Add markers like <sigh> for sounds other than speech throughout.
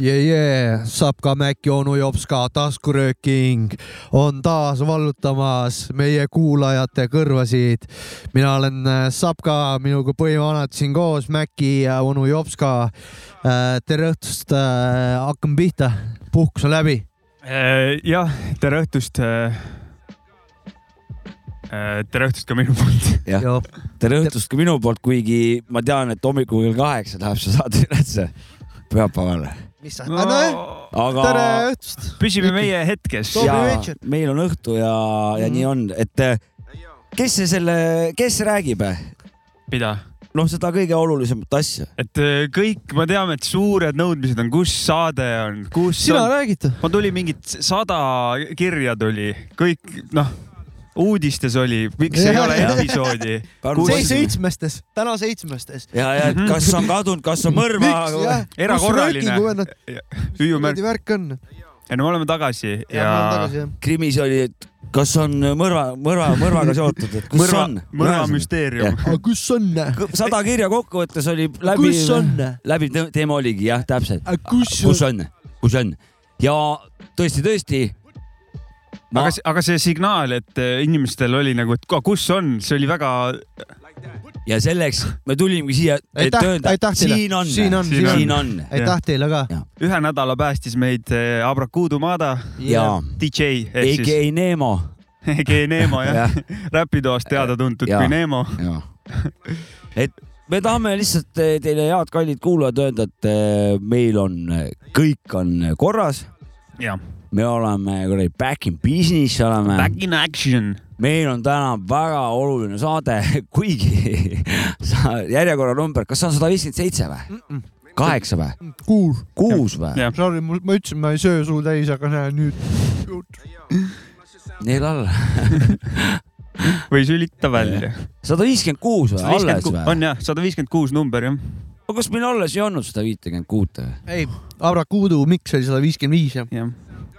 jee yeah, yeah. , Sapka Mäkki , onu Jopska , taskurööking on taas vallutamas meie kuulajate kõrvasid . mina olen äh, Sapka , minuga põhivanad siin koos , Mäkki ja onu Jopska . tere õhtust , hakkame pihta , puhkus on läbi . Äh, jah , tere õhtust . tere õhtust ka minu poolt . jah , tere õhtust ka minu poolt , kuigi ma tean , et hommikul kell kaheksa läheb see saade ülesse pühapäeval . mis sa , nojah , aga tere õhtust . püsime meie hetkes . Toob- ja Toomi Veitšet. meil on õhtu ja , ja Mhm. nii on , et eh, kes see selle , kes räägib , mida ? noh , seda kõige olulisemat asja . et äh, kõik , me teame , et suured nõudmised on , kus saade on , kus sina on . räägid , ma tulin mingit sada kirja tuli , kõik noh , uudistes oli , miks ei ole <laughs> Jah. <laughs> episoodi . seis seitsmestes , täna seitsmestes . ja , ja et kas on kadunud , kas on miks mõrva . jah , Erakorraline. kuradi hüüumärk , värk on ? ei no me oleme tagasi ja ma olen tagasi ja . jah . krimis oli , et kas on mõrva , mõrva , <laughs> mõrvaga seotud , et kus mõrva on ?, mõrva . müsteerium . aga Ah, kus on , sada kirja kokkuvõttes oli läbi , kus on , läbi teema oligi jah , täpselt . kus on kus ? on , kus on ja tõesti , tõesti . ma aga , aga see signaal , et äh, inimestel oli nagu , et ka- kus on , see oli väga , ja selleks me tulimegi siia , et Aitäh- öelda aitäh , teile. siin on , Siin on, siin on. siin on aitäh teile ka . ühe nädala päästis meid äh, Abrakuudu Mada , ja DJ ehk EKI siis Neemo . <laughs> EG Neemo jah jah , <laughs> räpitoast teada-tuntud Jaa. kui Neemo . <laughs> ja. . et me tahame lihtsalt eh, teile , head kallid kuulajad , öelda , et eh, meil on , kõik on korras , jah , me oleme kuradi back in business oleme , Back in Action . meil on täna väga oluline saade , <laughs> kuigi sa- järjekorranumber , kas see on sada viiskümmend seitse või ? kaheksa või ? kuus . kuus või ? jah , Sorry , mul , ma ütlesin , ma ei söö suu täis , aga näe nüüd . neil alla . <laughs> või sülita välja . sada viiskümmend kuus või ? alles või ? on jah , sada viiskümmend kuus number jah . kas meil alles ei olnud seda viitekümmet kuute või ? ei , Abrakuudu miks oli sada viiskümmend viis jah ? jah ,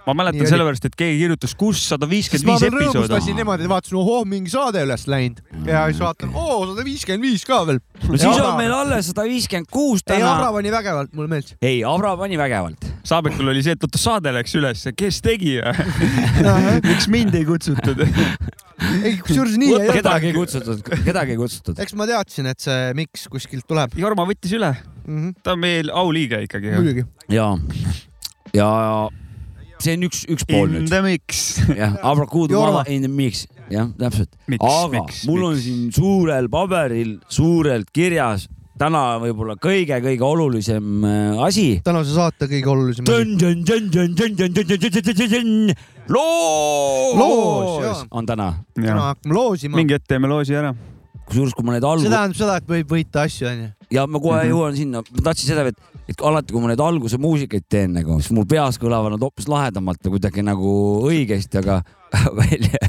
ma Nii mäletan oli. sellepärast , et keegi kirjutas , kus sada siis viiskümmend ma viis veel episoodi . rõõmustasin niimoodi , vaatasin , ohoh , mingi saade üles läinud Mm. ja siis vaatan , oo , sada viiskümmend viis ka veel . no siis Abra- on meil alles sada viiskümmend kuus ei , Abra täna . pani vägevalt , mulle meeldis . ei , Abra pani vägevalt . Saabekul oli see , et oota , saade läks üles , kes tegi <laughs> ja <laughs> miks mind ei kutsutud . ei , kusjuures nii ei olnud . kedagi ei kutsutud , kedagi ei kutsutud . eks ma teadsin , et see miks kuskilt tuleb Jorma võttis üle , mm . -hmm. ta on meil auliige ikkagi . muidugi . ja , ja , ja see on üks , üks pool In nüüd . the mix . jah , Abra kuuldu Jorma. mama in the mix . jah , täpselt . Miks, aga miks, mul on miks? siin suurel paberil suurelt kirjas täna võib-olla kõige-kõige olulisem äh, asi tänase saate kõige olulisem . Loos, jaa. loos on täna , täna hakkame loosima . mingi hetk teeme loosi ära . kusjuures kui ma need see algus tähendab seda , et võib võita asju , onju . ja ma kohe Mhm. jõuan sinna , ma tahtsin seda , et , et alati , kui ma neid alguse muusikaid teen nagu , siis mul peas kõlavad nad hoopis lahedamalt või kuidagi nagu õigesti , aga <laughs> välja ,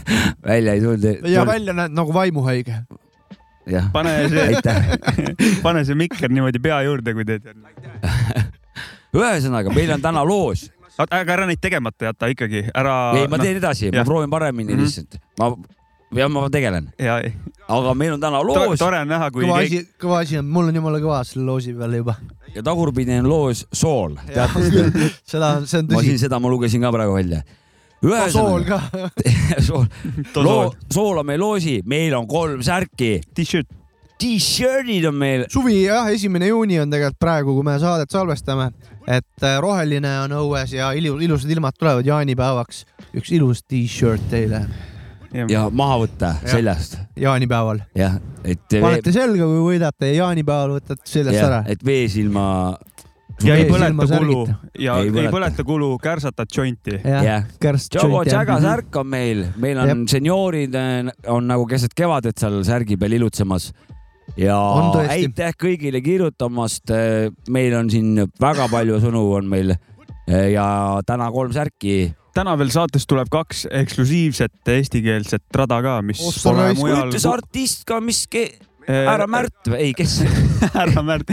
välja ei ja tulnud . välja näed nagu vaimuhaige . jah , pane see , aitäh . <laughs> pane see mikker niimoodi pea juurde , kui teed . ühesõnaga , meil on täna loos , aga ära neid tegemata jäta ikkagi , ära . ei , ma teen edasi , ma noh, jah. <laughs> proovin paremini Mhm. lihtsalt , ma , ja ma tegelen , ja , aga meil on täna loos tore on näha , kui kõva keegi asi , kõva asi on , mul on jumala kõva selle loosi peal juba . ja tagurpidi on loos sool , teate seda ? <laughs> seda , see on ma siin tõsi . seda ma lugesin ka praegu välja . sool ka . sool , tosool loo , sool on meil loosi , meil on kolm särki , t-shirt . t-shirt'id on meil , suvi jah , esimene juuni on tegelikult praegu , kui me saadet salvestame , et äh, roheline on õues ja ilu, ilusad ilmad tulevad jaanipäevaks . üks ilus t-shirt teile ja maha võtta Jah. seljast , jaanipäeval . jah , et , panete selga , kui võidate ja jaanipäeval võtate seljast ära . et veesilma , ja ei Ei, põleta silma kulu särgita. ja Ei ei, ei põleta. põleta kulu kärsatad džonti . jah , jah . kärst . Jogo Jaga . särk on meil , meil on Jep. senioorid äh, on nagu keset kevadet seal särgi peal ilutsemas ja On tõesti. aitäh kõigile kirjutamast . Äh, meil on siin väga palju sõnu on meil ja Äh, täna kolm särki täna veel saates tuleb kaks eksklusiivset eestikeelset rada ka , mis Ossa pole raisk. mujal . ütles artist ka , mis ke... , härra . Märt või , Äh, ei , kes ? <laughs> härra Märt .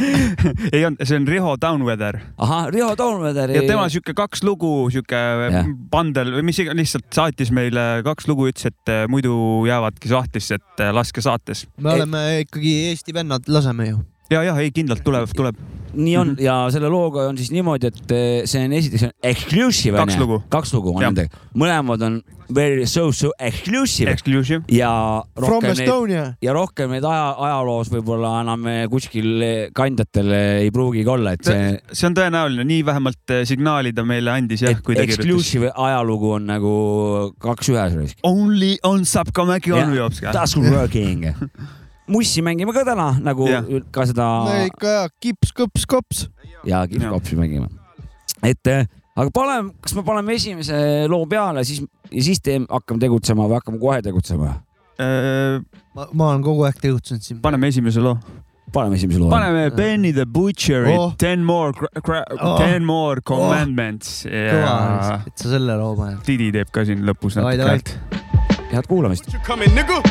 ei olnud , see on Riho Downweather ahah , Riho Toomvederi ja . tema sihuke kaks lugu , sihuke Jah. bandel või mis iganes , lihtsalt saatis meile kaks lugu , ütles , et eh, muidu jäävadki sahtlisse , et eh, laske saates . me oleme ikkagi Eesti vennad , laseme ju . ja , ja ei kindlalt tuleb , tuleb Mhm. nii on ja selle looga on siis niimoodi , et eh, see on esiteks on exclusive . Kaks lugu. kaks lugu on Jah. nendega , mõlemad on very so so exclusive exclusive . ja From rohkem neid , Estonia . ja rohkem neid aja , ajaloos võib-olla enam eh, kuskil eh, kandjatel eh, ei pruugigi olla , et see see on tõenäoline , nii vähemalt eh, signaali ta meile andis jah , kui et ta kirjutas . exclusive ajalugu on nagu kaks ühes raisk . Only on Subcomaci on Jopska . <laughs> Taskurööking . mussi mängime ka täna nagu Jah. ka seda no ikka ja kips , kõps , kops . ja kipskopsi mängime . et eh, aga paneme , kas me paneme esimese loo peale , siis ja siis teeme , hakkame tegutsema või hakkame kohe tegutsema ? ma , ma olen kogu aeg tegutsenud siin . Äh, paneme esimese loo . paneme esimese loo . paneme Benny the Butcher'i Oh. oh. Ten more , Oh. oh. Ten more commandments oh. ja kõva , et sa selle loo paned . Didi teeb ka siin lõpus Davai, natuke davai. häält . head kuulamist . You coming, nigga?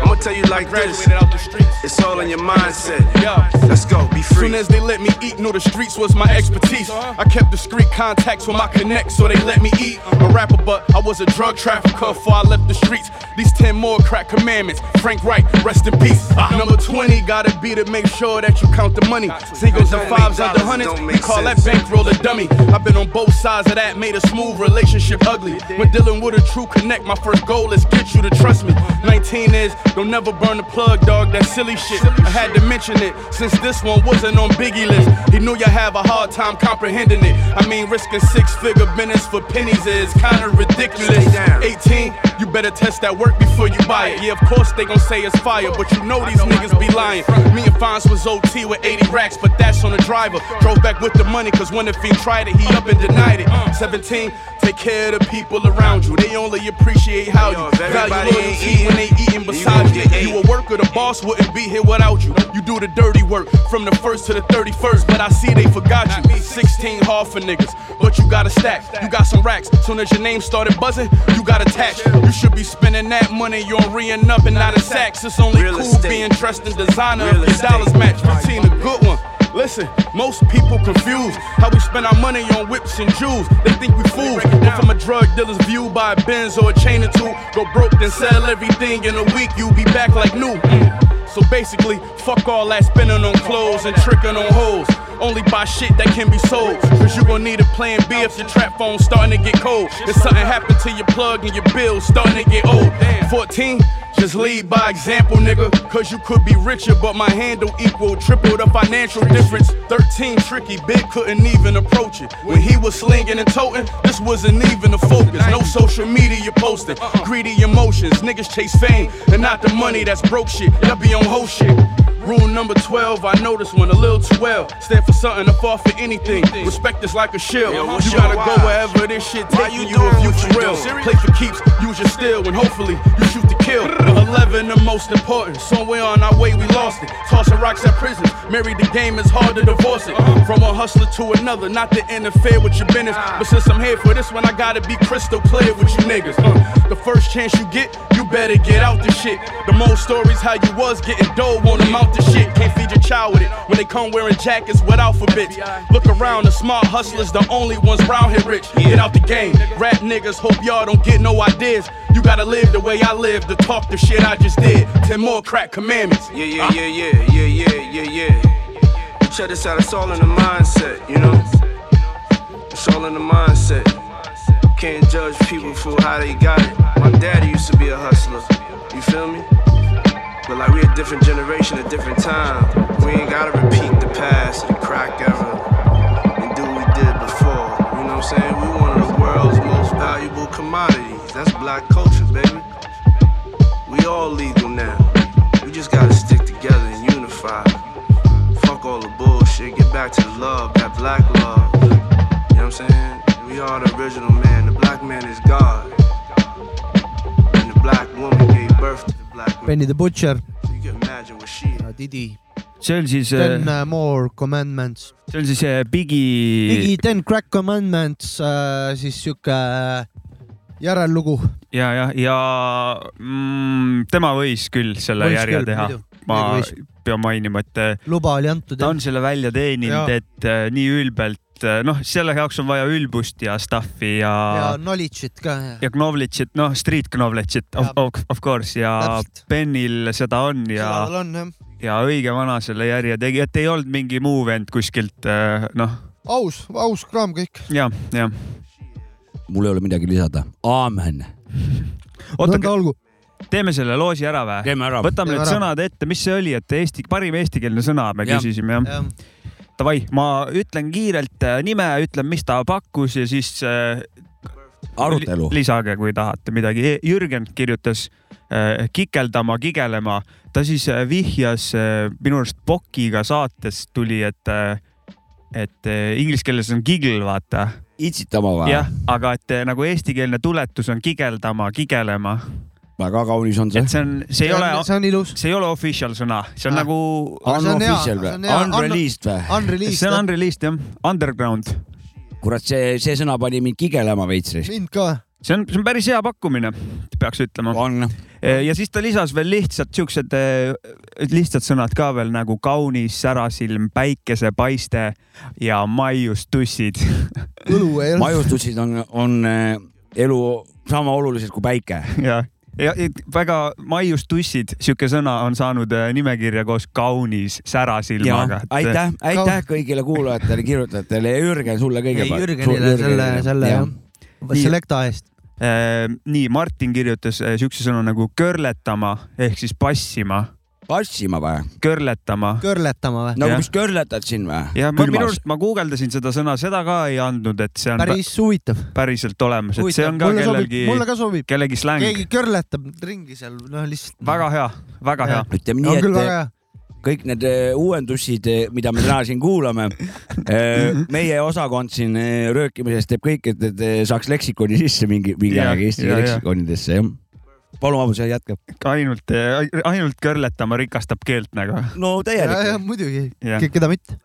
I'm gonna tell you like this. Graduated out the streets. It's all in your mindset. Yeah. Let's go, be free. Soon as they let me eat, knew the streets was my expertise. I kept discreet contacts with my connects, so they let me eat. A rapper, but I was a drug trafficker before I left the streets. These 10 more crack commandments. Frank Wright, rest in peace. Ah, Number 20, gotta be to make sure that you count the money. Singles and fives under hundreds, Don't we make call that sense. bankroll a dummy. I've been on both sides of that, made a smooth relationship ugly. When dealing with a true connect, my first goal is get you to trust me. 19 is don't never burn the plug, dog. That silly shit. I had to mention it since this one wasn't on Biggie list. He knew you have a hard time comprehending it. I mean, risking six-figure business for pennies is kind of ridiculous. Stay down. 18, you better test that work before you buy it. Yeah, of course they gon' say it's fire, but you know these niggas be lying. Me and Fonz was OT with 80 racks, but that's on the driver. Drove back with the money, cause when the fiend tried it, he up and denied it. 17, take care of the people around you. They only appreciate how Yo, you if value everybody ain't loyalty when they eating, eating then you gonna beside you. get You a ate. worker, the boss wouldn't be here without you. You do the dirty work from the first to the 31st, but I see they forgot you. 16 hard for niggas, but you got a stack. You got some racks. Soon as your name started buzzing, you got attached. You should be spending that money. You're reeing up and out of sacks. It's only Real cool estate. being dressed in designer if Real your estate. dollars match. 15 a good one. Listen, most people confused how we spend our money on whips and jewels. They think we fools. But from a drug dealer's view, buy a Benz or a chain or two. Go broke, then sell everything in a week. You be back like new. Mm. So basically, fuck all that spending on clothes and tricking on hoes. Only buy shit that can be sold. Cause you gon' need a plan B if your trap phone's starting to get cold. If something happened to your plug and your bills starting to get old. 14, just lead by example, nigga. Cause you could be richer, but my handle equal triple the financial difference. 13 tricky, big couldn't even approach it. When he was slinging and toting, this wasn't even a focus. No social media posting, greedy emotions. Niggas chase fame and not the money that's broke shit. Y'all be on whole shit. Rule number 12, I know this one a little too well. Stand for something or fall for anything. Respect is like a shield. Yeah, You what's gotta your go why? wherever this shit Why taking you you if doing you what for you real. do? Serious? Play for keeps, use your steal, and hopefully you shoot to kill. The 11, the most important. Somewhere on our way, we lost it. Tossing rocks at prisons. Married the game, it's hard to divorce it. From one hustler to another, not to interfere with your business. But since I'm here for this one, I gotta be crystal clear with you niggas. Uh, The first chance you get, you better get out the shit. The most stories how you was getting dough, won't amount to shit. Can't feed your child with it when they come wearing jackets with alphabets. Look around, the smart hustlers, the only ones round here rich. Get out the game. Rap niggas, hope y'all don't get no ideas. You gotta live the way I live to talk the shit I just did. Ten more crack commandments. Yeah, yeah, yeah, yeah, yeah, yeah, yeah, yeah. You check this out, it's all in the mindset, you know? It's all in the mindset. Can't judge people for how they got it. My daddy used to be a hustler, you feel me? But like we a different generation, a different time. We ain't gotta repeat the past, the crack era, and do what we did before. You know what I'm saying? We one of the world's most valuable commodities. That's black culture, baby. We all legal now. We just gotta stick together and unify. Fuck all the bullshit. Get back to the love, that black love. You know what I'm saying? We are the original man. The black man is God. And the black woman gave birth to the black man. Benny the Butcher So you can imagine what she ja Didi see on siis , äh, Ten see uh, more commandments . on siis eh, see Bigi Biggie Ten Crack Commandments uh, , siis sihuke järellugu . ja , ja , ja mm, tema võis küll selle võis järje küll, teha . ma pean mainima , et eh, luba oli antud ta . on selle välja teeninud , Jaa. et eh, nii ülbelt , noh , selle jaoks on vaja ülbust ja stuff'i ja, ja ja , knowledge'it ka . ja Knovlitšit , noh , street Knovlitšit of Jaa. , of, of course ja Täpselt. Benil seda on ja , seda tal on jah . ja õige vana selle järje tegi , et ei olnud mingi muu vend kuskilt , noh , aus , aus kraam kõik . ja , ja . mul ei ole midagi lisada . aamen . oota , olgu . teeme selle loosi ära või ? käime ära . võtame Teeme need ära. sõnad ette , mis see oli , et eesti , parim eestikeelne sõna me Jah. küsisime jah ? Davai , ma ütlen kiirelt äh, nime , ütlen , mis ta pakkus ja siis äh, arutelu li- . lisage , kui tahate midagi . Jürgen kirjutas äh, kikeldama , kigelema . ta siis äh, vihjas äh, minu arust Pokiga saates tuli , et äh, et äh, inglise keeles on giggle , vaata . itsitama või jah ?, aga et äh, nagu eestikeelne tuletus on kigeldama , kigelema . väga kaunis on see et . see on , see ei ole , see on ilus . see ei ole official sõna , see on Ah. nagu , on hea, Unofficial või see on ? hea. Unreleased või ? see on Unreleased , unreleased jah , underground . kurat , see , see sõna pani mind kigelema veits . mind ka . see on , see on päris hea pakkumine , peaks ütlema . on . ja siis ta lisas veel lihtsalt siuksed eh, lihtsad sõnad ka veel nagu kaunis särasilm , päikesepaiste ja maiustussid . õlu ei olnud . maiustused on , on äh, elu sama olulised kui päike . <laughs> ja , ja et väga maiustussid , sihuke sõna on saanud eh, nimekirja koos kaunis särasilmaga . aitäh , aitäh kõigile kuulajatele , kirjutajatele ja Jürgen sulle kõigepealt . Jürgenile selle , selle jah . Selecta eest . äh, nii , Martin kirjutas eh, siukse sõna nagu körletama ehk siis passima , passima või ? körletama . körletama või ? nagu Jah. mis körletad siin või ? ja ma, minu arust ma guugeldasin seda sõna , seda ka ei andnud , et see on päris. päris huvitav . päriselt olemas , et see on ka mulle sobib kellelgi , mulle , ka sobib . kellegi släng . keegi körletab ringi seal , noh lihtsalt . väga hea , väga hea . ütleme on nii , küll et väga hea . kõik need eh, uuendusid , mida me täna siin kuulame eh, , Mhm. meie osakond siin eh, röökimises teeb kõik , et , et eh, saaks leksikoni sisse mingi , mingi Jah, aeg Eesti jah, jah. leksikonidesse , jah . palun , vabandust , jätka . ainult , ainult körletama rikastab keelt nagu . no ja , ja täielik . muidugi , Jah. keda mitte .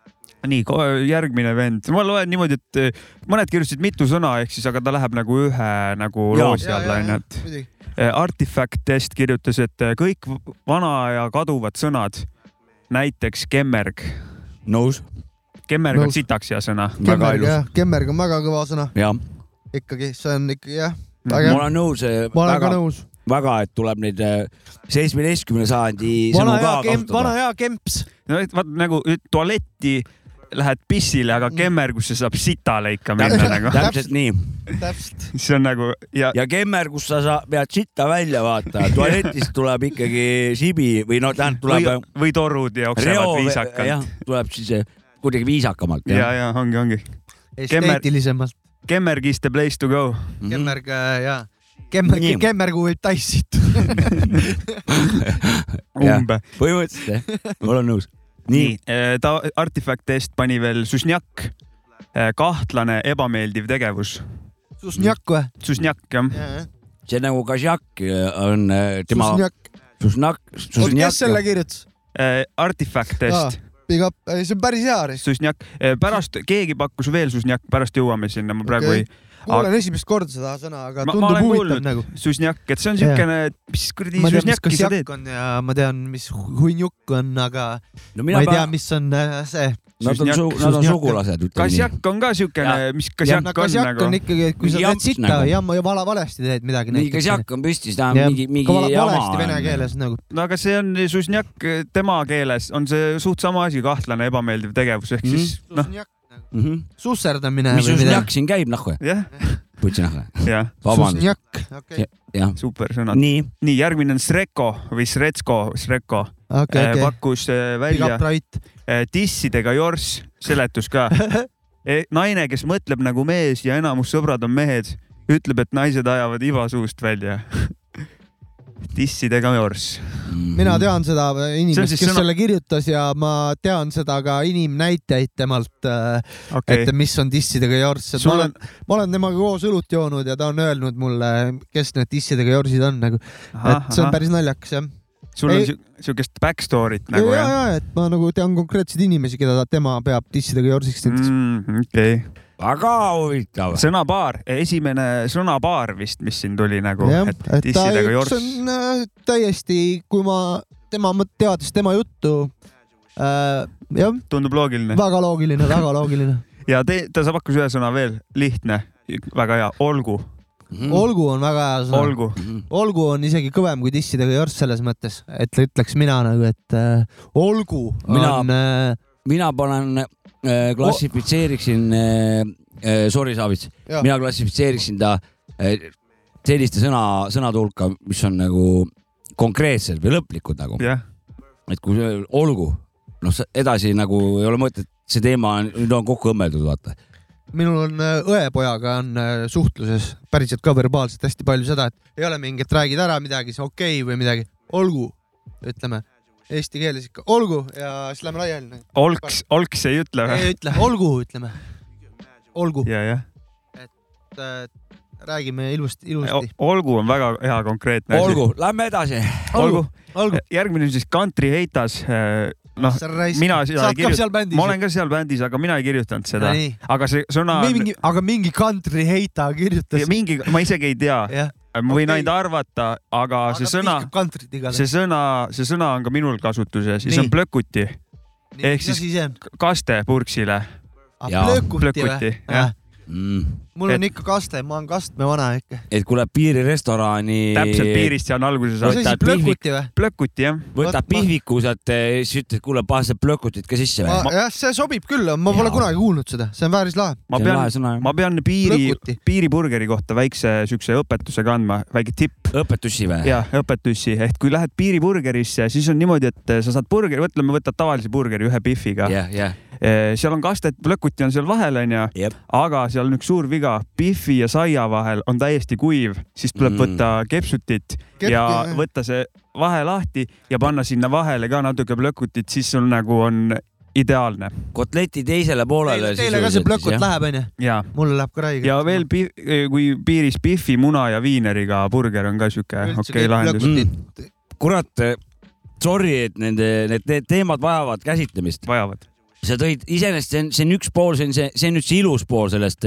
nii , järgmine vend , ma loen niimoodi , et eh, mõned kirjutasid mitu sõna , ehk siis , aga ta läheb nagu ühe nagu Jaa. loosi alla onju , et . muidugi . Artifact Test kirjutas , et eh, kõik v- vana ja kaduvad sõnad , näiteks kemmerg , nõus , kemmerg on Nõus. sitaks hea sõna . väga kemmerg ilus . jah , kemmerg on väga kõva sõna , jah , ikkagi see on ikkagi jah , ma väga hea . olen nõus , ma olen ka väga , nõus . väga , et tuleb neid äh, seitsmeteistkümne sajandi sõnu vana ka hea kemp , vana kasutada . hea kemps . no et vaat nagu et tualetti lähed pissile , aga Mm. kemmergusse saab sita lõika minna nagu . täpselt nii täpselt . see on nagu ja ja kemmer , kus sa, sa pead sitta välja vaatama , tualetist tuleb ikkagi sibi või no tähendab , tuleb või , või torud jooksevad reo , jah viisakalt ., tuleb siis eh, kuidagi viisakamalt . ja , ja ongi , ongi . Kemmer- esteetilisemalt . Kemmerg is the place to go . kemmerg ja , kemmerg Mhm. Nii. , kemmergu võib täis <laughs> sitta . <laughs> Jah. umbe . põhimõtteliselt jah , ma olen nõus . nii nii , ta Artifact Test pani veel susnjakk , kahtlane ebameeldiv tegevus . Susnjak või ? susnjakk jah , see on nagu Kasjak on eh, tema Susnjak . Susnak , oot , kes selle Susnjak , kirjutas ? Äh, Artifact Test , Ah, Big up , see on päris hea risk . susnjakk , Äh, pärast keegi pakkus veel susnjakk , pärast jõuame sinna , ma praegu Okei. okay. ei , kuulen esimest korda seda sõna , aga Ma- ma tundub olen huvitav kuulnud. nagu . susnjakk , et see on siukene , mis kuradi ma tean , mis susnjakki sa teed kasjak . on ja ma tean , mis hunjuk on , aga no ma mina ei tea , pean , mis on äh, see . nad on su- Susnjak- , nad on Susnjak. sugulased , ütleme nii . kasjak on ka siukene , mis kasjak no on kasjak nagu on . ikkagi , et kui sa teed Jamps sita nagu. ja ma vala valesti teed midagi . mingi Kasjak on püstis , ta on mingi , mingi valesti vene jama . keeles nagu . no aga see on susnjakk tema keeles on see suht sama asi , kahtlane ebameeldiv tegevus ehk Mhm. siis noh , nagu. susserdamine mis Susnjak . siin käib , nahku , jah , putsinahku , jah , vabandust , Susnjak , okei , jah . super sõnad . nii , nii järgmine on Sreko või Sretsko , Sreko okei , okay. okei . pakkus eh, Big välja up right . eh, dissidega jorss , seletus <laughs> ka Eh, naine , kes mõtleb nagu mees ja enamus sõbrad on mehed , ütleb , et naised ajavad iva suust välja . <laughs> dissidega jorss . mina . tean seda Mhm. äh, See on inimest , siis kes sõna- selle kirjutas ja ma tean seda ka inimnäiteid temalt , okei et , mis on dissidega jorss , et Sul ma olen , ma olen temaga koos õlut joonud ja ta on öelnud mulle , kes need dissidega jorsid on nagu , et see on päris naljakas jah . sul on Ei- siu- siukest back story't ja , nagu ja , jah ? ja , et ma nagu tean konkreetseid inimesi , keda ta- tema peab dissidega jorsiks näiteks . Mm, okei , väga huvitav . sõnapaar , esimene sõnapaar vist , mis siin tuli nagu , jah , et et ta dissidega üks jorss . on äh, täiesti , kui ma tema , teades tema juttu äh, , jah , tundub loogiline . väga loogiline , väga loogiline . <laughs> ja te, ta pakkus ühe sõna veel , lihtne , väga hea , olgu , Mhm. olgu on väga hea sõna . olgu . olgu on isegi kõvem kui dissidega jorss selles mõttes , et ütleks mina nagu , et äh, olgu Mina- on äh, mina panen äh, , klassifitseeriksin äh, , äh, sorry , Savits , Jaa. mina klassifitseeriksin ta äh, selliste sõna , sõnade hulka , mis on nagu konkreetsed või lõplikud nagu , jah , et kui see- olgu , noh , edasi nagu ei ole mõtet , see teema on , nüüd on kokku õmmeldud , vaata . minul on äh, õepojaga on äh, suhtluses päriselt ka verbaalselt hästi palju seda , et ei ole mingit , räägid ära midagi , siis okei okay või midagi , olgu , ütleme eesti keeles ikka olgu ja siis lähme laiali . olks , olks ei ütle või ? ei ütle , olgu , ütleme , olgu , ja , jah . et äh, räägime ilusti , ilusti . olgu on väga hea konkreetne asi . olgu , lähme edasi . olgu ., olgu , järgmine on siis Country Heitas . noh , sa raisk- mina seda sa ei oled ka kirjutanud . seal bändis . ma olen ka seal bändis , aga mina ei kirjutanud seda No . nii. aga see sõna on mingi , aga mingi country heita kirjutas . mingi , ma isegi ei tea , jah , ma võin Okei. ainult arvata , aga see sõna , country't igale . see sõna , see sõna on ka minul kasutuses ja see Nii. on plökuti , ehk siis- siis on kaste purksile , Ah, Jaa. plökuti või plökuti ,? jah . mul on Et- ikka kaste , ma olen kastmevana ikka . Mm. et kui läheb piirirestorani . täpselt . piirist see on alguse no see saanud . on siis plökuti või ? plökuti jah , võtab Vot ma- pihviku sealt , siis ütled , kuule , pane see plökutit ka sisse või ? jah , see sobib küll , ma pole Jaa. kunagi kuulnud seda , see on päris lahe . ma pean , sõna ma pean piiri Plökuti. , piiriburgeri kohta väikse siukse õpetuse ka andma , väike tipp . õpetusi või ? ja õpetusi , et kui lähed piiriburgerisse , siis on niimoodi , et sa saad burgeri , ütleme , võtad tavalise burgeri ühe pihviga . jah , jah , Äh, seal on kastet , plökuti on seal vahel , onju , jah . aga seal on üks suur viga , pihvi ja saia vahel on täiesti kuiv , siis tuleb Mm. mm. võtta kepsutit Kep- Kep ja jah. võtta see vahe lahti ja panna sinna vahele ka natuke plökutit , siis sul nagu on ideaalne kotleti teisele poolele . Teile ka see plökut . läheb , onju ? ja , mulle läheb ka räige . ja veel , kui piiris pihvi , muna ja viineriga burger on ka siuke okei okay, lahendus , Mm. kurat , eh, sorry , et nende , need , need teemad vajavad käsitlemist . vajavad . sa tõid , iseenesest see on , see on üks pool , see on see , see on nüüd see ilus pool sellest ,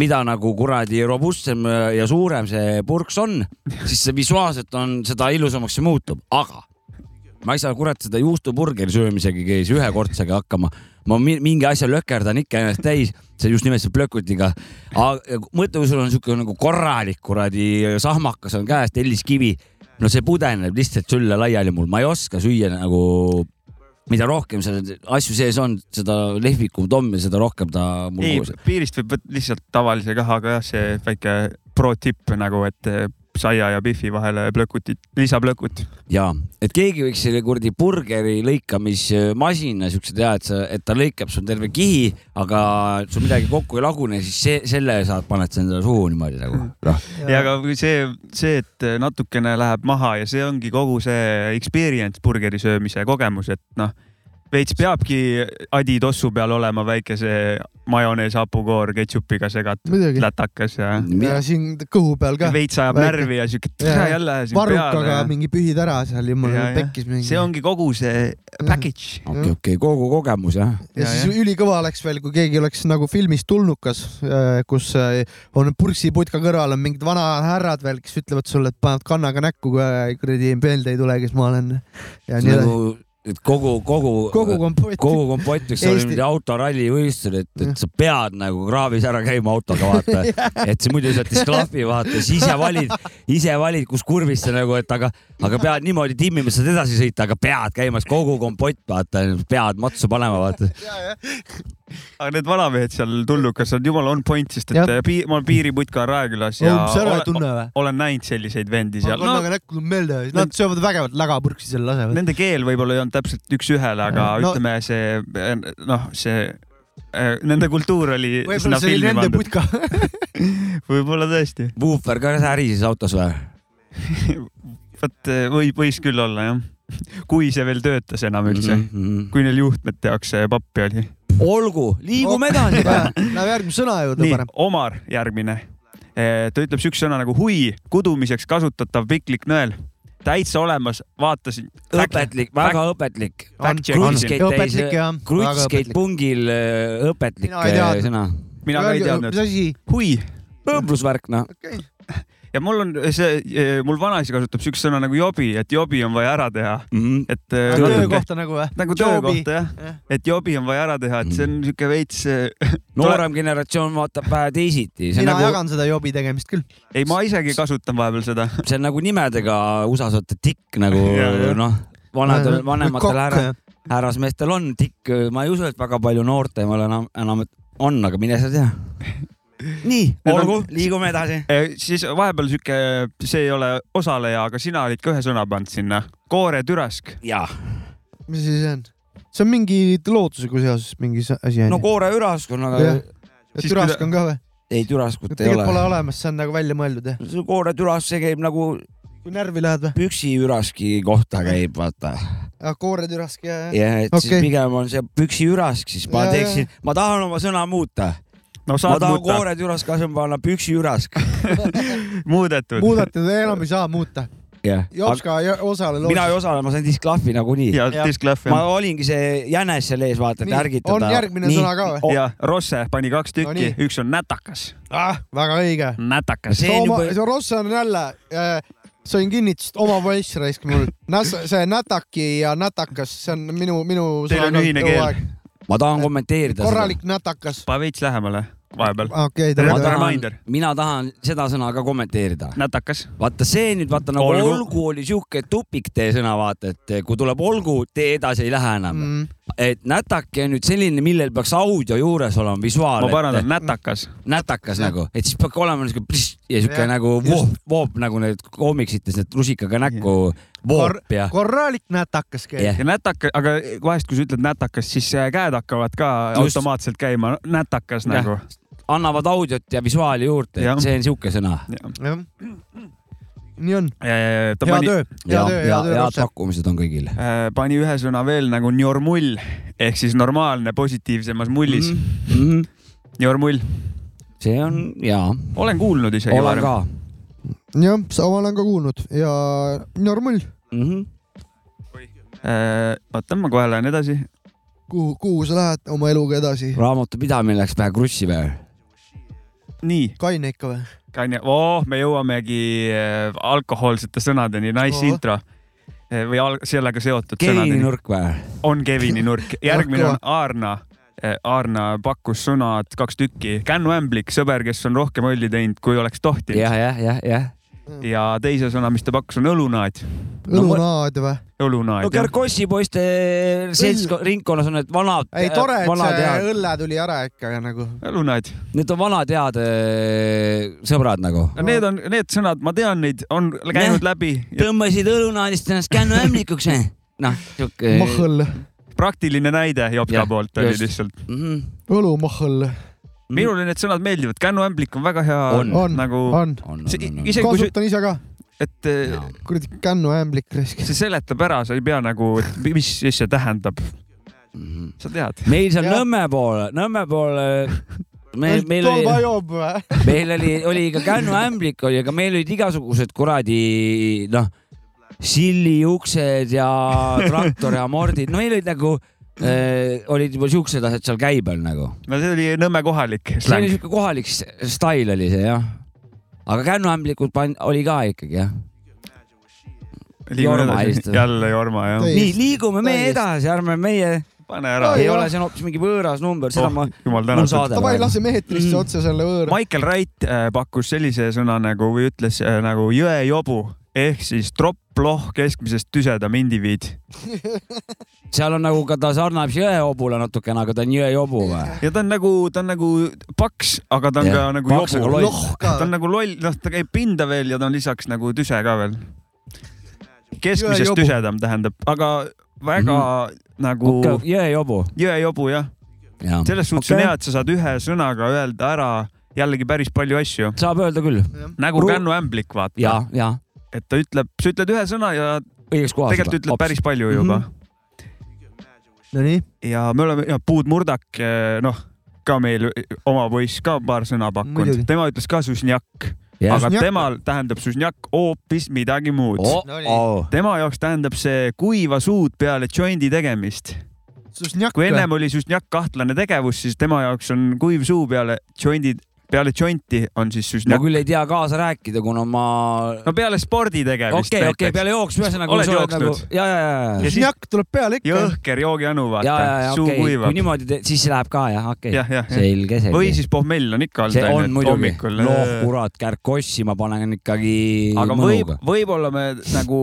mida nagu kuradi robustsem ja suurem see purks on , siis see visuaalselt on , seda ilusamaks see muutub , aga ma ei saa kurat seda juustuburgeri söömisega käis ühekordsega hakkama . ma mi- mingi asja lökerdan ikka ennast täis , see just nimelt see plökutiga . mõtle , kui sul on siuke nagu korralik kuradi sahmakas on käes , telliskivi . no see pudeneb lihtsalt sülle laiali mul , ma ei oska süüa nagu , mida rohkem seal asju sees on , seda lehvikum tomm ja seda rohkem ta mul ei koos ., piirist võib võtta lihtsalt tavalise kah , aga jah , see väike pro tipp nagu , et eh, saia ja pihvi vahele plökutit , lisaplökut . ja , et keegi võiks selle kuradi burgeri lõikamismasina siukse teha , et sa , et ta lõikab sul terve kihi , aga sul midagi kokku ei lagune , siis see , selle saad , paned sa endale suhu niimoodi nagu . noh , ja aga kui see , see , et natukene läheb maha ja see ongi kogu see experience burgeri söömise kogemus , et noh , veits peabki adi tossu peal olema väikese majonees , hapukoor , ketšupiga segatud muidugi . lätakas ja ja siin kõhu peal ka . veits ajab Väike- närvi ja siuke Jaa. tere jälle siin varrukaga peale . mingi pühid ära seal , Jaa, jumal jah. pekkis mingi . see ongi kogu see package . okei , okei , kogu kogemus jah . ja Jaa, siis ülikõva oleks veel , kui keegi oleks nagu filmis Tulnukas , kus äh, on purssiputka kõrval on mingid vanahärrad veel , kes ütlevad sulle , et panevad kannaga näkku , kui kuradi meelde ei tule , kes ma olen . ja nii edasi . nagu , et kogu , kogu , kogu kompott . kogu kompott võiks olla Eesti- niimoodi autorallivõistlused , et , et sa pead nagu kraavis ära käima autoga , <laughs> vaata . et sa muidu sealt ei klahvi , vaata , siis ise valid , ise valid , kus kurvis sa nagu , et aga , aga pead niimoodi timmima , saad edasi sõita , aga pead käimas kogu kompott , vaata , pead matsu panema , vaata . aga need vanamehed seal tulnukas on jumala on point , sest et Jah. piir, ma olen piiriputka Raekojas ja umbes ära ei olen, tunne või ? olen näinud selliseid vendi seal . No, kannaga näkku tuleb meelde , nad söövad vägevat lägapurksi seal lasevad . Nende keel võib-olla ei olnud täpselt üks-ühele , aga No- no, ütleme see noh , see eh, nende kultuur oli võib-olla sinna see oli filmi nende pandud . <laughs> putka . võib-olla tõesti , Vuufer ka särises autos või ? <laughs> vot eh, või võis küll olla jah , kui see veel töötas enam üldse mm , -hmm. -hmm. kui neil juhtmete jaoks eh, pappi oli . olgu , liigume <laughs> edasi . Läheme järgmise sõna juurde nii parem ., Omar järgmine . ta ütleb siukse sõna nagu hui , kudumiseks kasutatav piklik nõel . täitsa olemas , vaatasin . õpetlik , väga õpetlik . Fact check isin. õpetlik jah . krutskate pungil äh, õpetlik Mina äh, ei teadnud. sõna . mina ka ei mis teadnud . asi ? hui õmblusvärk , noh . ja mul on see , mul vanaisa kasutab siukest sõna nagu jobi , et jobi on vaja ära teha , Mhm. et . e, töökohta nagu või ? nagu Jobi. töökohta jah , Jah. et jobi on vaja ära teha , et see on siuke veits , Mm. äh, <laughs> noorem generatsioon vaatab vähe teisiti , see on mina nagu... nagu , jagan seda jobi tegemist küll . ei ma isegi kasutan vahepeal seda . <laughs> see on nagu nimedega USA-s vaata tikk nagu <laughs> Jah, jah. noh , vanadel , vanematel härra , härrasmeestel on tikk , ma ei usu , et väga palju noortemal enam , enam on , aga mine sa tea . nii , Need olgu on- , liigume edasi . siis vahepeal siuke , see ei ole osaleja , aga sina olid ka ühe sõna pannud sinna , kooretürask . jaa , mis asi see on ? see on mingi lootusega seoses mingi sa- asi on no ju ? koore üraskonnaga Jah. , siis et türask on ka või ? ei türaskut ei tegelikult pole ole . olemas , see on nagu välja mõeldud jah . koore türas , see käib nagu kui närvi lähed või ? püksiüraski kohta käib , vaata . kooretürask ja , ja . ja et okay. siis Okei. pigem on see püksiürask , siis ma Jaa, teeksin , ma tahan oma sõna muuta . no ma saad tahan muuta , kooretürask asemel panna püksiürask . <laughs> muudetud . muudate , enam ei saa muuta . jah , Jopska ei osale mina ei lootus . osale , ma sain disklahvi nagunii . ja Jah. disklahv ma ja , olingi see jänes seal ees , vaata , et Nii, ärgitada . on järgmine sõna ka või? ja Rosse pani kaks tükki nii. , üks on nätakas , ah , väga õige . nätakas . See on Oma, juba- see Ross on jälle äh, , sain kinnitust , oma poiss raisk mul . see nätaki ja nätakas , see on minu , minu . Teil on ühine keel. . ma tahan kommenteerida korralik nätakas . pane veits lähemale vahepeal , okei , seda . ma Reminder. tere . tahan Reminder. , mina tahan seda sõna ka kommenteerida . nätakas , vaata see nüüd , vaata nagu olgu, Olgu. olgu oli sihuke tupiktee sõna , vaata , et kui tuleb olgu , tee edasi ei lähe enam mm. . et nätake on nüüd selline , millel peaks audio juures olema ma visuaal . parandan , nätakas . nätakas nagu , et siis peab ka olema niisugune pliss ja sihuke Jah, nagu just. voop , voop nagu need koomiksites , need rusikaga näkku voop ja , korralik nätakas keel Jah. . ja nätaka , aga vahest , kui sa ütled nätakas , siis äh, käed hakkavad ka Just. Just. automaatselt käima , nätakas Jah. ja. nagu . annavad audiot ja visuaali juurde , Jah. et see on sihuke sõna . jah . nii on . ta hea pani , töö , hea ja , töö , ja hea , töö , head Ross . pakkumised on kõigil . pani ühe sõna veel nagu njormull ehk siis normaalne positiivsemas mullis mm. . njormull , Mhm. see on ja , olen kuulnud isegi olen ka . jah , sama olen ka kuulnud ja normal . Mhm. Äh, oota , ma kohe lähen edasi . kuhu , kuhu sa lähed oma eluga edasi ? raamatupidamine läks vähe krussi või ? nii , kaine ikka või ? Kanja , oh , me jõuamegi äh, alkohoolsete sõnadeni , nice Oo. oh. intro Eh, või al- sellega seotud Keini sõnadeni . nurk või ? on Kevini nurk , <laughs> järgmine on Aarna . Aarna pakkus sõnad kaks tükki , Ken Vämblik , sõber , kes on rohkem õlli teinud , kui oleks tohtinud . jah , jah , jah , jah . ja teise sõna , mis ta pakkus , on õlunaad . No ma- õlunaad või ? õlunaad no no, , jah . Kerkossi poiste seltskond , ringkonnas on need vanad , ei tore , et vanad see head , õlle tuli ära ikka ja nagu . õlunaad . need on vanad head eh, sõbrad nagu . Need on , need sõnad , ma tean neid , on Näh. käinud läbi ja tõmbasid õlunaadist ennast kännu ämblikuks või ? noh , sihuke . mahõll , praktiline näide Jopska Jah, poolt oli just. Mm, lihtsalt . Mhm. õlumahõll minule need sõnad meeldivad , Ken Vämblik on väga hea On. on , nagu , on . isegi kui sa , kasutan ise ka , et eh, kuradi kännu ämblik raisk . see seletab ära , sa ei pea nagu , mis siis see tähendab , sa tead . meil seal Jah. Nõmme pool , Nõmme pool <laughs> meil , meil tolva oli , joob või ? <laughs> meil oli , oli ka Kännu ämblik oli , aga meil olid igasugused kuradi noh , silliuksed ja traktori amordid , no meil olid nagu äh, olid juba siuksed asjad seal käibel nagu . no see oli Nõmme kohalik see oli släng . siuke kohalik s- stail oli see jah . aga Kännu ämblikud pan- , oli ka ikkagi jah . Jorma helistab. jälle Jorma , jah . Ei. nii , liigume meie Täiesti. edasi , ärme meie , pane ära Oi. ei Ei ole ole. , see on hoopis mingi võõras number , seda Oh, ma , jumal mul tänatud. saade davai , praegu . laseme eetrisse Mm. otse selle võõra . Michael Wright äh, pakkus sellise sõna nagu või ütles äh, nagu jõejobu ehk siis tropp-lohh keskmisest tüsedam indiviid <laughs> seal on nagu ka ta sarnaneb jõehobule natukene , aga ta on jõejobu või ? ja ta on nagu , ta on nagu paks , aga ta on Jah, ka nagu paks, aga jobu loll. . noh ka ta on . nagu loll , noh , ta käib pinda veel ja ta on lisaks nagu tüse ka veel . keskmisest Jõejobu. tüsedam tähendab , aga väga Mhm. nagu okay. jõejobu . jõejobu jah , selles suhtes okay. on hea , et sa saad ühe sõnaga öelda ära jällegi päris palju asju , saab öelda küll nagu Ru- Ru... Kännu ämblik ja vaata ,, ja et ta ütleb , sa ütled ühe sõna ja õiges kohas . Mhm. tegelikult ütleb päris palju juba mm . -hmm Mhm. Nonii , ja me oleme ja Puud Murdak , noh , ka meil oma poiss ka paar sõna Muidugi. pakkunud , tema ütles ka susnjakk Jah. aga Susnjak- temal tähendab susnjak hoopis midagi muud oh. . tema jaoks tähendab see kuiva suud peale jondi tegemist . kui ennem oli susnjak kahtlane tegevus , siis tema jaoks on kuiv suu peale jondi , peale jonti on siis ma susnjak . küll ei tea kaasa rääkida , kuna ma . no peale spordi tegemist okei , okei , peale jooksma , ühesõnaga . Oled jooksnud? ja , ja , ja , ja , Ja siis- Susnjak tuleb peale ikka . jõhker joogianu , ja , ja vaata , , suu okei , kui kuivab . niimoodi teed , siis see läheb ka jah , okei Jah, jah, jah. selge , selge . või siis pohmell on ikka see on olnud , muidugi , hommikul . noh kurat , kärkossi ma panen ikkagi aga võib mõnuga ., võib-olla me nagu ,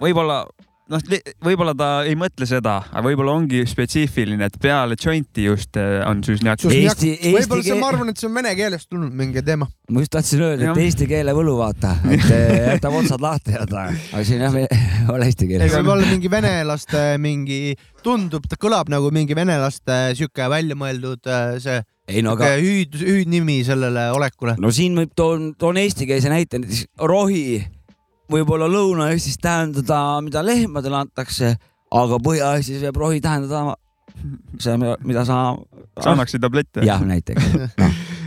võib-olla noh , võib-olla ta ei mõtle seda , aga võib-olla ongi spetsiifiline , et peale jointi just eh, on süsnjak . Sus- Susnjak , Eesti- eesti võib-olla see , keel- ma arvan , et see on vene keelest tulnud mingi teema . ma just tahtsin öelda , et Jah. eesti keele võlu vaata , <laughs> et eh, jätab otsad lahti , aga aga siin jah , ei <laughs> ole eesti see keeles . võib olla mingi venelaste mingi , tundub , ta kõlab nagu mingi venelaste sihuke väljamõeldud äh, see ei no aga sihuke , hüüd , hüüdnimi sellele olekule . no siin võib , toon , toon eestikeelse näite , näiteks rohi võib-olla Lõuna-Eestis tähendada , mida lehmadele antakse , aga Põhja-Eestis võib rohi tähendada seda , mida sa . sa annaksid tablette ? jah , <laughs> näiteks ,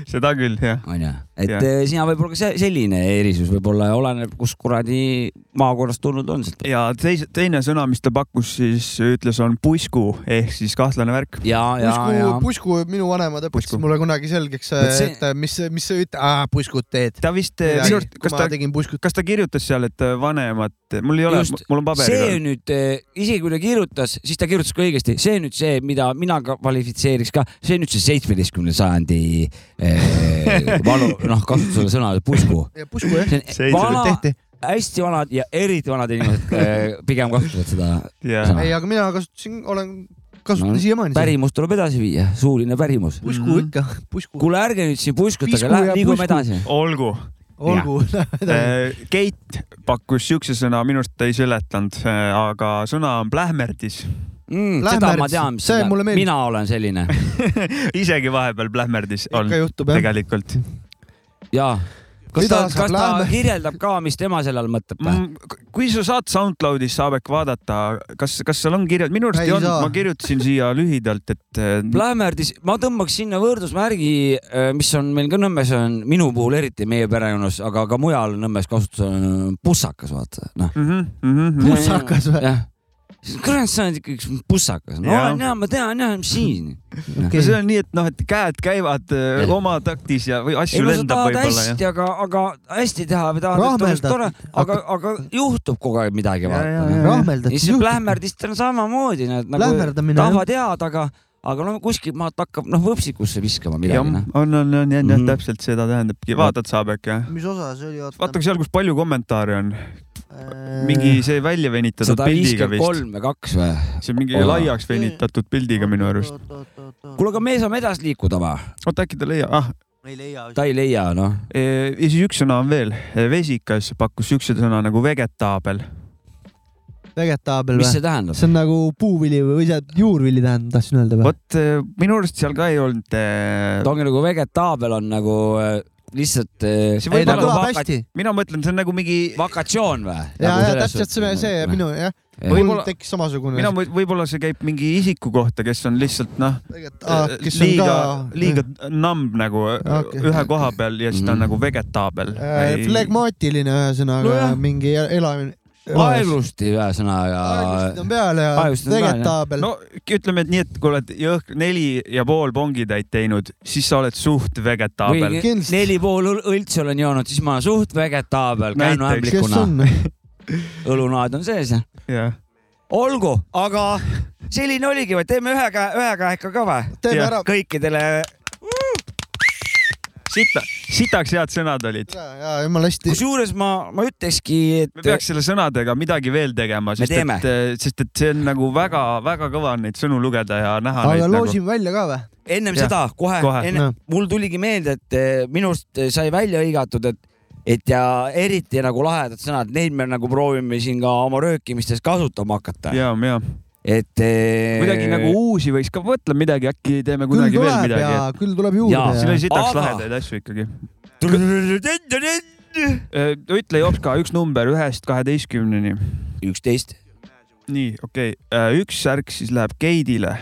seda küll , jah . onju , et Jah. eh, siin võib-olla ka see selline erisus võib-olla oleneb , kus kuradi maakonnast tulnud on sealt . ja teise , teine sõna , mis ta pakkus , siis ütles , on pusku ehk siis kahtlane värk . ja , ja , ja pusku ,, pusku , minu vanemad Pusku. õpetasid mulle kunagi selgeks , eh, Vot see- et mis , mis sa ütled , aa , puskut teed . ta vist , minu arust , kui kas ma ta , tegin puskut . kas ta kirjutas seal , et eh, vanemad , mul ei ole Just. , mul on see paberil . nüüd , isegi kui ta kirjutas , siis ta kirjutas ka õigesti , see nüüd see , mida mina ka kvalifitseeriks ka , see nüüd see seitsmeteistkümnenda sajandi <laughs> eh, valu , noh , kasutusele sõna pusku . pusku jah , see on Seitsme- vana , tehti . hästi vanad ja eriti vanad inimesed eh, pigem kasutavad seda jah , ei , aga mina kasutasin , olen , kasutan No, siiamaani seda . pärimust tuleb edasi viia , suuline pärimus . pusku Mhm. ikka , pusku . kuule , ärge nüüd siin puskutage Pisku , ja liigume pusku. edasi . olgu . olgu , <laughs> lähme Äh, Keit pakkus siukse sõna , minu arust ta ei seletanud , aga sõna on plähmerdis . Mm, seda ma tean , See mulle meeldis. mina olen selline <laughs> isegi vahepeal plähmerdis on ikka juhtub jah . tegelikult . ja kas Mida ta , saab kas ta lähme- kirjeldab ka , mis tema selle all mõtleb või ? Mm, kui sa saad SoundCloudis , saab ehk vaadata , kas , kas seal on kirja , minu arust Ei ei olnud saa. , ma kirjutasin siia <laughs> lühidalt , et äh, Plähmerdis , ma tõmbaks sinna võrdusmärgi , mis on meil ka Nõmmes , on minu puhul eriti meie perekonnas , aga ka mujal Nõmmes kasutusel on äh, pussakas , vaata , noh . mhm, mhm, mhm. Pussakas või? ? jah . kurat , sa oled ikka üks pussakas . no Jah. ja ma tean jah , mis siin . ja see on nii , et noh , et käed käivad äh, oma taktis ja või ei asju no sa lendab tahad võib-olla ja hästi , aga , aga hästi teha või tahad , et oleks Rahmeldad. tore , aga , aga juhtub kogu aeg midagi , vaata . ja siis rahmeldad . plähmerdistel on samamoodi , nad nagu Plähmerdamine, jah. tahavad head , aga , aga no kuskilt maalt hakkab noh võpsikusse viskama midagi , jah , on noh ., on , on , on , jah Mhm. , täpselt seda tähendabki , vaatad saab äkki jah ? mis osa see oli ? Äh. vaata seal , kus palju kommentaare on , mingi see välja venitatud sada pildiga viiskümmend vist , kolm või kaks või ? see on mingi Ola. laiaks venitatud pildiga minu arust . kuule , aga me saame edasi liikuda või ? oota , äkki ta leiab , ah , ma ei leia . ta ei leia , noh . ja siis üks sõna on veel , vesikas pakkus siukse sõna nagu vegetaabel . vegetaabel mis või ? see tähendab ? see on nagu puuvili või , või see juurvili tähendab , tahtsin öelda või ? vot eh, minu arust seal ka ei olnud ta eh, , ongi nagu vegetaabel on nagu äh, lihtsalt eh, nagu See ei , ta võib-olla kõlab vaka- hästi . mina mõtlen , see on nagu mingi , vakatsioon või ? Nagu ja , ja täpselt see , see minu jah , mul Võib-olla- tekkis samasugune . mina või- võib-olla see käib mingi isiku kohta , kes on lihtsalt noh , kes on liiga ka , liiga numb nagu Okei. okay. ühe koha peal ja siis ta on Mhm. nagu vegetaabel . äh, flegmaatiline , ühesõnaga Nojah. mingi elamine . aeglusti ühesõnaga . aeglust on peal ja Aeglust on peal, jah. vegetaabel . no ütleme , et nii , et kui oled jõhk neli ja pool pongitäit teinud , siis sa oled suht vegetaabel . või Kindlasti. neli pool õl- õltsi olen joonud , siis ma olen suht vegetaabel , käinu Näiteks. kes ämblikuna , on ? <laughs> õlunaad on sees . jah , olgu , aga selline oligi või , teeme ühe käe , ühe käe ikka ka või ? teeme Jah, ära . kõikidele , sita , sitaks head sõnad olid . ja , ja jumala hästi . kusjuures ma , ma ütlekski , et me peaks selle sõnadega midagi veel tegema , sest teeme. et , sest et see on nagu väga-väga kõva on neid sõnu lugeda ja näha aga neid nagu . loosime välja ka või ? ennem Jah, seda kohe, kohe. kohe. , enne No. , mul tuligi meelde , et eh, minu arust eh, sai välja hõigatud , et , et ja eriti nagu lahedad sõnad , neid me nagu proovime siin ka oma röökimistes kasutama hakata , ja , ja et . eh, kuidagi nagu . uusi võiks ka , mõtle midagi , äkki teeme kunagi veel midagi . küll tuleb Jaa, siin juurde oli . sitaks Aga- lahedaid asju ikkagi . Äh, ütle , Jopska , üks number ühest kaheteistkümneni . üksteist , Äh, nii , okei okay. , üks särk siis läheb Keidile .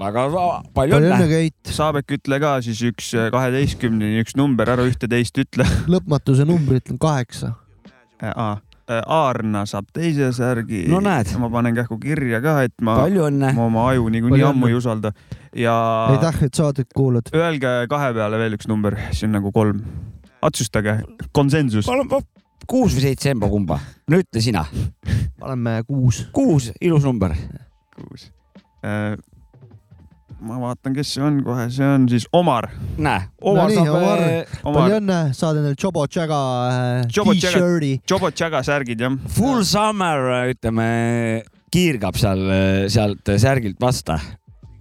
aga va- palju palju õnne õnne , Keit . Saabek , ütle ka siis üks äh, kaheteistkümneni üks number , ära ühte-teist ütle . lõpmatuse numbri ütlen kaheksa . Äh, Aarna saab teise särgi . No näed. ma panen kähku kirja ka , et ma , palju õnne , ma oma aju niikuinii Palju ammu õnne. ei usalda ja aitäh , et saadet kuulad . öelge kahe peale veel üks number , siis on nagu kolm . otsustage , konsensus . palun pa- kuus või seitse , emba kumba , no ütle sina , paneme kuus . kuus , ilus number , kuus . ma vaatan , kes see on kohe , see on siis Omar . näe . No nii, Omar. eh, palju Omar , õnne , saad endale Jobo Jaga äh, Jobo Jaga. t-shirt'i . Jobo Tšaga särgid jah . Full summer , ütleme , kiirgab seal , sealt eh, särgilt vasta .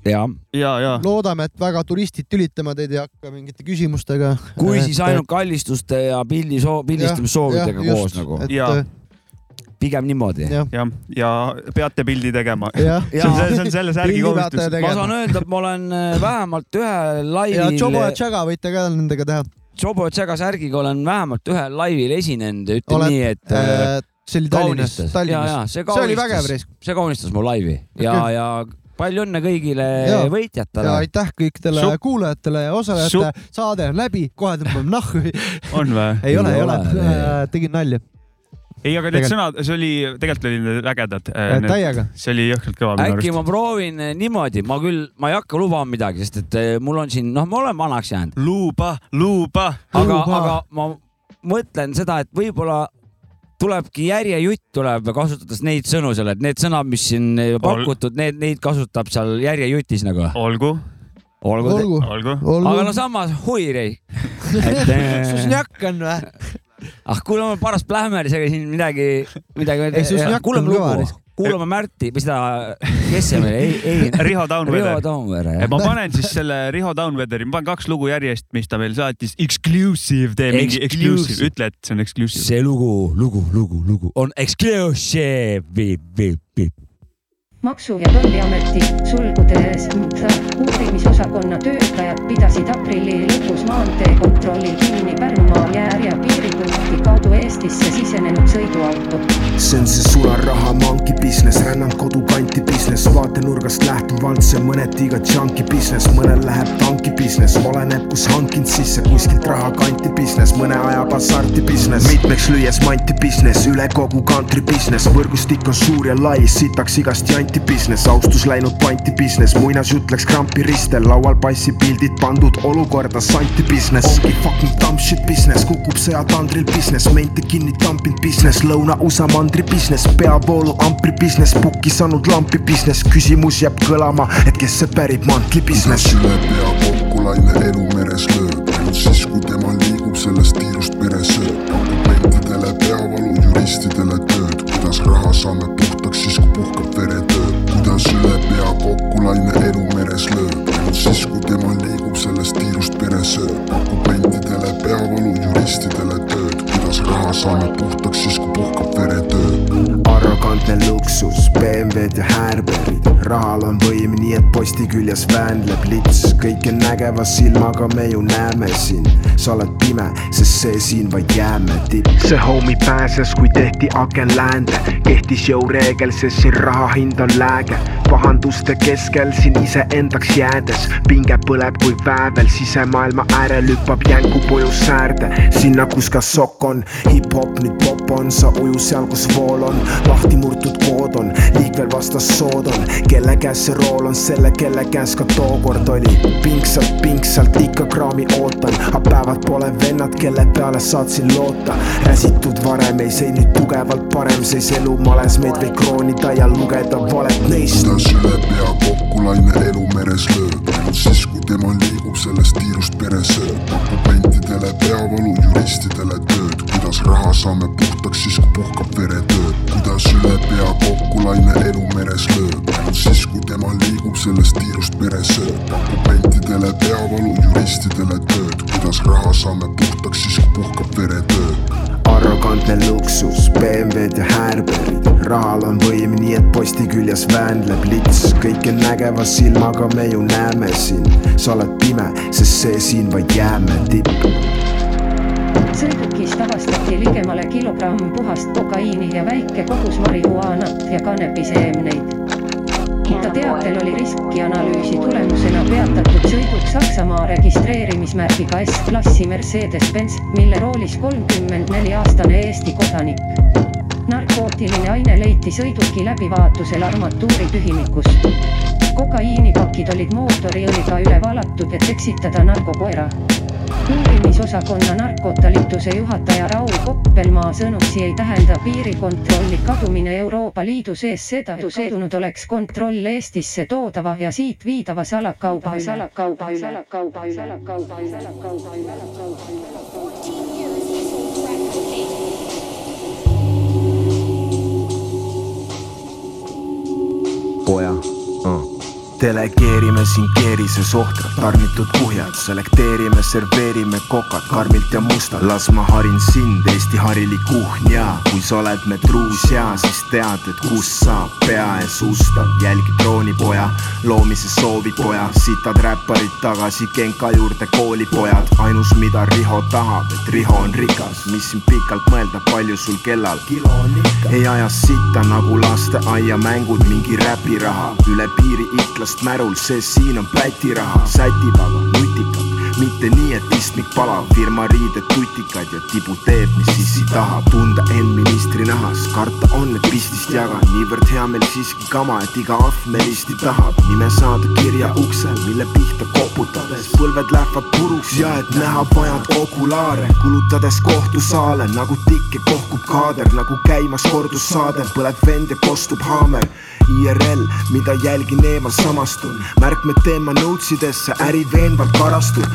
ja ja , Ah. ja loodame , et väga turistid tülitama teid ei hakka mingite küsimustega . Eh, kui siis ainult kallistuste ja pildi , pildistamissoovidega koos nagu , Jaa. pigem niimoodi . jah , jah , ja peate pildi tegema . jah . see on , see on selle särgi Pildi peate kohustus . ma tegema. saan öelda , et ma olen äh, vähemalt ühe ja Jobo ja laivil , Jaga võite ka nendega teha . Jobo Tšega särgiga olen vähemalt ühel laivil esinenud , ütleme Oled, nii , et äh, see oli Tallinnas , kaunistas . ja , ja Tallinnas . see see oli vägev kaunistas , risk see kaunistas mu laivi ja , Okei. ja palju õnne kõigile Ja. ja võitjatele . aitäh kõikidele Sup- kuulajatele ja osalejatele , saade on läbi , kohe tõmbame nahku . on või ? <laughs> ei ole , ei ole ole, , tegin nalja , ei , aga need Tegel- sõnad , see oli , tegelikult olid need ägedad . Äh, täiega . see oli jõhkralt kõva minu äkki arust . ma proovin eh, niimoodi , ma küll , ma ei hakka lubama midagi , sest et eh, mul on siin , noh , ma olen vanaks jäänud , luuba , luuba . aga , Luba. aga ma mõtlen seda , et võib-olla tulebki järjejutt tuleb kasutades neid sõnu seal , et need sõnad , mis siin eh, pakutud , need , neid kasutab seal järjejutis nagu . olgu , olgu te... , olgu , olgu . olgu aga . no samas huirei . <laughs> et eh, susnjakk on või ? ah kuule , ma paras plähmelisega siin midagi , midagi Ei, Susnjak on . kuulame kõva lugu risk. , kuulame Märti või seda , kes see meil , ei , ei . Riho Taunveder Riho . Toomere , ma panen siis selle Riho Taunvederi , ma panen kaks lugu järjest , mis ta meil saatis . Exclusive , tee mingi exclusive , Exclusive. ütle , et see on exclusive . see lugu , lugu , lugu , lugu on exclusive . maksu- ja Tolliameti sulgudes MTA uurimisosakonna töötajad pidasid aprilli lõpus maanteekontrolli kinni Pärnumaa järje piiripunkti kaudu Eestisse sisenenud sõiduauto . see on see sularaha monkey business , rännan kodukanti business , vaatenurgast lähtuvalt see mõneti ka junkie business , mõnel läheb tanki business , oleneb kus hankinud sisse , kuskilt raha kanti business , mõne ajab hasarti business , mitmeks lüües manti business , üle kogu country business , võrgustik on suur ja lai , sitaks igast janti business , austus läinud panti business , muinasjutt läks krampi ristel , laual passi pildid pandud olukorda santi business , ongi fucking dumb shit business , kukub sõjatandril business , mente kinni tampinud business , Lõuna-USA mandri business , peavoolu ampri business , pukki saanud lampi business , küsimus jääb kõlama , et kes see pärib mantli business kas . üle pea kokku laine elu meres lööb , ainult siis , kui tema liigub sellest tiirust meresööb . dokumentidele peavalu , juristidele tööd , kuidas raha saame puhtaks siis , kui puhkab veretöö . kuidas üle pea kokku laine elu meres lööb , ainult siis , kui tema liigub sellest tiirust meresööb . dokumentidele peavalu , juristidele tööd , kuidas raha saame puhtaks siis , kui puhkab veretöö arrogantne luksus , BMW-d ja häärberid , rahal on võim , nii et posti küljes väänleb lits , kõike nägeva silmaga me ju näeme sind , sa oled pime , sest see siin vaid jääme tipp . see homi pääses , kui tehti aken läände , kehtis jõureegel , sest siin raha hind on lääge , pahanduste keskel siin iseendaks jäädes , pinge põleb kui väävel , sisemaailma äärel hüppab jänku poju säärde , sinna , kus ka sokk on , hip-hop nüüd pop on , sa uju seal , kus vool on , lahti murtud kood on , liikvel vastas sood on , kelle käes see rool on , selle , kelle käes ka tookord oli , pingsalt , pingsalt ikka kraami ootan , aga päevad pole vennad , kelle peale saatsin loota , räsitud varem ei seis nüüd tugevalt parem seis , elu males meid võib kroonida ja lugeda valet neist . kuidas üle pea kokku laine elu meres lööb , ainult siis , kui tema liigub sellest tiirust meresööb . dokumentidele peavalu , juristidele tööd , kuidas raha saame puhtaks siis , kui puhkab veretöö . kuidas üle pea kokku laine elu meres lööb , ainult siis , kui tema liigub sellest tiirust meresööb . dokumentidele peavalu , juristidele tööd , kuidas raha saame puhtaks siis , kui puhkab veretöö arrogantne luksus , BMW-d ja häärberid , rahal on võim , nii et posti küljes väänleb lits , kõike nägeva silmaga me ju näeme sind , sa oled pime , sest see siin vaid jääme tipp . sõidukist avastati ligemale kilogramm puhast kokaiini ja väike kogus marihuaanat ja kanepiseemneid . ta teatel oli riskianalüüsi tulemusena peatatud sõiduk Saksamaa registreerimismärgiga S-klassi Mercedes-Benz , mille roolis kolmkümmend neli aastane Eesti kodanik . narkootiline aine leiti sõiduki läbivaatusel armatuuri tühimikus . kokaiinipakid olid mootoriõliga üle valatud , et eksitada narkokoera uurimisosakonna narkotalituse juhataja Raul Koppelmaa sõnutsi ei tähenda piirikontrolli kadumine Euroopa Liidu sees seda , et seedunud oleks kontroll Eestisse toodava ja siit viidava salakauba üle . salakauba üle . salakauba üle . salakauba üle . salakauba üle . salakauba üle . poja uh. . delegeerime siin keerise sohtra , tarnitud kuhjad , selekteerime , serveerime kokad karmilt ja mustad . las ma harin sind , Eesti harilik uhnja , kui sa oled me truus ja siis tead , et kust saab pea ees ustab , jälgi troonipoja , loomise soovi poja , sitad räpparid tagasi Genka juurde koolipojad , ainus mida Riho tahab , et Riho on rikas , mis siin pikalt mõelda , palju sul kellal kilo on ikka , ei aja sitta nagu lasteaiamängud , mingi räpiraha , üle piiri Iklast märul , see siin on pätiraha , sätib aga nutikalt , mitte nii , et istmik palav , firma riided tutikad ja tibu teeb , mis issi tahab , tunda end ministri nahas , karta on , et pistist jagan , niivõrd hea meil siiski kama , et iga ahvelisti tahab nime saada kirja uksel , mille pihta koputades põlved lähevad puruks ja et näha vajad okulaare , kulutades kohtusaale nagu tikk ja kohkub kaader , nagu käimas kordussaade , põleb vend ja kostub haamer IRL , mida jälgin eemal samastun , märkmed teema nõudsidesse , äri veenvalt karastub .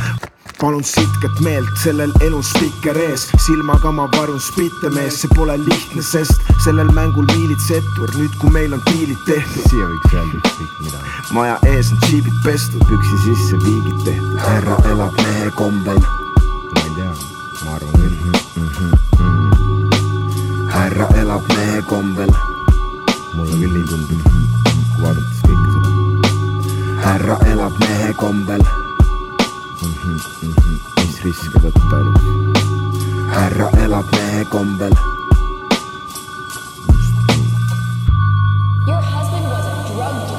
palun sitket meelt , sellel elul spikker ees , silmaga ma varjun spittemees , see pole lihtne , sest sellel mängul miilitsettur , nüüd kui meil on diilid tehtud . siia võiks öelda ükskõik mida . maja ees on džiibid pestud , püksi sisse viigid tehtud , härra elab mehe kombel . ma ei tea , ma arvan küll . härra elab mehe kombel mulle küll ei tundu , kui vaadates kõike seda . härra elab mehe kombel . mis riske võtta elus ? härra elab mehe kombel . Your husband was a drug dealer. For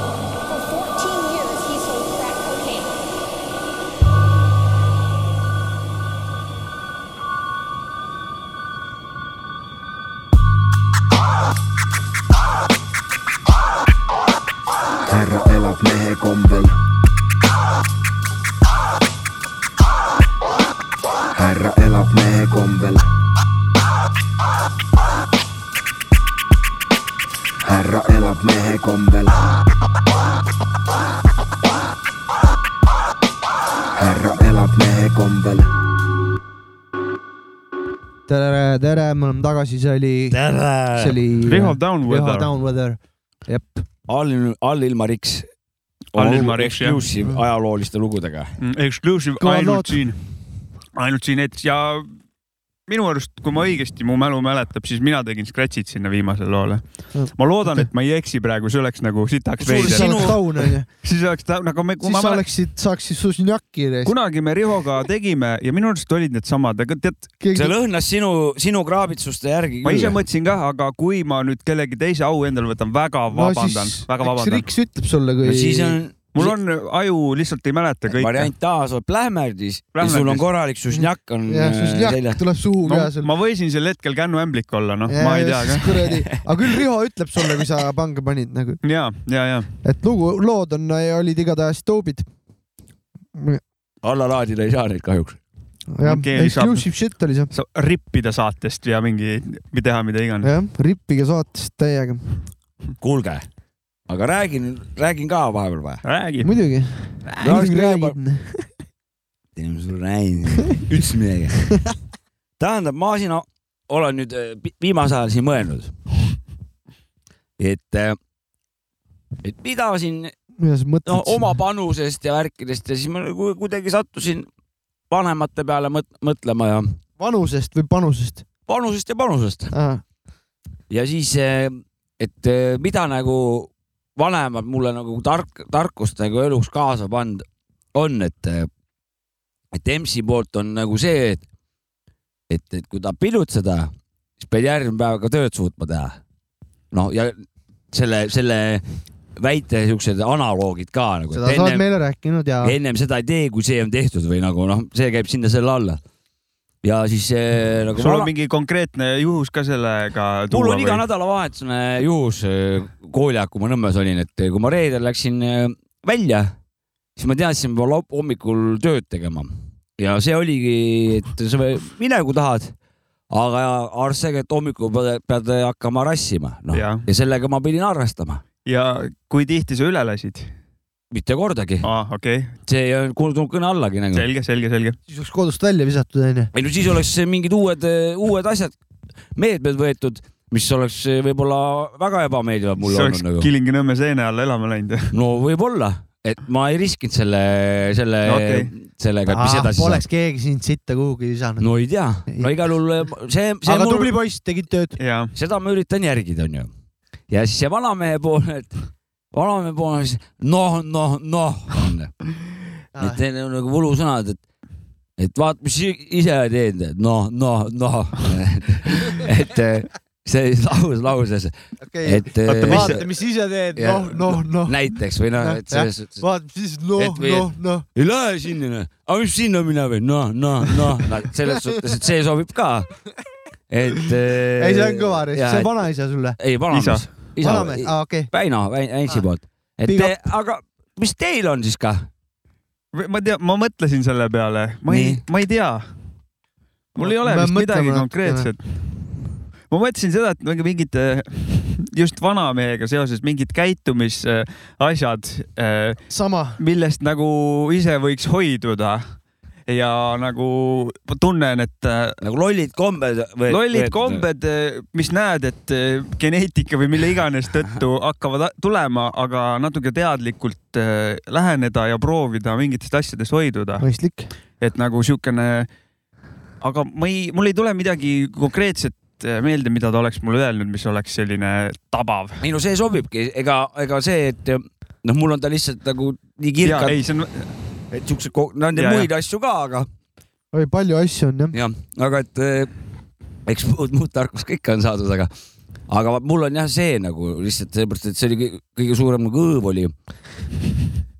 14 years, he sold crack cocaine. härra elab mehe kombel . härra elab mehe kombel . härra elab mehe kombel . härra elab mehe kombel tere , tere , me oleme tagasi , see oli , see tere . oli . äh, Riho Downweather. Riho Downweather , jep , all , allilma Riks . Allilma Riks, jah. jah . ajalooliste lugudega . Mm, Exclusive Kõvad lood. ainult siin , ainult siin eetris ja minu arust , kui ma õigesti , mu mälu mäletab , siis mina tegin scratch'id sinna viimasele loole . ma loodan , et ma ei eksi praegu , see oleks nagu sitaks siis sa veider . oleks down onju , siis oleks ta nagu me , kui siis ma sa mäletan , oleksid , saaksid susnjaki reis . kunagi me Rihoga tegime ja minu arust olid needsamad , aga tead , see lõhnas sinu , sinu kraabitsuste järgi ma ise küll . mõtlesin kah , aga kui ma nüüd kellegi teise au endale võtan , väga vabandan , väga vabandan . Riks ütleb sulle , kui . siis on mul on aju lihtsalt ei mäleta kõike . variant A , sa oled plähmerdis ja Plähmerdis. sul on korralik susnjakk on äh, jah , seljas susnjak . tuleb suhu No, ka seal . ma võisin sel hetkel kännuämblik olla , noh , ma ei tea ka . kuradi , <laughs> aga küll Riho ütleb sulle , kui sa pange panid nagu , ja , ja , ja et lugu , lood on , olid igatahes doobid . alla laadida ei saa neid kahjuks . jah Okei, , lisab. exclusive shit oli see . sa rippida saatest ja mingi või teha mida iganes . jah , rippige saatest täiega , Äh, kuulge , aga räägin , räägin ka vahepeal või ? räägi . muidugi . oleks kõige teen sulle räägin , ütlesin midagi . tähendab , ma siin o- olen nüüd äh, vi- viimasel ajal siin mõelnud , et , et mida siin mida sa mõtled no, ? oma panusest ja värkidest ja siis ma nagu kuidagi sattusin vanemate peale mõt- mõtlema ja vanusest või panusest ? panusest ja panusest ja siis , et eh, mida nagu vanemad mulle nagu tark , tarkust nagu eluks kaasa pannud on , et , et EMS-i poolt on nagu see , et , et , et kui tahab pidutseda , siis pead järgmine päev ka tööd suutma teha . noh , ja selle , selle väite siuksed analoogid ka nagu . seda sa oled meile rääkinud ja ennem seda ei tee , kui see on tehtud või nagu noh , see käib sinna selle alla . ja siis eh, nagu . sul on mingi konkreetne juhus ka sellega mul tuua on iga nädalavahetusena juhus eh, kooliaeg , kui ma Nõmmes olin , et äh, kui ma reedel läksin eh, välja , siis ma teadsin , ma laup- hommikul tööd tegema ja see oligi , et sa või- mine kui tahad , aga arst segi , et hommikul pead, pead hakkama rassima , noh ja. Jah. ja sellega ma pidin arvestama , ja kui tihti sa üle lasid ? mitte kordagi , aa , okei okay. , see ei olnud kuulnud kõne allagi nagu . selge , selge , selge . siis oleks kodust välja visatud onju . ei no siis oleks mingid uued , uued asjad , meetmed võetud , mis oleks eh, võib-olla väga ebameeldivad mulle sa oleks olnud nagu . Kilingi-Nõmme seene alla elama läinud . no võib-olla , et ma ei riskinud selle , selle No okei. , sellega , et mis edasi saab . Ah, Poleks keegi sind sitta kuhugi visanud . no ei tea , no igal juhul eh, see , see aga mul tubli , poiss , tegid tööd . ja , seda ma üritan järgida , onju . ja siis see vanamehe pool , et vanamehe pool on siis noh , noh , noh , onju . Ah. et need on nagu võlusõnad , et , et vaat , mis i- ise teed , et noh , noh , noh . <laughs> et eh, see laus lauses , okei , et . Oota, mis vaata , mis ise teed , Ja- noh , noh , noh . näiteks või noh , et selles suhtes , vaata , mis siis , noh et , või- noh , noh . ei lähe sinna , noh , aga mis sinna mina või , noh , noh , noh , selles suhtes , et see sobib ka . et . ei , see on kõva risk , see on . vanaisa sulle . ei , vanamees . vanamees , Ah. aa okei . Väino , Väinsi Ah. poolt . et Big te, aga mis teil on siis kah ? ma tean , ma mõtlesin selle peale , ma ei Nii. , ma ei tea . mul ei ole Ma vist mõtlen midagi natukene. konkreetset . ma mõtlesin seda , et mingi- mingid äh, just vanamehega seoses mingid käitumisasjad , sama . millest nagu ise võiks hoiduda ja nagu ma tunnen , et äh, nagu lollid kombed või ? lollid . kombed , mis näed , et äh, geneetika või mille iganes tõttu hakkavad a- tulema , aga natuke teadlikult äh, läheneda ja proovida mingitest asjadest hoiduda , mõistlik . et nagu siukene . aga ma ei , mul ei tule midagi konkreetset äh, meelde , mida ta oleks mulle öelnud , mis oleks selline tabav . ei no see sobibki , ega , ega see , et noh , mul on ta lihtsalt nagu nii ja kirgalt , ei , see on , et siukseid , no on Ja, teil ja. muid asju ka , aga oi , palju asju on jah . jah , aga et eh, eks muud , muud tarkust kõike on saadud , aga , aga vaat mul on jah see nagu lihtsalt sellepärast , et see oli kõige, kõige suurem nagu hõõv oli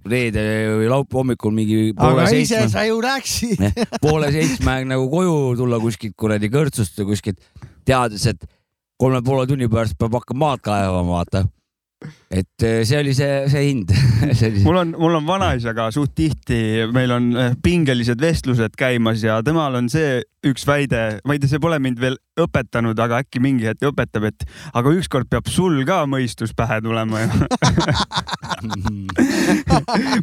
reede või laupäeva hommikul mingi poole aga ise seitsme . <laughs> sa ju rääkisid . Jah, poole seitsme aeg nagu koju tulla kuskilt kuradi kõrtsust või kuskilt , teades , et kolme poole tunni pärast peab hakkama maad kaevama , vaata . et eh, see oli see , see hind . <laughs> mul on , mul on vanaisaga suht tihti , meil on eh, pingelised vestlused käimas ja temal on see üks väide , ma ei tea , see pole mind veel õpetanud , aga äkki mingi hetk õpetab , et aga ükskord peab sul ka mõistus pähe tulema ja <laughs>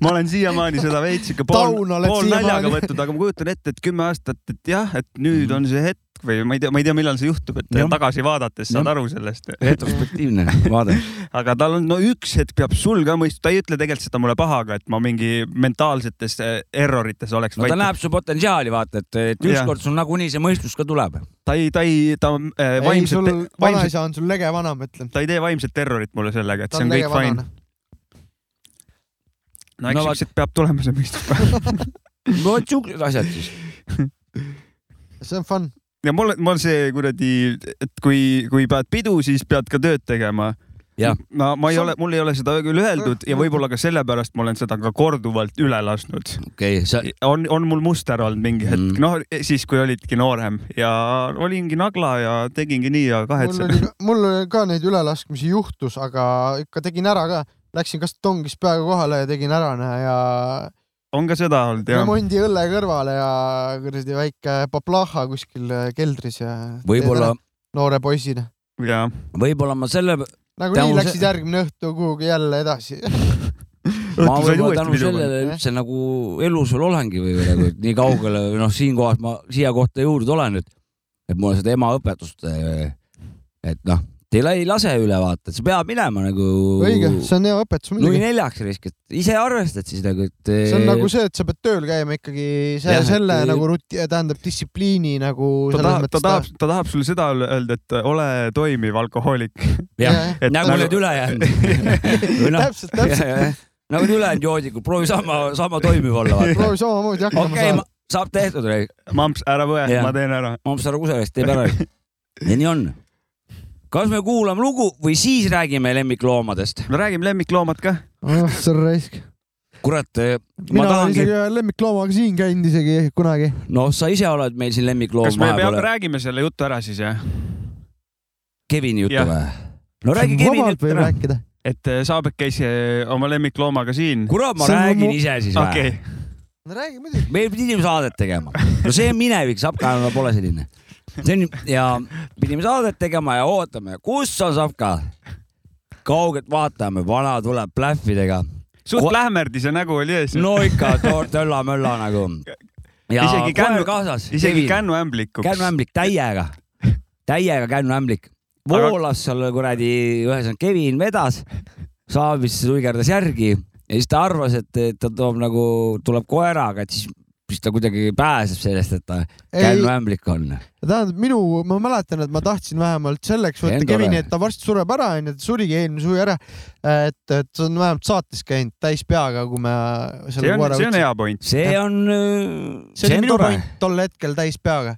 ma olen siiamaani seda veits ikka pool , Taun oled pool naljaga siiamaani. võtnud , aga ma kujutan ette , et kümme aastat , et jah , et nüüd on see hetk või ma ei tea , ma ei tea , millal see juhtub , et Mhm. Jah. tagasi vaadates saad Jah. aru sellest . <laughs> retrospektiivne vaade . <laughs> aga tal on , no üks hetk peab sul ka mõistma , ta ei ütle tegelikult seda mulle pahaga , et ma mingi mentaalsetes eh, error ites oleks no ta näeb su potentsiaali , vaata , et , et Jah. ükskord sul nagunii see mõistus ka tuleb . ta ei , ta ei , ta äh, ei , sul vaimselt , vaimselt , vanaisa on sul lege vana , ma ütlen . ta ei tee vaimset terrorit mulle sellega , et see ta on on lege kõik fine vana .. no eks No no, vaat- siukseid peab tulema see mõistus <laughs> pähe . no vot siuksed asjad siis . see on fun . ja mul , mul see kuradi , et kui , kui pead pidu , siis pead ka tööd tegema . Jah. no ma ei See on- ole , mul ei ole seda küll öeldud ja võib-olla ka sellepärast ma olen seda ka korduvalt üle lasknud . okei okay, , sa , on , on mul muster olnud mingi hetk Mm. mm. , noh siis kui olidki noorem ja olingi nagla ja tegingi nii ja mul kahetsen . oli , mul oli ka neid ülelaskmisi juhtus , aga ikka tegin ära ka . Läksin kas tongis peaaegu kohale ja tegin ära näe ja on ka seda olnud jah ? remondi õlle kõrvale ja kuradi väike paplaha kuskil äh, keldris ja . võib-olla ,. noore poisina . ja , võib-olla ma selle , nagunii Tänu se- läksid järgmine õhtu kuhugi jälle <laughs> edasi . ma õhtul sai võib-olla tänu uuesti pidu panna . sellele üldse nagu elus veel olengi või või nagu et nii kaugele või noh , siinkohas ma siia kohta juurde olen nüüd , et mul on seda ema õpetust , et noh , teil ei lase üle vaata , et sa pead minema nagu . õige , see on hea õpetus nui muidugi . neljaks risk , et ise arvestad siis nagu , et . see on nagu see , et sa pead tööl käima ikkagi see Jah, , et- selle nagu ruti , tähendab distsipliini nagu ta selles tahab , ta mõttes tahab , ta tahab sulle seda öelda , et ole toimiv alkohoolik . jah , jah. et nagu need <laughs> ülejäänud . või noh , täpselt , täpselt , <laughs> nagu need ülejäänud joodikud , proovi sama , sama toimiv olla vaata . proovi samamoodi hakkama okei saada . okay, , saab tehtud , mamps , ära põe Jah. , ma teen ära . Mamsar Kuserest teeb ära . ja nii on . kas me kuulame lugu või siis räägime lemmikloomadest ? no räägime lemmikloomad ka . ah see on raisk . kurat , ma mina olen tahangi , isegi ühe lemmikloomaga siin käinud isegi kunagi . noh , sa ise oled meil siin lemmikloom kas me peame , vahepeal , räägime selle jutu ära siis jah ? Kevini juttu Jah. või ? no räägi Kevini vabalt juttu võib ära . rääkida . et äh, Saabek käis äh, oma lemmikloomaga siin . kurat , ma See on räägin mu- ise siis või ? okei , no räägi muidugi . meil pidi ju saadet tegema , no see on minevik , Sapka no pole selline . see on ja pidime saadet tegema ja ootame , kus on Sapka . kaugelt vaatame , vana tuleb plähvidega , suht Ko- lähmerdi see nägu oli ees . no ikka toor tölla-mölla nagu . ja Isegi koer kännu- kaasas , isegi kännuämblikuks . kännuämblik täiega , täiega kännuämblik . Aga- voolas seal kuradi , ühesõnaga Kevin vedas , Saabis suigerdas järgi ja siis ta arvas , et et ta toob nagu , tuleb koeraga , et siis , siis ta kuidagi pääseb sellest , et ta Ei. kännuämblik on . tähendab minu , ma mäletan , et ma tahtsin vähemalt selleks võtta Endale. Kevini , et ta varsti sureb ära , onju , ta surigi eelmine suvi ära . et , et see on vähemalt saates käinud täis peaga , kui me see selle on , koera see on võtsime . hea point . see on , see see oli on minu tore . point tol hetkel täis peaga ,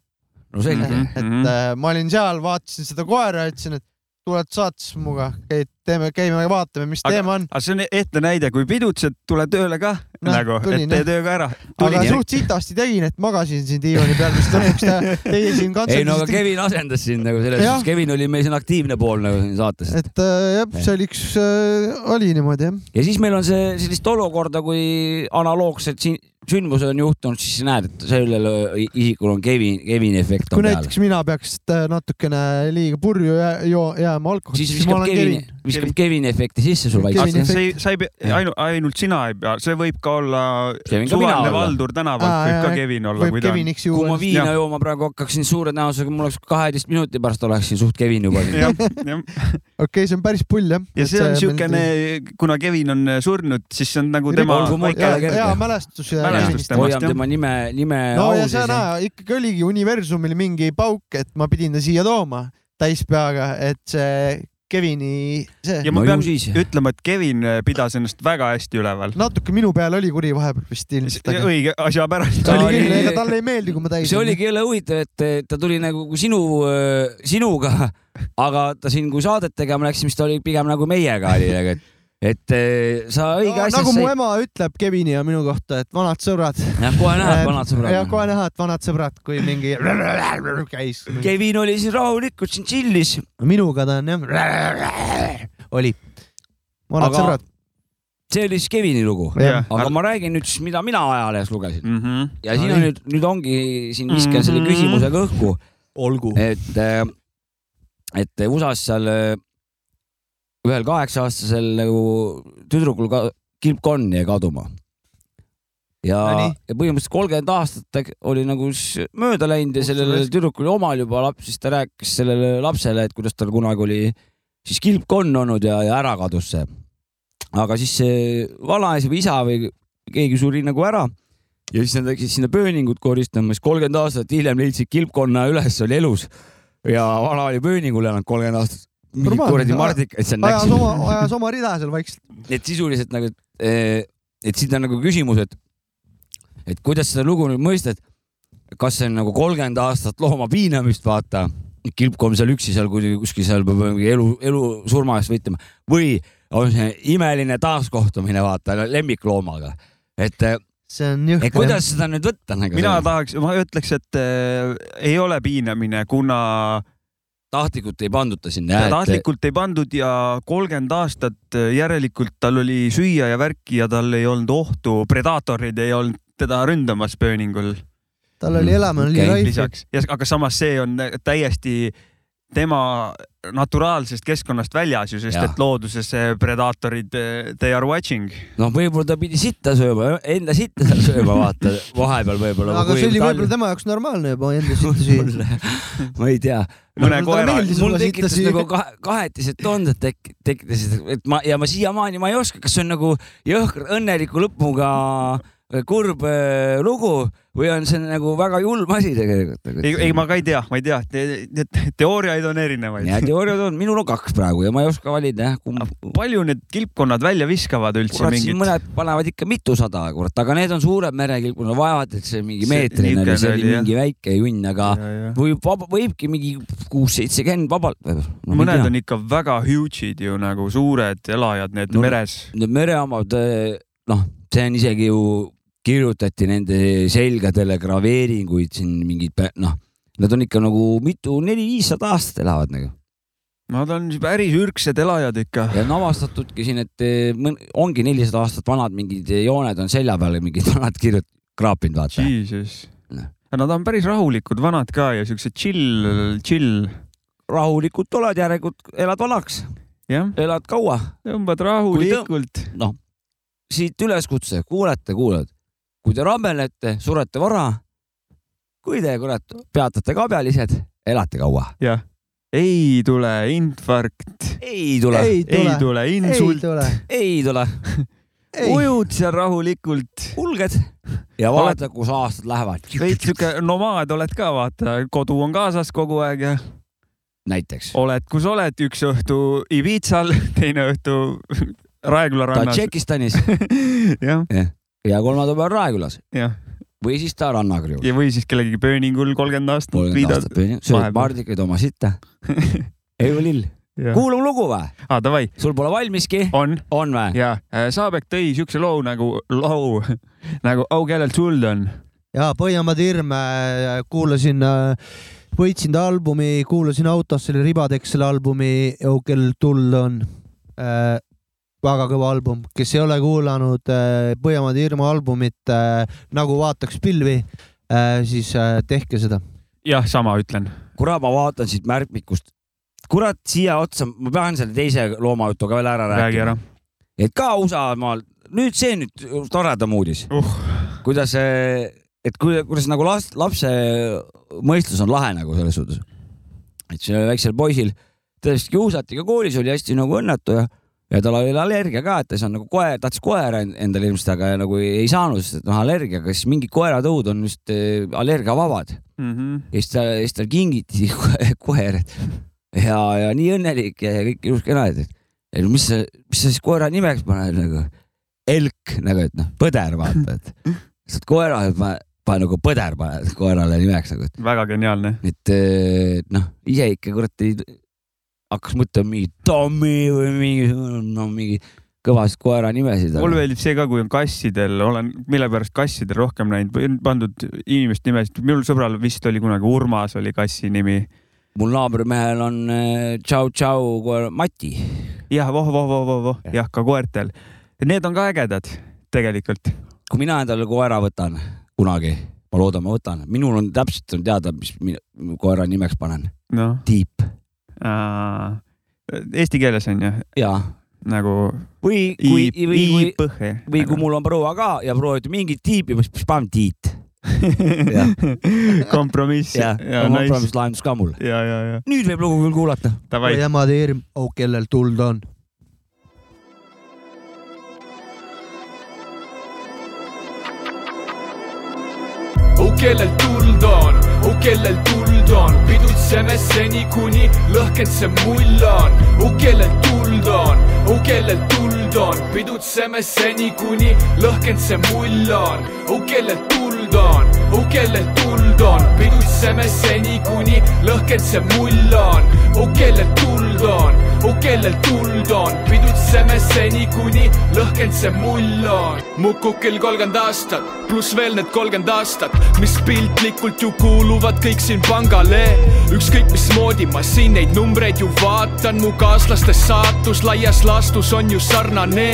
no selge . Mhm. et äh, ma olin seal , vaatasin seda koera , ütlesin , et tuled saates muga , käid , teeme , käime ja vaatame , mis Aga- teema on . aga see on ehtne näide , kui pidutsed , tule tööle ka Noh, nagu , tulin, et tee jah. töö ka ära . aga suht sitasti tegin , et magasin siin diivani peal , mis lõpuks <laughs> te- teie ei siin no aga kantseldasite . Kevin asendas sind nagu selles Jah. suhtes , Kevin oli meil siin aktiivne pool nagu siin saates . et äh, jah , see oli üks äh, , oli niimoodi jah . ja siis meil on see sellist olukorda , kui analoogsed siin- sündmused on juhtunud , siis näed , et sellel i- isikul on Kevin , Kevini efekt on kui peal . näiteks mina peaks äh, natukene liiga purju jää- joo- jääma alkoholi , siis siis viskab ma olen Kevin Kevin ., viskab Kevin. Kevini efekti sisse sul Kevini vaikselt . efekt. see ei , sa ei pea , Jah. ainu- , ainult sina ei pea , see võib ka olla See võin ka mina suvaline olla. Valdur tänavalt Aa, võib ka jaa, Kevin olla , võib kui ta on . Keviniks kui ma juua . viina Jah. jooma praegu hakkaksin suure tõenäosusega , mul oleks kaheteist minuti pärast oleksin suht Kevin juba . <laughs> jah , jah , okei , see on päris pull jah . ja see on siukene , kuna Kevin on äh, surnud , siis see on nagu tema Olgu mu- hea ikka kerge. hea mälestus . Mälestus temast, hoiab jah. tema nime , nime no au ja see sees on hea , ikkagi oligi universumil mingi pauk , et ma pidin ta siia tooma täis peaga , et see Kevini , see ja ma No ju pean siis. ütlema , et Kevin äh, pidas ennast väga hästi üleval . natuke minu peal oli kuri vahepeal vist ilmselt , aga õige asja pärast Ta oli oli- küll , ega talle ei meeldi , kui ma täis see oligi jälle huvitav , et eh, ta tuli nagu kui sinu , sinuga , <laughs> aga ta siin , kui saadet tegema läks , siis ta oli pigem nagu meiega oli , et , et eh, sa õige No, no, asja nagu mu said , ema ütleb Kevini ja minu kohta , et vanad sõbrad . jah , kohe näed , vanad jah , kohe sõbrad . näha , et vanad sõbrad , kui mingi <laughs> käis . Kevin oli siin rahulikult , siin chill'is , minuga ta on jah , <laughs> oli . Aga- vanad aga... sõbrad . see oli siis Kevini lugu . jah , aga ma räägin nüüd siis , mida mina ajalehest lugesin mhmh , ja siin on Ai. nüüd , nüüd ongi siin viskan selle Mhm. küsimusega õhku , olgu . et , et USA-s seal eh, ühel kaheksa-aastasel nagu tüdrukul ka kilpkonn jäi kaduma . ja no , Nonii. ja põhimõtteliselt kolmkümmend aastat ta oli nagu s- mööda läinud ja Otsa sellel raisk- tüdrukul oli omal juba laps , siis ta rääkis sellele lapsele , et kuidas tal kunagi oli siis kilpkonn olnud ja , ja ära kadus see . aga siis see vanaisa või isa või keegi suri nagu ära ja siis nad läksid sinna pööningut koristama , siis kolmkümmend aastat hiljem leidsid kilpkonna üles , oli elus ja vana oli pööningul elanud kolmkümmend aastat . mingid Normaalne. kuradi mardikaid seal ajas näksid oma , ajas oma rida seal vaikselt . et sisuliselt nagu , et siit on nagu küsimus , et , et kuidas seda lugu nüüd mõista , et kas see on nagu kolmkümmend aastat looma piinamist , vaata , kilpkonn seal üksi seal kuidagi kuskil seal peab mingi elu , elu surma eest võitlema või on see imeline taaskohtumine , vaata , lemmikloomaga , et , see on jõhker et . kuidas seda nüüd võtta nagu . mina tahaks , ma ütleks , et äh, ei ole piinamine , kuna tahtlikult ei panduta sinna eh, ta . tahtlikult . tahtlikult ei pandud ja kolmkümmend aastat äh, järelikult tal oli süüa ja värki ja tal ei olnud ohtu , predaatorid ei olnud teda ründamas pööningul tal oli elamine oli Mm, Okei. raisk . lisaks , aga samas see on täiesti tema naturaalsest keskkonnast väljas ju , sest Jah. ja. et looduses äh, predaatorid , they are watching . noh , võib-olla ta pidi sitta sööma , enda sitta seal sööma , vaata vahepeal võib-olla . aga see oli võib-olla tema jaoks normaalne juba enda siit süüa . ma ei tea , mõne Mulle koera meeldis. , mul Sulle tekitas sitta nagu süüa. kahe , kahetised tunded tek- , tekitasid , et ma ja ma siiamaani ma ei oska , kas see on nagu jõhker õnneliku lõpuga kurb äh, lugu või on see nagu väga julm asi ei , tegelikult ? ei ma ka ei tea , ma ei tea , need teooriaid on erinevaid . ja teooriad on , minul on kaks praegu ja ma ei oska valida jah , kumb . palju need kilpkonnad välja viskavad üldse kurat , siin mingit ? mõned panevad ikka mitusada , kurat , aga need on suured merekilpud , nad vajavad , et see mingi See- meetrine niisugune oli , see oli oli, jah. mingi väike junn , aga võib , võibki mingi kuus-seitsekümmend vabalt või noh, no, ? mõned on ikka väga huge'id ju nagu suured elajad , need No- meres . Need mereomad , noh , see on isegi ju , kirjutati nende selgadele graveeringuid siin mingeid , noh , nad on ikka nagu mitu , neli-viissada aastat elavad nagu Nad on päris ürgsed elajad ikka . ja on avastatudki siin , et eh, mõn- ongi nelisada aastat vanad mingid jooned on selja peal ja mingid <laughs> vanad kirjut- , kraapinud , vaata . Jesus . Noh. Nad on päris rahulikud vanad ka ja siukse chill , chill , rahulikult oled , järelikult elad vanaks , jah , elad kaua . tõmbad rahulikult . Noh, siit üleskutse , kuulete , kuulad . kui te rabelete , surete vara . kui te kurat peatate kabjalised , elate kaua . jah , ei tule infarkt , ei tule , Ei ei tule. tule ei insult , tule , ei <laughs> tule , ei , ujud seal rahulikult . kulged ja vaata , kus aastad lähevad . veits siuke nomaad oled ka , vaata , kodu on kaasas kogu aeg ja näiteks oled , kus oled , üks õhtu Ibitsal , teine õhtu Raeküla rannas . Tadžikistanis <laughs> jah , ja kolmanda päev Raekülas jah , või siis ta rannakriiul . ja või siis kellegi pööningul kolmkümmend aastat kolmkümmend viidad . aastat või , sööd vahepeal. mardikaid oma <laughs> sitta . Eivo Lill , kuulame lugu või ? aa , davai , sul pole valmiski ? on on või ? ja äh, Saabek tõi siukse loo nagu , lau nagu Au kellelt suld on . ja Põhjamaad hirme kuulasin , võitsin ta albumi , kuulasin autos selle Ribadeks selle albumi , kellel tuld on äh, . väga kõva album , kes ei ole kuulanud äh, Põhjamaad hirmu albumit äh, Nagu vaataks pilvi äh, , siis äh, tehke seda . jah , sama ütlen . kurat , ma vaatan siit märkmikust . kurat , siia otsa , ma pean selle teise loomajutu ka veel ära räägi rääkima ära .. et ka USA-maal , nüüd see nüüd toredam uudis Uh. , kuidas , et kui, kuidas nagu last , lapse mõistus on lahe nagu selles suhtes . et sellel väiksel poisil tõesti kiusati ka koolis , oli hästi nagu õnnetu ja , ja tal oli allergia ka , et ta ei saanud nagu koer , tahtis koera en- endale ilmselt , aga nagu ei saanud , sest et noh , allergiaga siis mingid koeratõud on just eh, allergiavabad Mm -hmm. ja siis ta , siis tal kingiti ko- koer , et ja , ja nii õnnelik ja ja kõik ilus kena , et , et mis sa , mis sa siis koera nimeks paned nagu , elk nagu , et noh , põder vaata , et saad koera , pane pane nagu põder , paned koerale nimeks nagu , väga geniaalne . et , et eh, noh , ise ikka kurat ei , hakkas mõtlema mingi Tommy või mingi , no mingi kõvasid koera nimesid . mulle meeldib see ka , kui on kassidel , olen mille pärast kassidel rohkem näinud , pandud inimeste nimesid , minul sõbral vist oli kunagi Urmas oli kassi nimi . mul naabrimehel on eh, tšau-tšau koer Mati jah , voh , voh , voh , voh , voh , jah , ka koertel . Need on ka ägedad tegelikult . kui mina endale koera võtan kunagi , ma loodan , ma võtan , minul on täpselt on teada , mis mina mu koera nimeks panen , noh , tiip eesti keeles on ju ja , nagu või kui , i- või kui , i-põhe . või kui mul on proua ka ja proua ütleb mingit tiipi , siis siis paneme Tiit jah. <laughs> kompromiss ja ja , ja on nice kompromiss lahendus ka mul . ja , ja , ja nüüd võib lugu küll kuulata . davai . Põhjamaad hirm , kellel tuld on . oh kellel tuld on , oh kellel tuld on , pidutseme seni , kuni lõhkend see mull on . oh kellel tuld on , oh kellel tuld on , pidutseme seni , kuni lõhkend see mull on . oh kellel tuld on , oh kellel tuld on , pidutseme seni , kuni lõhkend see mull on . oh kellel tuld on , oh kellel tuld on , pidutseme seni , kuni lõhkend see mull on . mu kukil kolmkümmend aastat , pluss veel need kolmkümmend aastat , mis piltlikult ju kuuluvad kõik siin pangale . ükskõik mismoodi ma siin neid numbreid ju vaatan , mu kaaslaste saatus laias laastus on ju sarnane .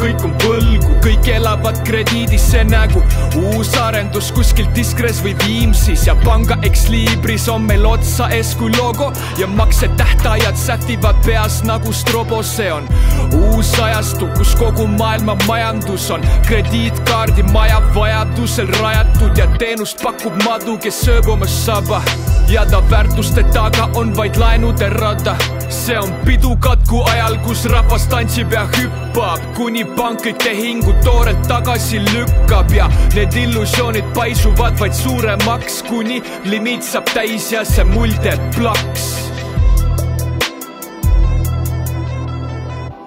kõik on võlgu , kõik elavad krediidisse nägu , uus arendus kuskil Diskres või Viimsis ja panga X-Libris on meil otsa ees kui logo ja maksetähtajad sätivad peas nagu strobo , see on uus uus ajastu , kus kogu maailma majandus on krediitkaardimaja vajadusel rajatud ja teenust pakub madu , kes sööb oma saba ja ta väärtuste taga on vaid laenude rada . see on pidu katku ajal , kus rahvas tantsib ja hüppab , kuni pank kõik tehingud toorelt tagasi lükkab ja need illusioonid paisuvad vaid suuremaks , kuni limiit saab täis ja see mull teeb plaks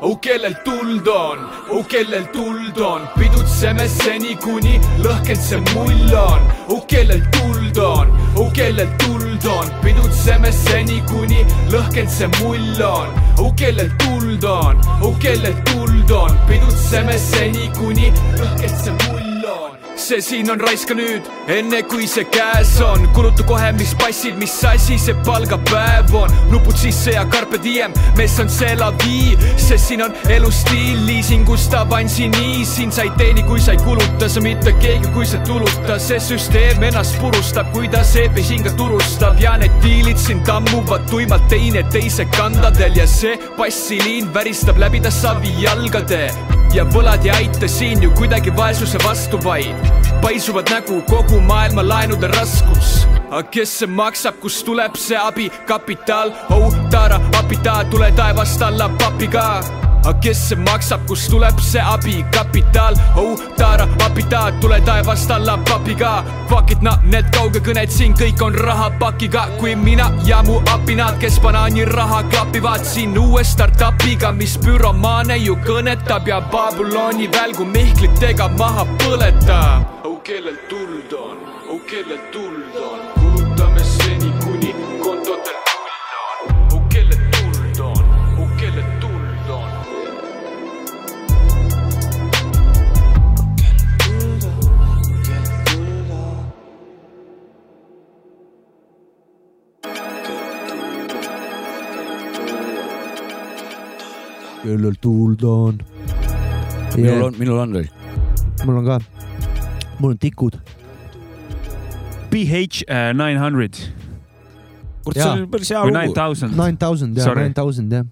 oh kellel tuld on , oh kellel tuld on , pidutseme seni , kuni lõhkend see mull on . oh kellel tuld on , oh kellel tuld on , pidutseme seni , kuni lõhkend see mull on . oh kellel tuld on , oh kellel tuld on , pidutseme seni , kuni lõhkend see mull on . see siin on raiska nüüd , enne kui see käes on , kuluta kohe , mis passid , mis asi see palgapäev on , nupud sisse ja carpe diem , mees on see la vie , sest siin on elustiil , liisingust avansi nii , siin sa ei teeni , kui sa ei kuluta , sa mitte keegi , kui sa tuluta , see süsteem ennast purustab , kui ta seebi hinge turustab ja need diilid siin tammuvad tuimalt teineteise kandadel ja see bassiliin väristab läbi ta savijalgade ja võlad ei aita siin ju kuidagi vaesuse vastu , vaid paisuvad nägu kogu maailma laenude raskus . aga kes see maksab , kust tuleb see abi , kapitaal , oh taara , apita , tule taevast alla papiga . aga kes see maksab , kust tuleb see abi , kapitaal , oh taara , apita , tule taevast alla papiga . Fuck it , noh , need kaugekõned siin kõik on rahapakiga , kui mina ja mu apinad , kes banaaniraha klapivad siin uue startup'iga , mis büromaane ju kõnetab ja Babyloni välgu mihklitega maha põletab . oh kellel tuld on , oh kellel tuld on , kulutame seni , kuni kontotel null on . oh kellel tuld on , oh kellel tuld on . küll tuuld on . minul on , minul on veel . mul on ka . mul on tikud . PH äh, nine hundred kurat , see Jaa. oli päris hea või nine lugu . thousand . Nine thousand ja Sorry. nine thousand jah .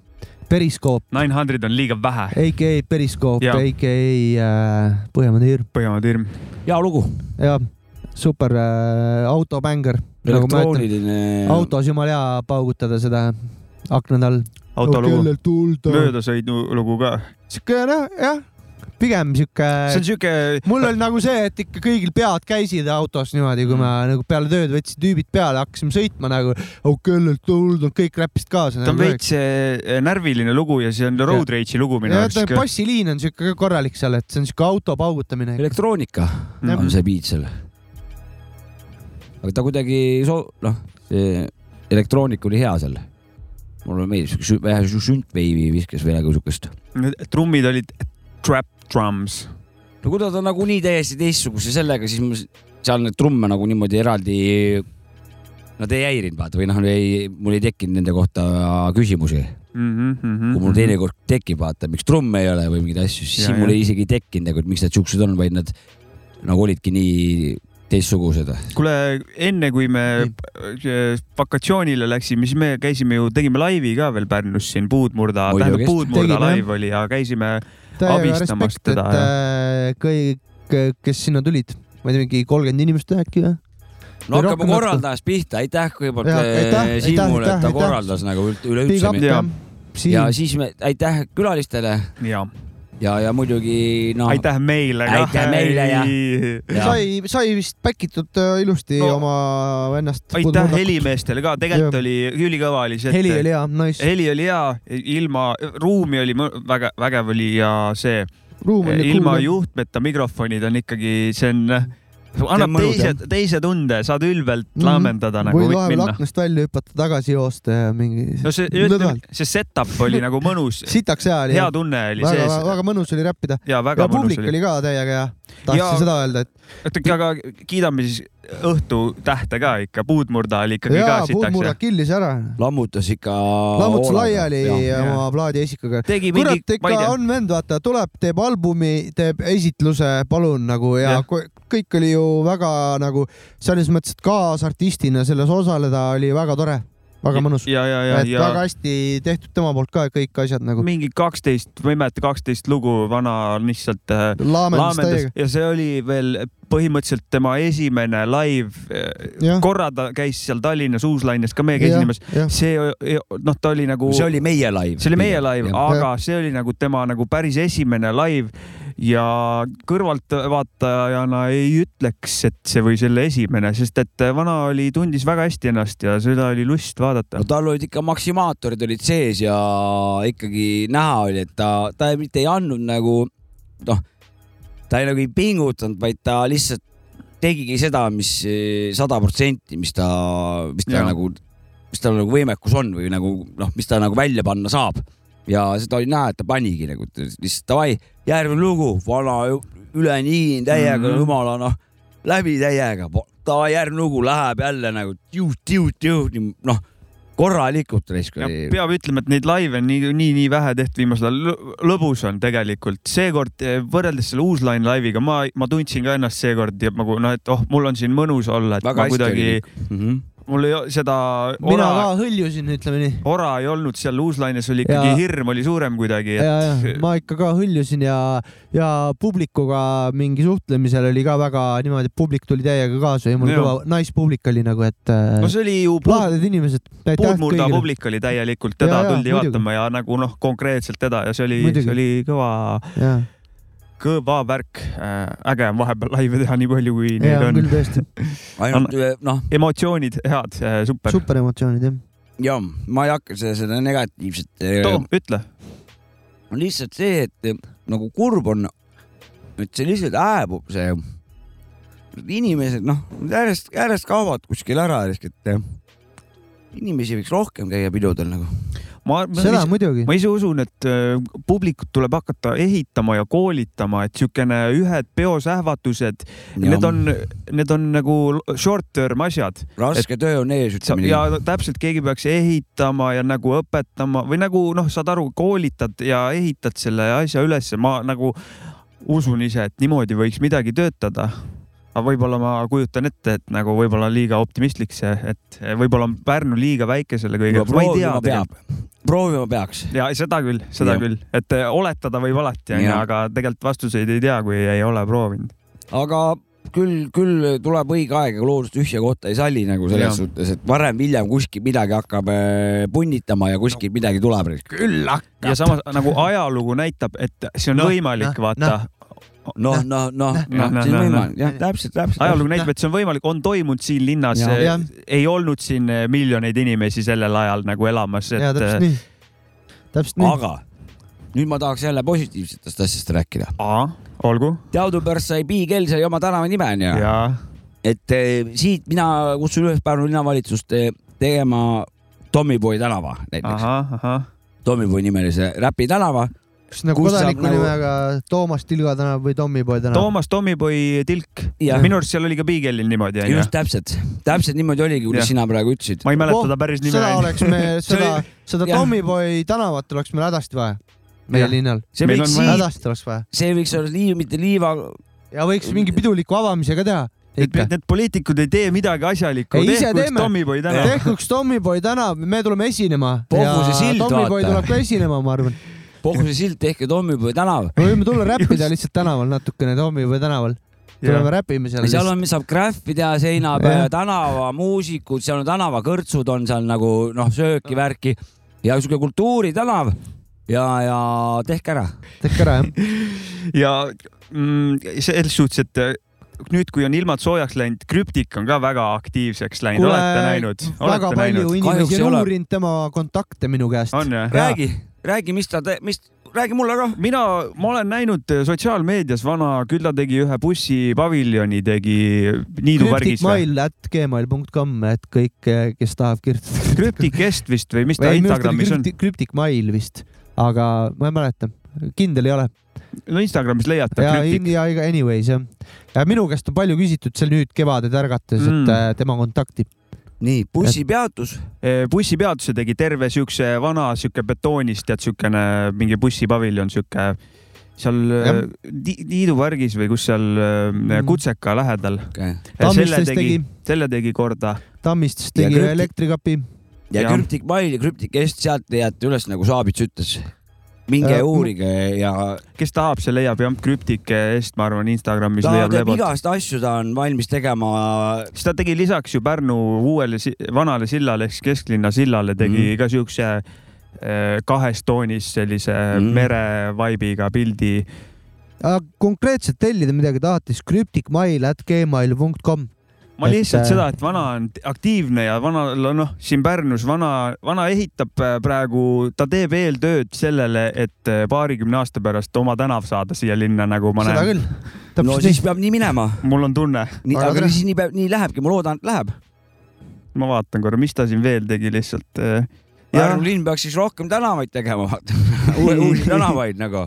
Periskoop , Nine hundred on liiga vähe . AKA Periskoop , Jaa. AKA äh, Põhjamaa tiir . Põhjamaa tirm . hea lugu . jah , super äh, autobänger . nagu ma ütlen , elektrooniline . autos jumala hea paugutada seda aknade all . autolugu , kellel tuult on . möödasõidulugu ka . siuke noh , jah , pigem siuke see on siuke , mul oli nagu see , et ikka kõigil pead käisid autos niimoodi , Mm. kui me nagu peale tööd võtsin tüübid peale , hakkasime sõitma nagu , oh kellelt tuld on , kõik räppisid kaasa . Nagu ta on veits eh, närviline lugu ja see on road rage'i lugu minu jah , arust ta . bassiliin on siuke ka korralik seal , et see on siuke auto paugutamine . elektroonika Mhm. on see beat seal . aga ta kuidagi soo- , noh , see elektroonika oli hea seal . mulle meeldis , sihuke sü- vähe sü- süntveivi viskas või nagu siukest . trummid olid trap drums . no kuna ta on nagunii täiesti teistsuguse sellega , siis ma s- seal neid trumme nagu niimoodi eraldi , nad ei häirinud vaata või noh , ei , mul ei tekkinud nende kohta küsimusi . kui Mhm. mul teinekord tekib , vaata , miks trumme ei ole või mingeid asju , siis Ja, siin mul ja. ei isegi ei tekkinud nagu , et miks nad siuksed on , vaid nad nagu olidki nii teistsugused . kuule , enne kui me äh, vakatsioonile läksime , siis me käisime ju , tegime laivi ka veel Pärnus siin , Puudmurda , Muidugi. tähendab Puudmurda Tegime, jah. laiv oli ja käisime , täiega abistamas respekt , et Mm. teda, äh, kõik , kes sinna tulid , ma ei tea , mingi kolmkümmend inimest äkki või ? no Või hakkame rohkem natuke. korraldajast pihta , aitäh kõigepealt Jaa, aitäh, äh, Siimule , aitäh, et ta aitäh. korraldas nagu üld- Big üleüldse up Jaa. jah . meid- ja siin , siis me aitäh külalistele jaa . ja , ja muidugi noh , aitäh meile ka . Aitäh meile ja- ja sai , sai vist päkitud äh, ilusti No. oma ennast . aitäh . helimeestele ka , tegelikult Jah. oli ülikõva oli see , heli oli hea , nice . heli oli hea , ilma , ruumi oli mõ- väga vägev oli ja see eh, ruum oli ilma cool ju... . juhtmeta mikrofonid on ikkagi , see on , annab mõnus, teise , teise tunde , saad ülbelt Mhm. laamendada nagu võid võid vahepeal minna . aknast välja hüpata , tagasi joosta ja mingi no see , ütleme lõdvalt. , see setup oli <laughs> nagu mõnus , sitaks hea oli hea . tunne oli väga , sees väga mõnus oli räppida ja ja väga mõnus publik oli . oli ka täiega hea . tahtsin Ja- seda öelda , et oota , aga kiidame siis õhtu tähte ka ikka , puudmurda oli ikkagi ka jaa , sitaks Puudmurra . killis ära . lammutas ikka . lammutas laiali ja. oma plaadiesikuga . tegi mingi kurat , ma ikka ei tea , on vend , vaata , tuleb , teeb albumi , teeb esitluse , palun nagu Jah. ja, ja. kõik oli ju väga nagu selles mõttes , et kaasartistina selles osaleda oli väga tore , aga mõnus . ja , ja , ja , et ja väga hästi tehtud tema poolt ka kõik asjad nagu . mingi kaksteist , ma ei mäleta , kaksteist lugu vana lihtsalt äh, laamendas laamendas täiega . ja see oli veel põhimõtteliselt tema esimene live . jah , korra ta käis seal Tallinnas Uus-Laines ka meie esinemas . jah , see , noh , ta oli nagu , see oli meie live . see oli meie live , Jah. aga see oli nagu tema nagu päris esimene live ja kõrvaltvaatajana ei ütleks , et see võis olla esimene , sest et vana oli , tundis väga hästi ennast ja seda oli lust vaadata no . tal olid ikka maksimaatorid olid sees ja ikkagi näha oli , et ta , ta ei- mitte ei andnud nagu noh , ta ei nagu ei pingutanud , vaid ta lihtsalt tegigi seda , mis eh, sada protsenti , mis ta , mis ta Jaa. ja. nagu , mis tal nagu võimekus on või nagu noh , mis ta nagu välja panna saab . ja seda oli näha , et ta panigi nagu et lihtsalt davai , järgmine lugu , vana ju- üle nii täiega mm Mhm. -hmm. jumala noh , läbi täiega , davai järgmine lugu läheb jälle nagu tiu-tiu-tiu , noh korralikult raisk ja oli . peab ütlema , et neid laive on nii , nii , nii vähe tehtud viimasel ajal . lõbus on tegelikult , seekord eh, võrreldes selle Uus-Line laiviga ma , ma tundsin ka ennast seekord ja nagu noh , et oh , mul on siin mõnus olla , et Väga ma hästi kuidagi , Mm -hmm. mul ei , seda mina ora , ka hõljusin , ütleme nii . ora ei olnud seal Uus-Lines oli ikkagi Ja- ja. hirm oli suurem kuidagi , ja , et ja ma ikka ka hõljusin ja , ja publikuga mingi suhtlemisel oli ka väga niimoodi , et publik tuli täiega kaasa ja mul Jaa. kõva naispublik oli nagu , et äh, no see oli ju puud, lahedad inimesed . puudmurda . publik oli täielikult , Ja, teda ja, tuldi muidugi. vaatama ja nagu noh , konkreetselt teda ja see oli , Muidugi. see oli kõva , jaa , kõva värk . äge on vahepeal laive teha nii palju , kui jaa , neid on on . küll tõesti , <laughs> ainult noh , emotsioonid head , super, super. . super emotsioonid jah . ja ma ei hakka seda, seda negatiivset . Toom , ütle . lihtsalt see , et eh, nagu kurb on , et see lihtsalt hääbub , see inimesed noh , järjest järjest kaovad kuskil ära , et eh, inimesi võiks rohkem käia pidudel nagu . ma , seda muidugi . ma ise usun , et äh, publikut tuleb hakata ehitama ja koolitama , et niisugune ühed peos ähvatused , need on , need on nagu short term asjad raske töö on ees , ütleme ja nii . täpselt keegi peaks ehitama ja nagu õpetama või nagu noh , saad aru , koolitad ja ehitad selle asja ülesse , ma nagu usun ise , et niimoodi võiks midagi töötada . aga võib-olla ma kujutan ette , et nagu võib-olla on liiga optimistlik see , et võib-olla on Pärnu liiga väike selle kõigega . ma ei proovima tea . peab , proovima peaks . ja seda küll , seda Jah. ja. küll , et eh, oletada võib alati onju , Jah. aga tegelikult vastuseid ei tea , kui ei ole proovinud . aga küll , küll tuleb õige aeg ja loodust ühte kohta ei salli nagu selles Jah. ja. suhtes , et varem-hiljem kuskil midagi hakkab eh, punnitama ja kuskilt midagi tuleb . küll hakkab . ja samas nagu ajalugu näitab , et see on Noh, no, võimalik noh, no, , vaata no. noh , noh , noh , Noh, noh , noh, see on noh, võimalik , jah , täpselt , täpselt . ajalugu näitab , et see on võimalik , on toimunud siin linnas eh, Jah. Jah. , ei olnud siin eh, miljoneid inimesi sellel ajal nagu elamas , et jaa , eh, täpselt nii . täpselt nii . aga nüüd ma tahaks jälle positiivsetest asjadest rääkida . aa , olgu teadupärast sai Big L sai oma tänava nime , ja, onju . ja. et eh, siit mina kutsun üles Pärnu linnavalitsust eh, tegema Tommyboy tänava näiteks . ahah , ahah , Tommyboy nimelise Räpi tänava . kas nagu Kus saab kodaniku nagu- nimega nimega Toomas Tilga tänav või Tommyboy tänav ? Toomas Tommyboy tilk , Jah. minu arust seal oli ka Piigelil niimoodi onju just , täpselt , täpselt niimoodi oligi , kuidas Jah. sina praegu ütlesid . ma ei mäleta Oh, ta päris nime seda . oleks me , <laughs> See seda oli- , seda jah. Tommyboy tänavat oleks meil hädasti vaja . meie Jah. linnal . see meil võiks on vaja- siit , hädasti oleks vaja . see võiks olla liiv , mitte liiva . ja võiks mingi piduliku avamise ka teha . et ikka . need poliitikud ei tee midagi asjalikku , Ei, ise tehku üks teeme. Tommyboy täna . tehkuks Tommyboy tänav , me tuleme esinema . Pohvuse sild, Tommyboy vaata. tuleb ka esinema , ma arvan . Pohuse sild tehke Tommyboy tänav . me võime <laughs> tulla räppida lihtsalt tänaval natukene , Tommyboy tänaval . tuleme räpime seal . seal on , saab graffi teha seina Jah. peal , tänavamuusikud , seal on tänavakõrtsud on seal nagu noh , sööki , värki ja sihuke kultuuritänav ja , ja tehke ära . tehke ära <laughs> jah . ja mm, selles suhtes , et eh, nüüd , kui on ilmad soojaks läinud , krüptik on ka väga aktiivseks läinud , olete näinud ? väga olete palju näinud ? Kahjuks inimesi ei on ole. uurinud tema kontakte minu käest . on jah ? räägi , räägi , mis ta , mis , räägi mulle ka . mina , ma olen näinud eh, sotsiaalmeedias , vana Külla tegi ühe bussipaviljoni , tegi niidupargis või ? krüptikmail at gmail.com , et kõik , kes tahab kirjutada . krüptikest vist või mis ta Instagramis on ? krüptikmail vist , aga ma ei mäleta , kindel ei ole . no Instagramis leiad ta ja , krüptik . ja iga- anyways jah . ja minu käest on palju küsitud seal nüüd kevadel ärgates mm. , Mm. et äh, tema kontakti . nii , bussipeatus , Eh, bussipeatuse tegi terve siukse vana siuke betoonist , tead siukene mingi bussipaviljon , siuke seal eh, Jah. Ni- niidupargis või kus seal eh, Kutseka lähedal . Mm. okei . Tammistes selle tegi, tegi. tegi , selle tegi korda Tammistes Ja tegi krüpti- elektrikapi , ja, ja Jah. krüptik mail ja krüptik est , sealt leiate üles , nagu Saabits ütles . minge Äh, mu- uurige ja kes tahab , see leiab jah , Krüptike eest , ma arvan , Instagramis ta leiab teeb lebot . igast asju , ta on valmis tegema siis ta tegi lisaks ju Pärnu uuele si- vanale sillale ehk siis kesklinna sillale tegi mm. ka siukse eh, kahes toonis sellise mm. Mm. merevaibiga pildi . aga konkreetselt tellida midagi tahad , siis krüptikmail.gmail.com . ma Et, lihtsalt äh, seda , et vana on t- aktiivne ja vana , noh , siin Pärnus vana , vana ehitab eh, praegu , ta teeb eeltööd sellele , et eh, paarikümne aasta pärast oma tänav saada siia linna , nagu ma seda näen . küll . no täpselt siis nii . peab nii minema , mul on tunne , nii , Aga aga tere. nii- siis nii peab , nii lähebki , ma loodan , et läheb . ma vaatan korra , mis ta siin veel tegi lihtsalt . äh. Pärnu linn peaks siis rohkem tänavaid tegema , vaata , <laughs> uusi tänavaid nagu .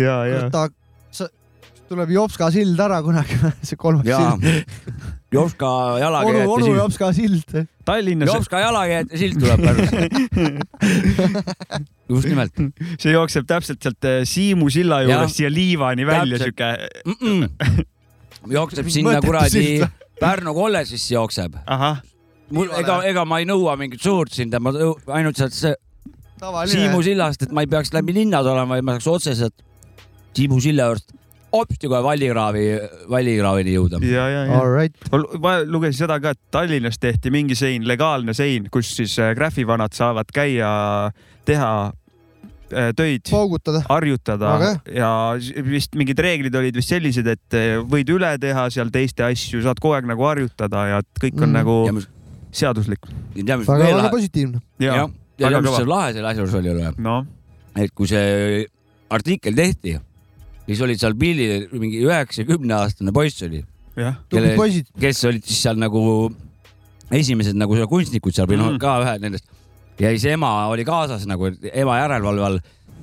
ja , ja ta , sa , tuleb Jopska sild ära kunagi , <laughs> see kolmas ja sild . Jopska onu , jalakäijate onu sild , Jopska sild . Tallinnas Jopska jalakäijate sild tuleb Pärnusse . <laughs> just nimelt <laughs> see jookseb täpselt sealt eh, Siimu silla Jah. juurest siia liivani välja Täpselt. siuke , mm . -mm. jookseb sinna Mõttetu kuradi sild. Pärnu kolledžisse jookseb . ahah , mul , ega , ega ma ei nõua mingit suurt silda , ma nõu- ainult sealt see Siimu tavaline . sillast , et ma ei peaks läbi linna tulema , vaid ma saaks otseselt Siimu silla juurest hopsti kohe Vallikraavi , Vallikraavini jõuda . ja , ja , ja . Alright , ma lugesin seda ka , et Tallinnas tehti mingi sein , legaalne sein , kus siis eh, graafivanad saavad käia , teha eh, töid , paugutada . harjutada Väga ja s- vist mingid reeglid olid vist sellised , et eh, võid üle teha seal teiste asju , saad kogu aeg nagu harjutada ja et kõik on Mm. mm. nagu ja mis , seaduslik . ja mis väga , veel väga , positiivne . ja , ja , ja väga tead, mis kõva. see lahe selle asja juures oli või , noh , et kui see artikkel tehti , siis olid seal pildil mingi üheksakümne aastane poiss oli , jah , tublid Kelle- poisid . kes olid siis seal nagu esimesed nagu seal kunstnikud seal või noh , Mm. ka ühed nendest . ja siis ema oli kaasas nagu , et ema järelevalve all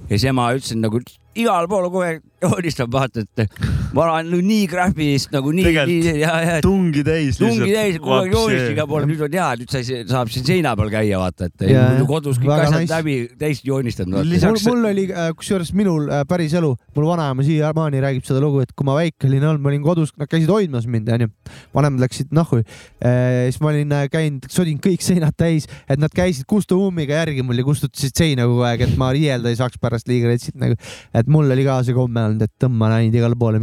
ja siis ema ütles et nagu igal pool kogu aeg joonistab , vaata , et ma olen nagu nii graafilist nagu nii , Tegelikult. nii ja , ja tungi täis . tungi täis , kogu aeg joonistab igal pool , nüüd on hea , nüüd sai , saab siin seina peal käia , vaata , et Jaa, muidu kodus kõik väga asjad nice. läbi täis joonistanud , vaata . mul lisaks , mul oli , kusjuures minul äh, päris elu , mul vanaema siiamaani räägib seda lugu , et kui ma väike olin olnud , ma olin kodus , nad käisid hoidmas mind , onju . vanemad läksid nahhu . siis ma olin äh, käinud , sodin kõik seinad täis , et nad käisid kustuummiga järgi mul ja kustutasid seina kogu aeg , et ma riielda ei saaks pärast liiga retsit nagu . et mul oli ka see komme olnud , et tõmban ainult igale poole ,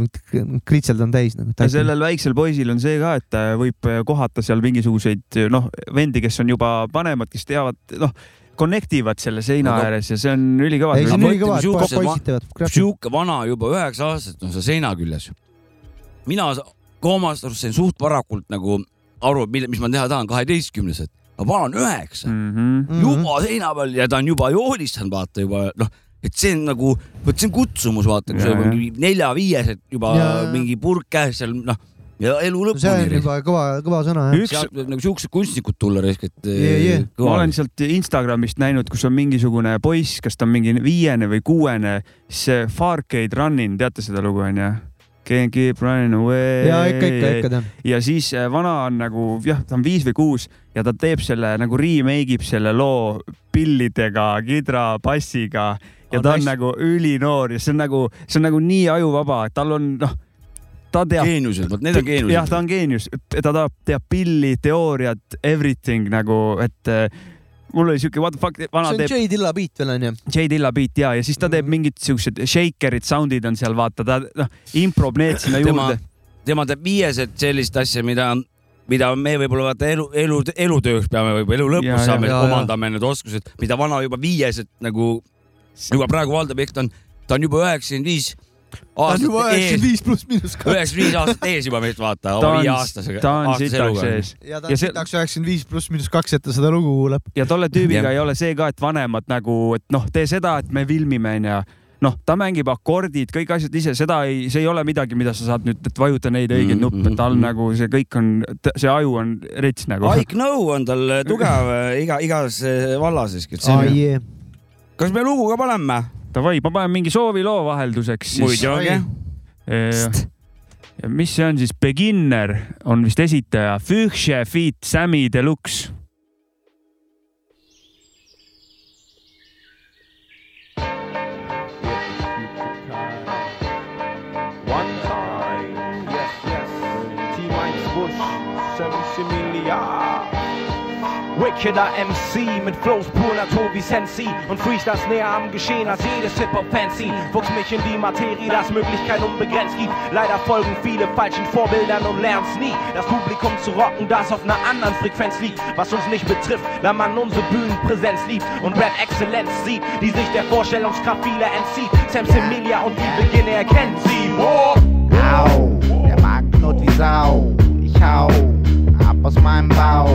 kritseldan täis nagu . ja sellel väiksel poisil on see ka , et ta võib äh, kohata seal mingisuguseid noh , vendi , kes on juba vanemad , kes teavad , noh , connect ivad selle seina Aga- ääres ja see on ülikõva ei , see on Ma mõtlen, ülikõva , et sihukesed ma- poisid teevad graffi . sihuke vana juba üheksa aastaselt on seal seina küljes . mina sa- koomast arust sain suht varakult nagu aru , mille , mis ma teha tahan , kaheteistkümneselt . aga vana on üheksa mm , -hmm. Mhm. -hmm. juba seina peal ja ta on juba joonistanud , vaata juba noh , et see on nagu , vot see on kutsumus , vaata , kui Ja, sa ja. juba mingi nelja-viieselt juba ja. Ja. mingi purk käes seal noh ja elu see on lõpuni . juba kõva , kõva sõna jah . üks , sealt võib nagu siuksed kunstnikud tulla risk , et Jee, jee. eh, ma kõva olen sealt Instagramist näinud , kus on mingisugune poiss , kas ta on mingi viiene või kuuene , see Farcade Running , teate seda lugu onju ? Can't keep running away . ja ikka , ikka , ikka tean . ja siis äh, vana on nagu jah , ta on viis või kuus ja ta teeb selle nagu remake ib selle loo pillidega , kidrabassiga On ja on ta on hästi- nagu ülinoor ja see on nagu , see on nagu nii ajuvaba , tal on noh , ta teab . geeniused , vot need on jah , ta geeniused . on geenius , ta teab , teab pilli , teooriat , everything nagu , et äh, mul oli siuke what the fuck , vana see on Mhm. teeb J Dilla beat veel onju . J Dilla beat ja , ja siis ta teeb mingid siuksed shaker'id , sound'id on seal vaata , ta noh , improv need sinna tema juurde ., tema teeb viieselt sellist asja , mida , mida me võib-olla vaata elu , elu , elutööks peame või elu Ja, lõpus ja, saame , ja, ja. omandame need oskused , mida vana juba viieselt nagu juba praegu valdab , ehk ta on , ta on juba üheksakümmend viis ta on juba aastat ees üheksakümmend , viis pluss miinus kaks . üheksakümmend viis aastat ees juba meist vaata , ta oma on , viieaastasega . ta on sitaks ees . ja ta Ja on see- sitaks üheksakümmend viis pluss miinus kaks , et ta seda lugu kuuleb . ja tolle tüübiga Jah. ei ole see ka , et vanemad nagu , et noh , tee seda , et me filmime onju . noh , ta mängib akordid , kõik asjad ise , seda ei , see ei ole midagi , mida sa saad nüüd , et vajuta neid õigeid Mhm, nuppe , tal mhm. nagu see kõik on , see aju on rets nagu . Ike Know on tal tugev äh, iga , igas äh, vallas siiski . kas me lugu ka paneme ? Davai , ma panen mingi sooviloo vahelduseks siis . muidugi . mis see on siis , Beginner on vist esitaja , Fühche feat Sammy Deluxe . One time, yes, yes. T Mike's Bush, Semi Similia. Wickeder MC mit Flows pur Natur wie Sensi und Freestyles näher am Geschehen als jedes Hip-Hop-Fancy. Wuchs mich in die Materie, dass Möglichkeit unbegrenzt gibt. Leider folgen viele falschen Vorbildern und lernst nie, das Publikum zu rocken, das auf einer anderen Frequenz liegt. Was uns nicht betrifft, da man unsere Bühnenpräsenz liebt und Rap-Exzellenz sieht, die sich der Vorstellungskraft vieler entzieht. Sam Semilia und die Beginne erkennt sie. Oh! Au, der Magen knurrt wie Sau. Ich hau ab aus meinem Bauch.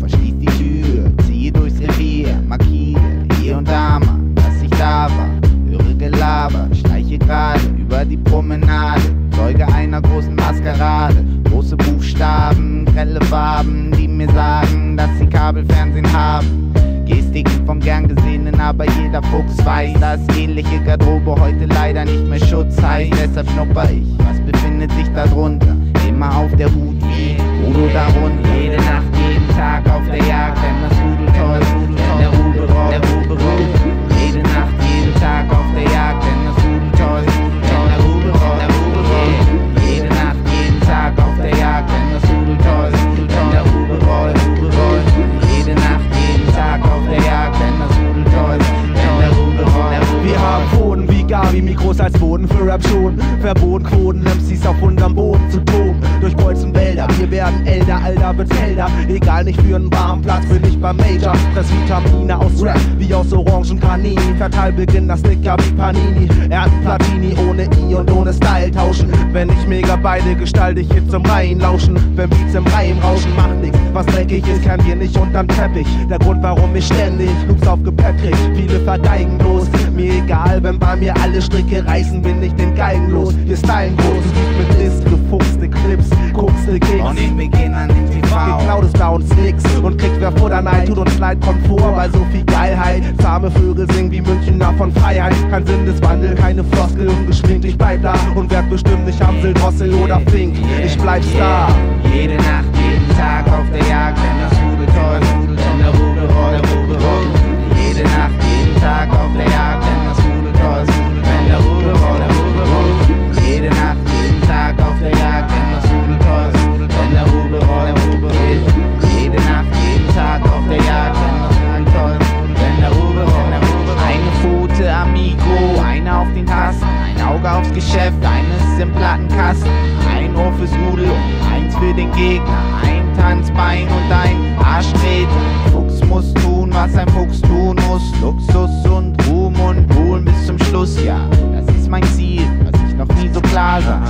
Verschließ die Tür, ziehe durchs Revier. Markiere hier und da mal, dass ich da war. Höre Gelaber, schleiche gerade über die Promenade. Zeuge einer großen Maskerade. Große Buchstaben, grelle Farben, die mir sagen, dass sie Kabelfernsehen haben. Gestiken vom gern gesehenen, aber jeder Fuchs weiß, dass ähnliche Garderobe heute leider nicht mehr Schutz heißt. Deshalb schnupper ich, was befindet sich darunter? Immer auf der Hut, wie Udo darunter. Jede Nacht, jeden Tag auf der Jagd, wenn das Rudel toll, wenn der Rudel rollt, der Rudel rollt. Jede Nacht, jeden Tag auf der Jagd, wenn das Rudel toll, wenn der Rudel rollt, der Rudel rollt. Jede Nacht, jeden Tag auf der Jagd, wenn das Rudel toll, wenn der Rudel rollt, Rudel rollt. Jede Nacht, jeden Tag auf der Jagd, wenn das Rudel toll, wenn der Rudel rollt. Wir haben Pfoten wie Gavi, Mikros als Boden für Rap schon. Verbot Quoten, MCs auf unterm Boden zu toben. Durchbolzen Wälder, wir werden älter, Alter wird's helder. Egal nicht für einen warmen Platz, bin ich beim Major. Fress Vitamine aus Rap, wie aus Orangen Kanini. Verteil beginnt das Snicker wie Panini. Ernten Platini ohne I und ohne Style tauschen. Wenn ich Megabeine gestalte, ich hier zum Rhein lauschen. Wenn Beats im Reim rauschen, macht nix. Was dreckig ist, kann hier nicht unterm Teppich. Der Grund, warum ich ständig Loops aufgepeppt krieg. Viele verdeigen bloß. Mir egal, wenn bei mir alle Stricke reißen, bin ich den Geigen los. Wir stylen groß, mit Ist, gefuchste Clips, guckste Kicks. genau Und ich beginn an dem TV. Geklautes bei uns nix und kriegt wer vor der Neid, tut uns leid, kommt vor bei so viel Geilheit. Zahme Vögel singen wie Münchner von Freiheit. Kein Sinneswandel, keine Floskel und geschminkt, ich bleib da und werd bestimmt nicht Hamsel, Drossel oder Fink. Ich bleib Star. Jede Nacht, jeden Tag auf der Jagd, wenn das Rudel toll, Rudel, wenn der Rudel rollt, der Rudel rollt. Jede Nacht, jeden Tag auf der Jagd, wenn das Rudel toll, Rudel, wenn der Rudel rollt, der Rudel rollt. Jede Nacht, jeden Tag auf der Jagd, wenn das Rudel toll, Rudel, wenn der Rudel rollt, der Rudel rollt. Jede Nacht, jeden Tag auf der Jagd, wenn das Rudel toll, Rudel, wenn der Rudel rollt, der Rudel rollt. Eine Pfote, Amigo, eine auf den Tasten, ein Auge aufs Geschäft, eines im Plattenkasten, ein Ohr fürs Rudel und eins für den Gegner, ein Tanzbein und ein Arschtritt. Fuchs muss tun, was ein Fuchs tun muss, Luxus und Ruhm und Wohl bis zum Schluss, ja, das ist mein Ziel, was ich noch nie so klar sah.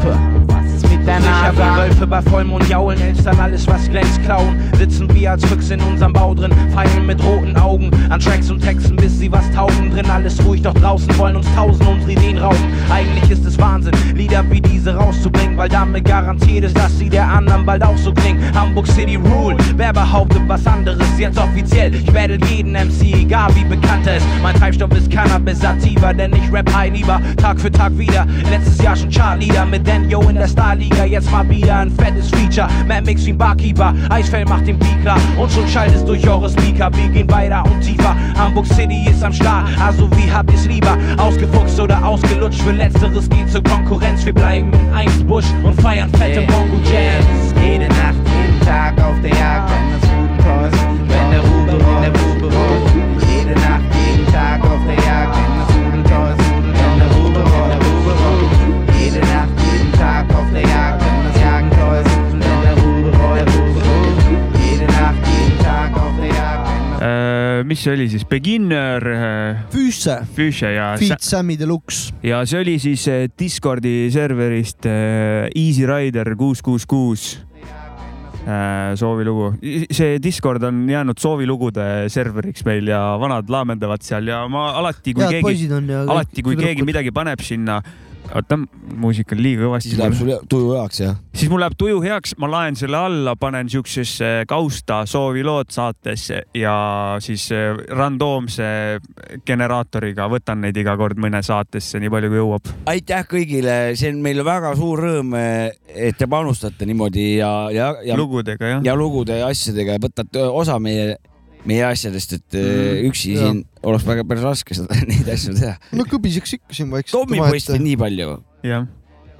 Puh, Was ist mit der Sicher Nase? wie Wölfe bei Vollmond jaulen, elstern alles, was glänzt, klauen. Sitzen wir als Füchse in unserem Bau drin, feilen mit roten Augen an Tracks und Texten, bis sie was taugen. Drin alles ruhig, doch draußen wollen uns tausend unsere Ideen rauben. Eigentlich ist es Wahnsinn, Lieder wie diese rauszubringen, weil damit garantiert ist, dass sie der anderen bald auch so klingen. Hamburg City Rule, wer behauptet was anderes, jetzt offiziell. Ich battle jeden MC, egal wie bekannt er ist. Mein Treibstoff ist Cannabis Sativa, denn ich rap high lieber, Tag für Tag wieder. Letztes Jahr schon Chartleader mit Daniel in der Starliga, jetzt mal wieder ein fettes Feature. Mad Mix wie ein Barkeeper, Eisfell macht den Beat klar und schon schallt es durch eure Speaker. Wir gehen weiter und tiefer, Hamburg City ist am Start, also wie habt ihr's lieber? Ausgefuchst oder ausgelutscht, für Letzteres geht zur Konkurrenz. Wir bleiben in eins Busch und feiern fette Bongo Jams. Jede Nacht, jeden Tag auf der Jagd, wenn das Rudel toll, wenn der Rudel, wenn der Rudel rollt. Jede Nacht, jeden Tag auf der Jagd, wenn das Rudel toll, wenn der Rudel, wenn der Rudel rollt. Jede Nacht, jeden Tag auf der Jagd, wenn das Jagen toll, wenn der Rudel, wenn der Rudel rollt. Jede Nacht, jeden Tag auf der Jagd, wenn das Äh, mis see oli siis , Beginner äh, Füüsse , Fuchsia ja , Feat Sammy Deluxe . ja see oli siis äh, Discordi serverist äh, Easy Rider kuus , kuus , kuus Äh, soovilugu . see Discord on jäänud soovilugude serveriks meil ja vanad laamendavad seal ja ma alati , kui head keegi , poisid on ja . alati , kui keegi . midagi paneb sinna , oota , muusika on liiga kõvasti . siis läheb sul hea- tuju heaks ja siis mul läheb tuju heaks , ma laen selle alla , panen siuksesse kausta soovilood saatesse ja siis eh, randoomse generaatoriga võtan neid iga kord mõne saatesse , nii palju kui jõuab . aitäh kõigile , see on meile väga suur rõõm , et te panustate niimoodi ja , ja , ja , lugudega jah ja. . ja lugude ja asjadega ja võtate osa meie , meie asjadest , et mm, Mm, üksi jah. siin oleks väga päris raske seda , <laughs> neid asju teha . no kõbiseks ikka siin vaikselt . Tommi mõistis . nii palju . jah ,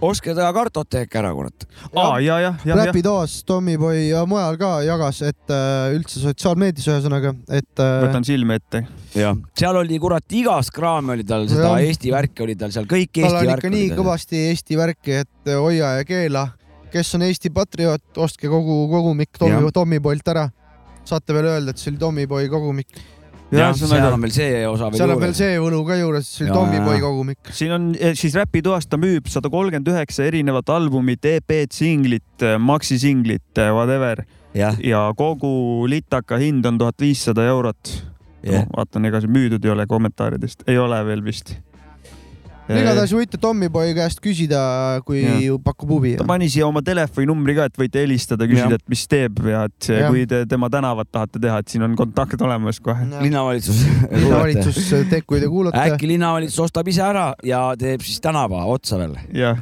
oska teha kartoteeka ära , kurat . aa , ja , jah , jah , jah . Räpitoas Tommyboy ja mujal ka jagas , et äh, üldse sotsiaalmeedias ühesõnaga , et äh, võtan silme ette . jah , seal oli kurat igas kraami oli tal seda Jah. Eesti värki oli tal seal , kõik tal Eesti on värk ikka nii . kõvasti Eesti värki , et äh, hoia ja keela . kes on Eesti patrioot , ostke kogu kogumik Tommy , Jah. Tommyboylt ära . saate veel öelda , et see oli Tommyboy kogumik . jah , ühesõnaga- seal on veel see osa veel seal on veel juures . see võlu ka juures , see oli Jaa, Tommyboy jaa. kogumik . siin on eh, siis Räpitoas ta müüb sada kolmkümmend üheksa erinevat albumit , EP-d , singlit , eh, maksisinglit , eh, whatever jah , ja kogu litaka hind on tuhat viissada eurot . Jah. vaatan , ega see müüdud ei ole kommentaaridest , ei ole veel vist . Eh, igatahes võite Tommyboy käest küsida , kui Jaa. pakub huvi ta . pani siia oma telefoninumbri ka , et võite helistada , Jah. küsida , et mis teeb ja et Jah. kui te tema tänavat tahate teha , et siin on kontakt olemas kohe . linnavalitsus . linnavalitsus , <laughs> te , kui te kuulate , äkki linnavalitsus ostab ise ära ja teeb siis tänava otsa veel . jah ,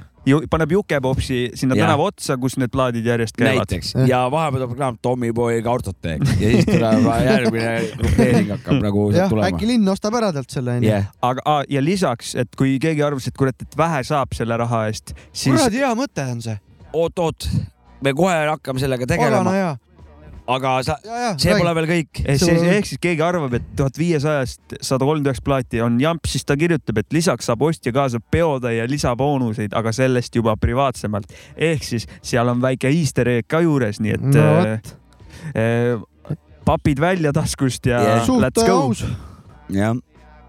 paneb Jukepopsi sinna Jah. tänava otsa , kus need plaadid järjest käivad . näiteks ja vahepeal tuleb reklaam Tommyboy kartoteek ja siis tuleb järgmine grupeering hakkab nagu sealt jah , äkki tulema . linn ostab ära talt selle onju . jah , aga aa, ja lisaks , et kui keegi arvas , et kurat , et vähe saab selle raha eest , siis kuradi hea mõte on see . oot-oot , me kohe hakkame sellega olana tegelema , hea . aga sa , ja , ja . see pole veel kõik . eh, sul siis on- ehk siis keegi arvab , et tuhat viiesajast sada kolmkümmend üheksa plaati on jamp , siis ta kirjutab , et lisaks saab ostja kaasa peotäie lisaboonuseid , aga sellest juba privaatsemalt . ehk siis seal on väike easter egg ka juures , nii et No eh, eh, papid välja taskust ja Jah. suht let's äh, go . aus . jah ,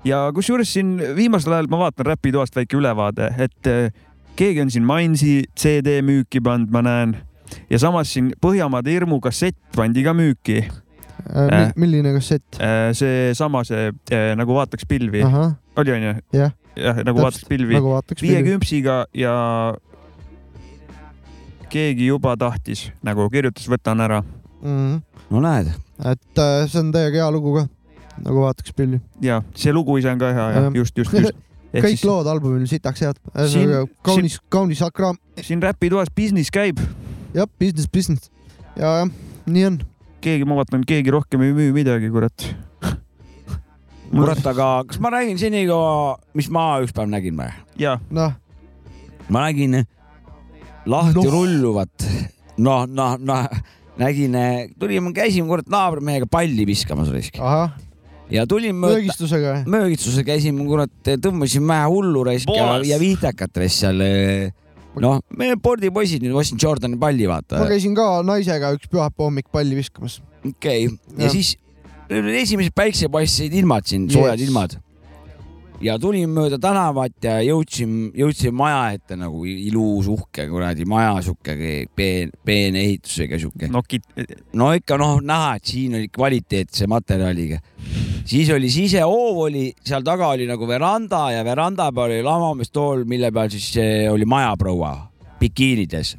ja kusjuures siin viimasel ajal ma vaatan Räpitoast väike ülevaade , et eh, keegi on siin Mainzi CD müüki pannud , ma näen . ja samas siin Põhjamaade hirmu kassett pandi ka müüki . Äh. milline kassett ? seesama , see eh, Nagu vaataks pilvi , ahah , oli onju ? Jah. jah , Nagu Täpselt, vaataks pilvi . nagu vaataks . viiekümpsiga ja keegi juba tahtis , nagu kirjutas , võtan ära . mm . no näed , -hmm. et äh, see on täiega hea lugu ka , nagu vaataks pilli . ja see lugu ise on ka hea , jah Ähm. , just , just , <laughs> just . kõik siis... lood albumil sitaks head , Äh, Siin- kaunis , kaunis akraam , siin Räpitoas business käib , jah , business , business ja , jah , nii on . keegi , ma vaatan , keegi rohkem ei müü midagi , kurat . kurat , aga kas ma räägin senikaua , mis ma üks päev nägin või ? ja , noh , ma nägin lahti Noh. no. rulluvat , noh , noh , noh , nägin , tulime , käisime kurat naabrimehega palli viskamas raisk ahah , ja tulime mööda möögistusega või ? möögitsuse käisime , kurat , tõmbasime vähe hullu raisk ja, Poolas. ja viidakat raisk seal . noh , me spordipoisid , nüüd ma ostsin Jordani palli , vaata ma . käisin ka naisega üks pühapäeva hommik palli viskamas . okei , Jah. ja siis need olid esimesed päiksepaisteid ilmad siin , soojad Yes. yes. ilmad . ja tulime mööda tänavat ja jõudsime , jõudsime maja ette nagu ilus , uhke kuradi maja , sihuke peen- , peene ehitusega sihuke . nokid , no ikka noh , näha , et siin oli kvaliteetse materjaliga . siis oli sisehoov oli , seal taga oli nagu veranda ja veranda peal oli lamamistool , mille peal siis eh, oli majaproua bikiinides .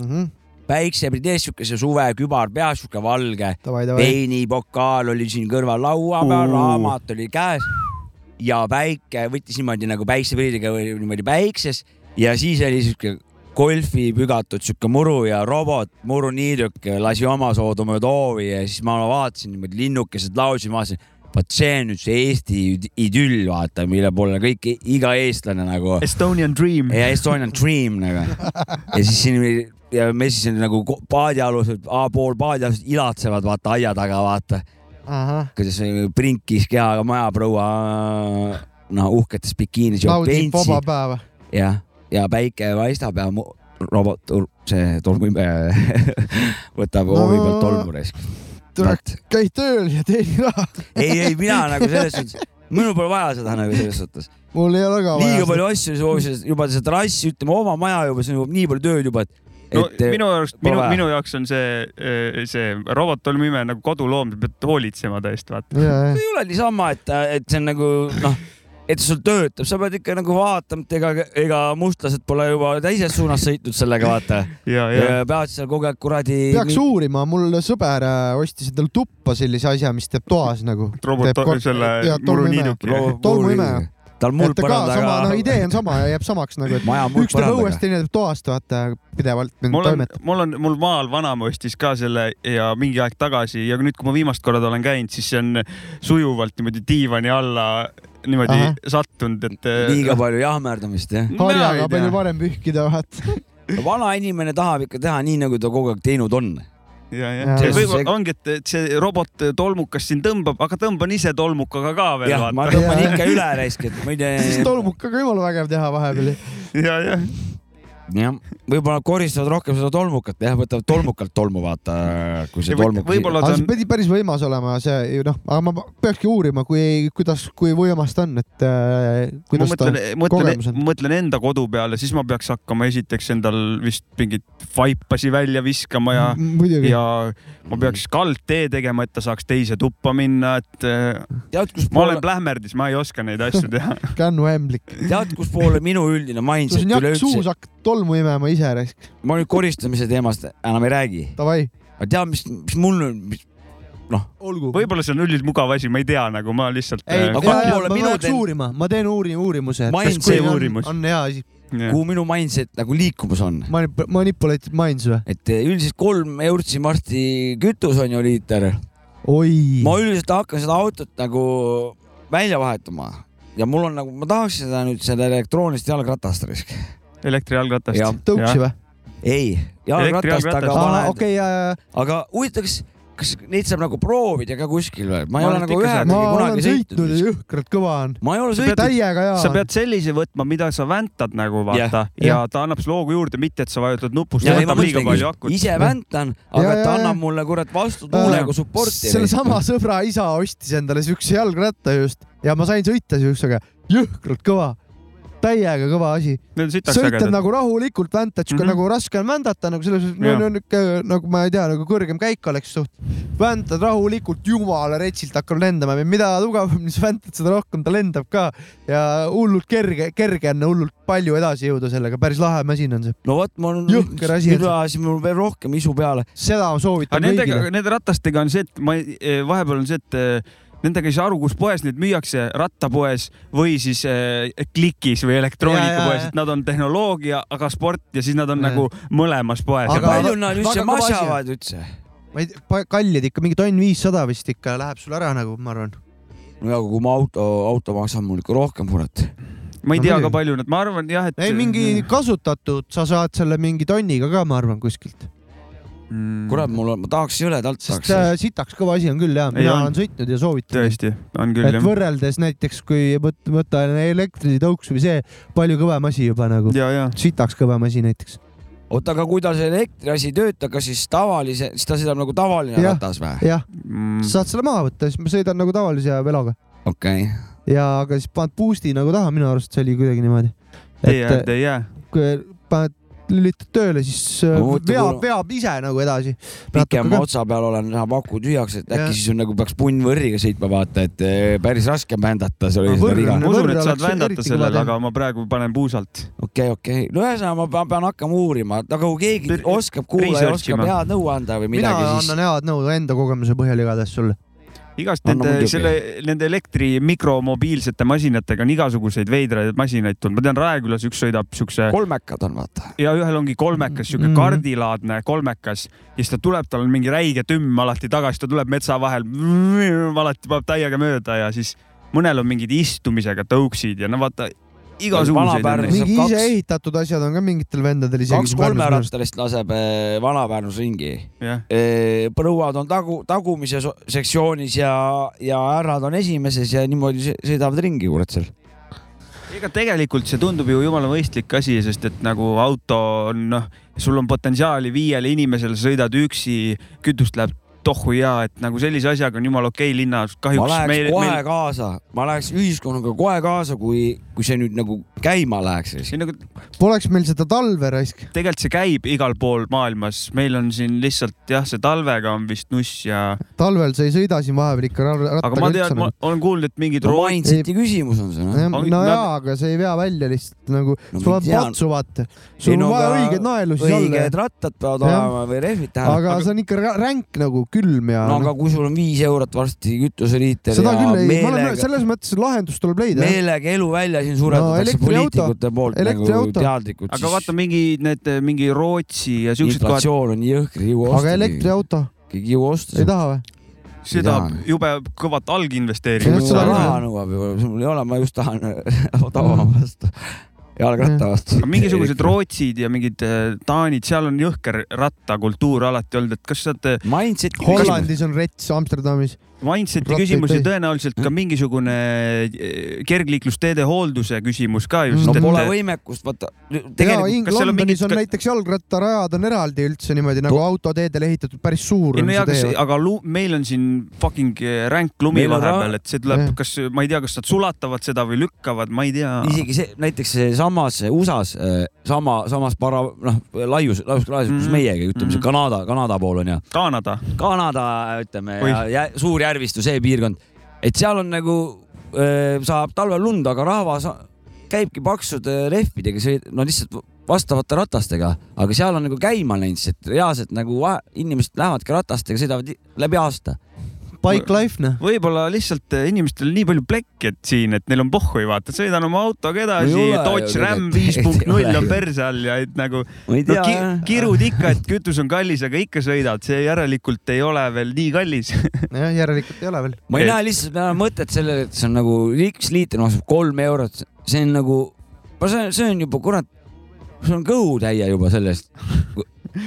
Mhm, päikse pidi ees siukese suve kübar peas , sihuke valge . Davai , davai . veinipokaal oli siin kõrval laua peal , Uu. raamat oli käes ja päike võttis niimoodi nagu päikseprilliga või niimoodi päikses ja siis oli siuke golfi pügatud siuke muru ja robot , muruniiduk lasi oma soodu mööda hoovi ja siis ma vaatasin niimoodi linnukesed laulsid , ma vaatasin , vot see on nüüd see Eesti id- idüll , vaata , mille poole kõik , iga eestlane nagu Estonian Dream . ja Estonian Dream nagu . ja siis siin oli ja me siis nagu ko- paadialused , pool paadialused ilatsevad vaata aia taga , vaata , ahah , kuidas see prinkis kehaga majaproua , noh uhketes bikiinis joob naudib pentsi vaba päeva . ja , ja päike paistab ja mu- robot , see tolmuime <laughs> võtab hoovi No. pealt tolmu raisk . tule , käi tööl ja teeni raha . ei , ei mina nagu selles suhtes , minul pole vaja seda nagu selles suhtes . mul ei ole ka liiga vaja . palju asju , juba see trass , ütleme oma maja juba , see on juba nii palju tööd juba , et . no et, minu arust , pole minu , vaja. minu jaoks on see , see robot tolmuime nagu koduloom , sa pead hoolitsema ta eest , vaata . ei ole niisama , et , et see on nagu noh , et sul töötab , sa pead ikka nagu vaatama , et ega , ega mustlased pole juba teises suunas sõitnud sellega , <laughs> vaata . ja , ja, ja. , peavad seal kogu aeg kuradi . peaks uurima , mul sõber äh, ostis endale tuppa sellise asja , mis teeb toas nagu . robot , selle muruniiduki . tolmuimeja. tal muld et ka sama , parandada no . idee on sama ja jääb samaks nagu , et Maja muld üks teeb parandada. õuest , teine teeb toast , vaata pidevalt mul on toimetab ., mul on , mul maal vanaema ostis ka selle ja mingi aeg tagasi ja nüüd , kui ma viimast korda olen käinud , siis see on sujuvalt niimoodi diivani alla niimoodi Ahah. sattunud , et . äh, liiga <laughs> palju jahmerdamist , jah . harjaga palju parem pühkida , <laughs> vaata . <laughs> vana inimene tahab ikka teha nii , nagu ta kogu aeg teinud on . ja , ja Jaa. see See- võib-olla ongi , et , et see robot tolmukas siin tõmbab , aga tõmban ise tolmukaga ka veel . jah , ma tõmban ikka üle raisk , et ma ei siis tea , tolmukaga jumala vägev teha vahepeal . ja , ja jah , võib-olla koristavad rohkem seda tolmukat , jah , võtavad tolmukalt tolmu , vaata , kui see Ja või- tolmuk . võib-olla aga see pidi päris võimas olema see ju noh , aga ma peakski uurima , kui , kuidas , kui võimas ta on , et äh, ma kuidas ta mõtlen , mõtlen kogemus on ., mõtlen enda kodu peale , siis ma peaks hakkama esiteks endal vist mingit vaipasi välja viskama ja M- muidugi. ja ma peaks kaldtee tegema , et ta saaks teise tuppa minna , et . tead , kus ma olen plähmerdis , ma ei oska neid asju <laughs> teha . Kännu ämblik . tead , kuspoole minu üldine sul mindset on jakk suus , üleüldse , hakkad tolmu imema ise raisk . ma nüüd koristamise teemast enam ei räägi . Davai , aga tead , mis , mis mul , noh , olgu . võib-olla see on üldmugav asi , ma ei tea , nagu ma lihtsalt . ei , ma aga kuhu poole mina peaks teen- uurima , ma teen uuri- , uurimuse . Mindset uurimus. on hea asi . kuhu minu mindset nagu liikumas on , Manip- , manipulated minds või ? et eh, üldiselt kolm eurtsi marsti kütus on ju liiter oi , ma üldiselt hakkan seda autot nagu välja vahetama ja mul on nagu , ma tahaks seda nüüd selle elektroonilist jalgratast risk . Jah. elektrijalgratast . tõuksi või ? ei , jalgratast , Elektrijalgratast. aga Aa, paned okay. , okei , ja , ja , aga huvitav , kas , kas neid saab nagu proovida ka kuskil või ? ma ei Ma ole arvan, et nagu ikka saad. ja . ma ühegi olen kunagi sõitnud sõitnud . ja jõhkralt kõva on . ma ei ole sõitnud . täiega hea sa on . pead sellise võtma , mida sa väntad nagu vaata ja, ja Jah. ta annab sulle hoogu juurde , mitte et sa vajutad nupust , Ja, ei, ma võtab liiga mõtlengi, palju akut . ise väntan , aga Ja, ja, ta ja. annab mulle kurat vastutuule Äh, nagu support'i . sellesama sõbra isa ostis endale siukse jalgratta just ja ma sain sõita siuksega , jõhkralt kõva , täiega kõva asi . Need on sitaks sõitad ägedad . nagu rahulikult , väntad , sihuke Mhm. nagu raske on vändata nagu selles Jaa. mõttes , niuke nagu ma ei tea , nagu kõrgem käik oleks suht . väntad rahulikult , jumala retsilt hakkab lendama , mida tugevamini sa väntad , seda rohkem ta lendab ka ja hullult kerge , kerge on hullult palju edasi jõuda sellega , päris lahe masin on see . no vot , ma Jõhker asi, nüüd et- ajasin mul veel rohkem isu peale . seda ma aga soovitan nendega kõigile ., nende ratastega on see , et ma ei- eh, vahepeal on see , et eh, Nendega ei saa aru , kus poes neid müüakse , rattapoes või siis eh, klikis või Ja, ja, ja. elektroonikapoes , et nad on tehnoloogia , aga sport ja siis nad on Ja. nagu mõlemas poes . ja Aga- palju nad üldse väga kõva asi on. masjavad üldse ? ma ei tea , kallid ikka mingi tonn viissada vist ikka läheb sul ära nagu ma arvan . no ja kui mu auto , auto maksab mul ikka rohkem , kurat . ma ei no tea , muidugi. kui palju nad , ma arvan jah , et . mm. ei , mingi kasutatud , sa saad selle mingi tonniga ka , ma arvan , kuskilt . Mm. kurat , mul on , ma tahaks üle talt sest saaks . äh, sitaks kõva asi on küll ja mina on. olen sõitnud ja soovitan . tõesti , on küll et jah . võrreldes näiteks , kui võt- võtta elektritõuks või see , palju kõvem asi juba nagu , ja , ja sitaks kõvem asi näiteks . oota , aga kui tal see elektriasi ei tööta , kas siis tavalise , siis ta sõidab nagu tavaline Jah. ratas või ? jah , mm, . saad selle maha võtta , siis ma sõidan nagu tavalise veloga okei okay. , ja , aga siis paned boost'i nagu taha , minu arust see oli kuidagi niimoodi . Teie et äh, äärde ei jää . kui paned , lülitad tööle , siis äh, Ma mõtlen, veab , kui- veab ise nagu edasi . pikema otsa peal olen , saab aku tühjaks , et äkki Jah. ja. siis on nagu peaks punnvõrriga sõitma , vaata , et eh, päris raske on vändata , see oli No seda võrr riga on- . ma usun , et Võrre saad oleks vändata eriti sellele , kõva aga ma praegu panen puusalt . okei , okei , no ühesõnaga ma pean, pean hakkama uurima , aga kui keegi Re- oskab kuulaja , research oskab ima. head nõu anda või mina midagi , siis annan head nõu enda kogemuse põhjal igatahes sulle . igast Anna nende , muidugi. selle , nende elektri mikromobiilsete masinatega on igasuguseid veidraid masinaid tulnud , ma tean Raekülas üks sõidab siukse kolmekad on , vaata . ja ühel ongi kolmekas , siuke Mhm. kardilaadne kolmekas ja siis ta tuleb , tal on mingi räige tümm alati tagasi , ta tuleb metsa vahel , alati paneb täiega mööda ja siis mõnel on mingid istumisega tõuksid ja no vaata igasuguseid on Vanapärn- neid. mingi kaks- ise ehitatud asjad on ka mingitel vendadel isegi . kaks kolmerattalist laseb eh, Vana-Pärnus ringi jah , Eh, prouad on tagu , tagumises sektsioonis ja , ja härrad on esimeses ja niimoodi sõ- sõidavad ringi , kurat seal . ega tegelikult see tundub ju jumala mõistlik asi , sest et nagu auto on noh , sul on potentsiaali viiele inimesele , sõidad üksi , kütust läheb tohu ja et nagu sellise asjaga on jumala okei linnas ma kahjuks läheks meil, meil , kohe meil meil... kaasa , ma läheks ühiskonnaga kohe kaasa , kui , kui see nüüd nagu käima läheks . see nagu Poleks meil seda talve raisk . tegelikult see käib igal pool maailmas , meil on siin lihtsalt jah , see talvega on vist nuss ja , talvel sa ei sõida siin vahepeal ikka ra- aga rattaga ma tean , ma olen kuulnud , et mingid no roo- , mindset'i küsimus on see noh . no Ongi- no ma- jaa , aga see ei vea välja lihtsalt nagu No no, , sul ma on tean. patsu , vaata . sul on vaja õigeid naelusi õiged olla . rattad peavad Jah. olema või rehvid tähendab . aga see on ikka ra- ränk nagu , külm ja no aga kui sul on viis eurot varsti kütuseliiter seda ja küll ei , ma olen , meelega , selles mõttes lahendus tuleb leida . meelega elu välja siin suretatakse elektriauto. no, poliitikute poolt nagu Elektriauto. teadlikult , aga siis vaata mingi need , mingi Rootsi ja siuksed inflatsioon on jõhkri , ei jõua aga osta . elektriauto , keegi ei jõua osta ei . taha või ? seda Ei jube kõvat alginvesteeringut . mul raha noh. nõuab ju , mul ei ole , ma just tahan <laughs> odavama vastu , jalgratta vastu . mingisugused Rootsid ja mingid eh, Taanid , seal on jõhker rattakultuur alati olnud , et kas saate mindset'i Hollandis on rets , Amsterdamis . Mindseti Rattaid küsimus ja täis. tõenäoliselt ka mingisugune eh, kergliiklusteede hoolduse küsimus ka ju . no pole võimekust , vaata ja Tegelikult, kas seal on Londonis mingid- on näiteks jalgrattarajad on eraldi üldse niimoodi nagu autoteedele ehitatud , päris suur ei on no jaa , see kas , tee . aga lu- , meil on siin fucking eh, ränk lumi Meil on ra- vahepeal , et see tuleb Jah. , kas , ma ei tea , kas nad sulatavad seda või lükkavad , ma ei tea . isegi see , näiteks seesamas USA-s eh, sama , samas para- , noh , laius , laius , laius , kus Mhm. meiegi , ütleme see Mhm. Kanada , Kanada pool on ju . Kanada . Kanada , ütleme Oih. , ja Suurjärvistu , see piirkond , et seal on nagu , saab talvel lund , aga rahvas käibki paksude rehvidega , see , no lihtsalt vastavate ratastega , aga seal on nagu käima läinud see , et reaalselt nagu va- inimesed lähevadki ratastega , sõidavad i- läbi aasta . Bike life noh . võib-olla lihtsalt eh, inimestel nii palju plekki , et siin , et neil on pohhui , vaata , sõidan oma autoga edasi No ei ole , ju Dodge Ram viis tegelikult. <laughs> punkt Ei null ole on ju. perse all ja et nagu ma ei no, tea ki jah. kirud ikka , et kütus on kallis , aga ikka sõidad , see järelikult ei ole veel nii kallis . <laughs> jah , järelikult ei ole veel . ma ei Et- näe lihtsalt enam mõtet sellele , et see on nagu üks liiter maksab kolm eurot , see on nagu , ma söön , söön juba kurat , see on kõhutäie juba sellest .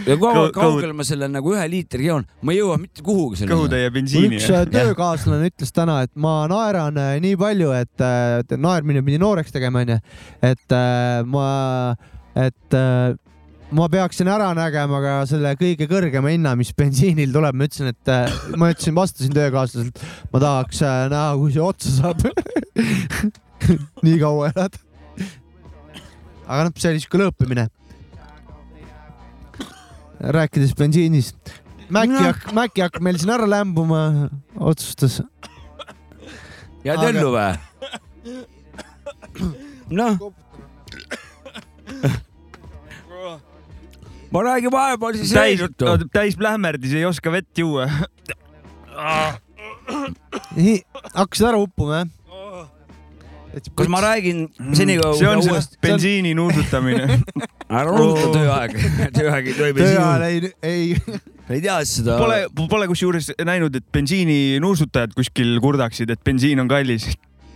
ja kaua Kõhu- , kaugele ma selle nagu ühe liitri joon , ma ei jõua mitte kuhugi selleni . kõhutäie bensiini . üks äh, töökaaslane ütles täna , et ma naeran äh, nii palju , et äh, et naermine pidi nooreks tegema , onju , et äh, ma , et äh, ma peaksin ära nägema ka selle kõige kõrgema hinna , mis bensiinil tuleb . ma ütlesin , et äh, ma ütlesin , vastasin töökaaslaselt , ma tahaks äh, näha , kui see otsa saab . <laughs> nii kaua elad . aga noh , see oli siuke lõõpimine . rääkides bensiinist . Mäkki hakk- , Mäkki hakkab meil siin ära lämbuma , otsustas . jääd ellu või ? noh . ma räägin vahepeal siis täis reisuttu ,. täis plähmerdis , ei oska vett juua . hakkasid ära uppuma , jah ? kas ma räägin Mm. senikaua , see kui on ma see uuesti , bensiini nuusutamine . <laughs> Oh. ära unusta tööaeg , <laughs> tööaeg ei toimi tööajal sinu , ei , ei , ei tea seda . Pole , pole kusjuures näinud , et bensiini nuusutajad kuskil kurdaksid , et bensiin on kallis .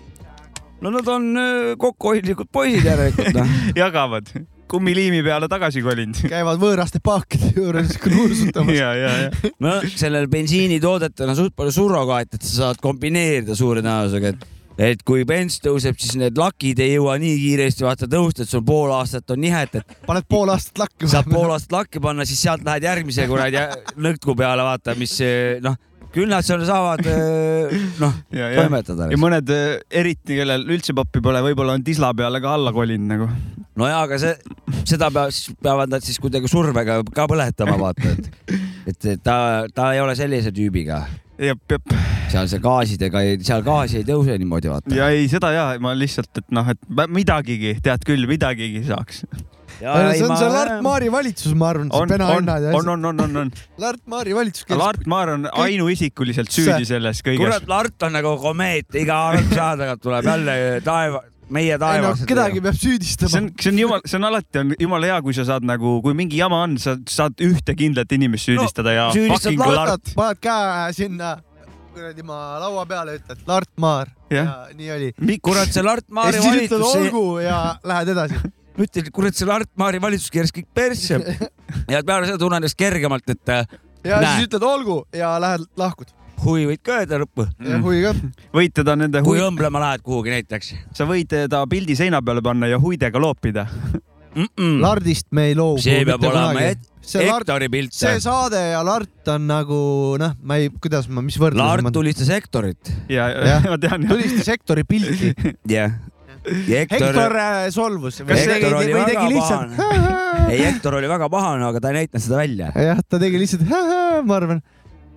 <laughs> no nad on öö, kokkuhoidlikud poisid järelikult <laughs> noh . jagavad , kummiliimi peale tagasi kolinud . käivad võõraste paakide <laughs> juures nuusutamas . ja , ja , ja . no sellel bensiinitoodetel on suht palju surrogaate , et sa saad kombineerida suure tõenäosusega , et et kui bens tõuseb , siis need lakid ei jõua nii kiiresti vaata tõusta , et sul pool aastat on nihet , et paned pool aastat lakki . saab pool aastat lakki panna , siis sealt lähed järgmise kuradi nõtku peale , vaata , mis öö, noh , küll nad seal saavad <laughs> öö, noh , ja , ja . toimetada . ja mõned eh, eriti , kellel üldse pappi pole , võib-olla on tisla peale ka alla kolinud nagu . nojaa , aga see , seda peab , peavad nad siis kuidagi survega ka põletama , vaata , <laughs> et , et et ta , ta ei ole sellise tüübiga jep , jep . seal see gaasidega , seal gaasi ei tõuse niimoodi , vaata . ja ei , seda ja ma lihtsalt , et noh , et ma- midagigi , tead küll , midagigi saaks . see on see Lart Maari valitsus , ma arvan , see on , on , penahinnad ja on , asjad . on , on , on , on . Lart Maari valitsus . Lart Maar on ainuisikuliselt süüdi selles kõiges kurat ,. Lart on nagu komeet , iga aasta tagant tuleb jälle taeva , meie ei no taevas . kedagi peab see süüdistama on , see on jumal , see on alati on jumala hea , kui sa saad nagu , kui mingi jama on , sa saad ühte kindlat inimest süüdistada <laughs> ja süüdistad fucking Lart Lart , paned käe sinna kuradi maa laua peale , ütled Lart Maar Jah. ja nii oli . kurat , see Lart ja Maari siis ütled valitsus , olgu ja lähed <laughs> edasi . ütled , kurat , see Lart Maari valitsus keeras kõik persse ja peale seda tunnen ennast kergemalt , et äh, <laughs> ja Näe. siis ütled olgu ja lähed lahkud . huvi võid ka öelda lõppu , ja kui ka võid teda nende kui hui- , õmblema lähed kuhugi näiteks sa võid ta pildi seina peale panna ja huidega loopida . mm . -mm. Lardist me ei loobu . see peab olema et, see Lart , Hektori pilt . see saade ja Lart on nagu noh , ma ei , kuidas ma , mis võrdlus Lart tulistas Hektorit . ja, ja <laughs> Jah. ma tean . tulistas Hektori pilti . <laughs> jah . Hektor Hektor , äh, solvus . Kas see- Hektor oli või väga tegi <laughs> lihtsalt . ei Hektor oli väga pahane , aga ta ei näidanud seda välja . jah , ta tegi lihtsalt , ma arvan .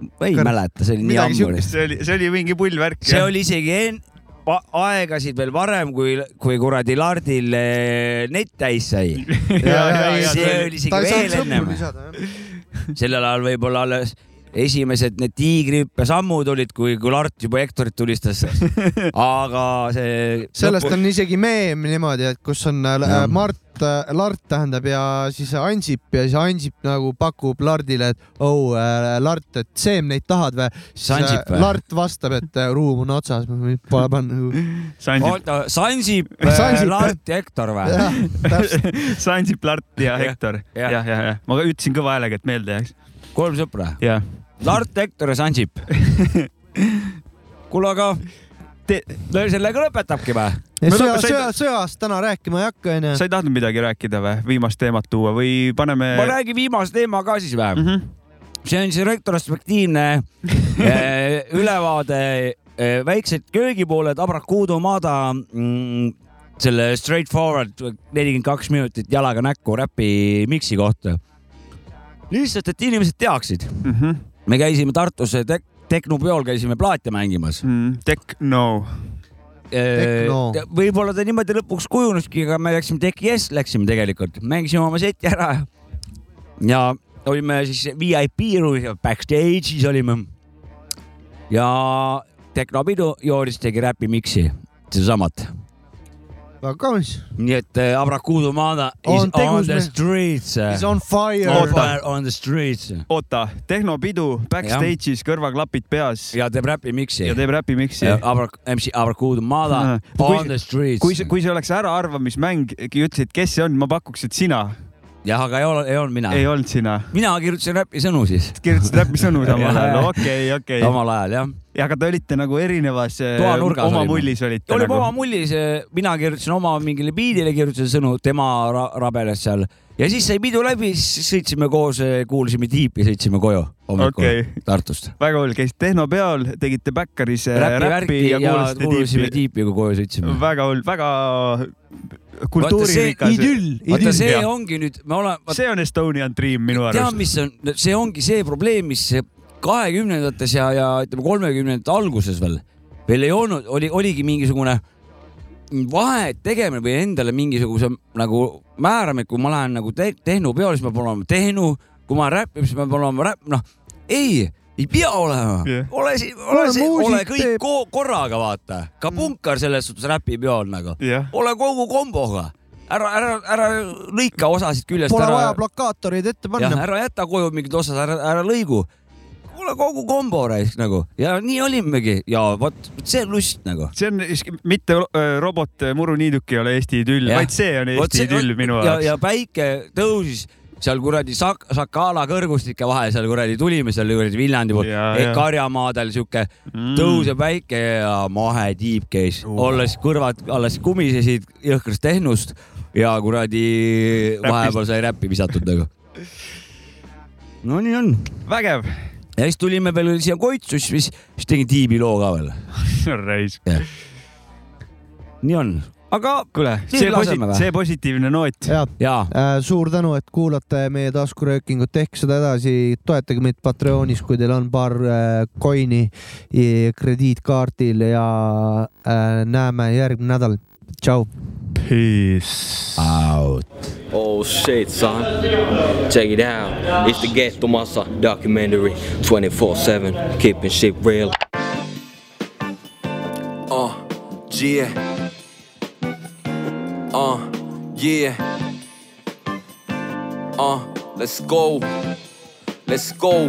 ma ei Kar- mäleta , see oli nii midagi ammu . see oli , see oli mingi pull värk . see oli isegi en- , aegasid veel varem , kui , kui kuradi Lardil eh, net täis sai . <laughs> ja, ja, see see- oli isegi veel ennem , sellel ajal võib-olla alles esimesed need tiigrihüppe sammud olid , kui , kui Lart juba Hektorit <laughs> tulistas . aga see . sellest on isegi meem niimoodi , et kus on äh, Jah. Mart , Lart tähendab ja siis Ansip ja siis Ansip nagu pakub Lardile , et oh äh, Lart , et seem neid tahad või ? siis äh, Ansip või? Lart vastab , et äh, ruum on otsas , pole panna <laughs> nagu . oota , Sansip , Äh, Sansip. Lart ja Hektor või ? <laughs> Sansip , Lart ja Hektor . jah , jah , jah . ma ka ütlesin kõva häälega , et meelde jääks . kolm sõpra . jah . Lart , Hektor ja Sansip . kuule , aga te... no sellega lõpetabki või ? sõja , sõja , sõjast täna rääkima ei hakka , onju . sa ei tahtnud midagi rääkida või , viimast teemat tuua või paneme ? <laughs> ma räägin viimase teema ka siis vähem Mhm. mm . -hmm. see on siis retrospektiivne <laughs> eh, ülevaade eh, väiksed köögipooled Abrakuudu maada mm, selle straightforward eh, nelikümmend kaks minutit jalaga näkku räpi miksi kohta . lihtsalt , et inimesed teaksid mm . Mhm. me käisime Tartus tek- , tehnopeol käisime plaate mängimas mm, . Tehno . Techno. võib-olla ta niimoodi lõpuks kujuneski , aga me läksime Teki S läksime tegelikult , mängisime oma seti ära ja olime siis VIP ruumis ja backstage'is olime . ja tehnopidu Jooris tegi räpi miksi , sedasamat . väga kaunis . nii et äh, Abrakuudu maada is On on, on tegus the me- streets . Is on fire. on Oota. fire on the streets . oota , tehnopidu , backstage'is , kõrvaklapid peas . ja teeb räpi miksi . ja teeb räpi miksi . Abra- , MC Abrakuudu maada on the streets . kui see , kui see oleks äraarvamismäng , ütlesid , kes see on , ma pakuks , et sina . jah , aga ei ole , ei olnud mina . ei olnud sina . mina kirjutasin räpi sõnu siis . kirjutasid räpi <laughs> sõnu samal ajal , okei , okei . samal ajal jah . ja aga te olite nagu erinevas . toanurgas oma olime. mullis olite . nagu. olime oma mullis , mina kirjutasin oma mingile biidile , kirjutasin sõnu , tema ra rabeles seal ja siis sai pidu läbi , siis sõitsime koos , kuulasime tiipi , sõitsime koju hommikul Okei. okay. Tartust . väga hull , käisite tehnopeol , tegite Backeris äh, räppi ja kuulasite kuulasime tiipi . tiipi , kui koju sõitsime . väga hull , väga kultuuririkas . vaata see . ongi nüüd , me oleme , see on Estonian Dream minu tead , arust . mis on , see ongi see probleem , mis kahekümnendates ja , ja ütleme , kolmekümnendate alguses veel , veel ei olnud , oli , oligi mingisugune vahet tegemine või endale mingisuguse nagu määramine , kui ma lähen nagu te tehnopeole , siis ma pean olema tehnu , kui ma räppin , siis ma pean olema räpp , noh , ei , ei pea olema Jah. yeah. , ole siin , ole Ole siin , muusik ole kõik teeb- Mm. ko korraga , vaata , ka punkar selles suhtes räpipeol nagu Jah. ole kogu komboga , ära , ära , ära lõika osasid küljest Pole ära vaja plakaatoreid ette jah , panna . ära jäta koju mingid osad , ära , ära lõigu . kuule kogu kombo raisk nagu ja nii olimegi ja vot vot see on lust nagu . see on isk- mitte ro- äh, robot äh, muruniiduk ei ole Eesti idüll , vaid see on Eesti idüll minu ja , ja jaoks . päike tõusis seal kuradi sak- , Sakala kõrgustike vahel seal kuradi tulime seal kuradi Viljandi poolt eh, Ja, , ja. Karjamaadel siuke Mm. tõuseb päike ja mahe tiib käis , olles kõrvad alles kumisesid jõhkrast tehnust ja kuradi vahepeal sai räppi visatud nagu no nii on . vägev . ja siis tulime veel siia Koitsu , siis , siis tegin tiibi loo ka veel . <laughs> raisk . nii on , aga kuule , nüüd see laseme posi- või? , see positiivne noot . ja, ja. , Äh, suur tänu , et kuulate meie taskuröökingut , tehke seda edasi , toetage meid Patreonis , kui teil on paar äh, coin'i i- krediitkaardil ja äh, näeme järgmine nädal . tšau . Peace out. Oh shit, son. Check it out. It's the Ghetto Massa documentary 24 7, keeping shit real. Uh, yeah. Uh, yeah. Uh, let's go. Let's go.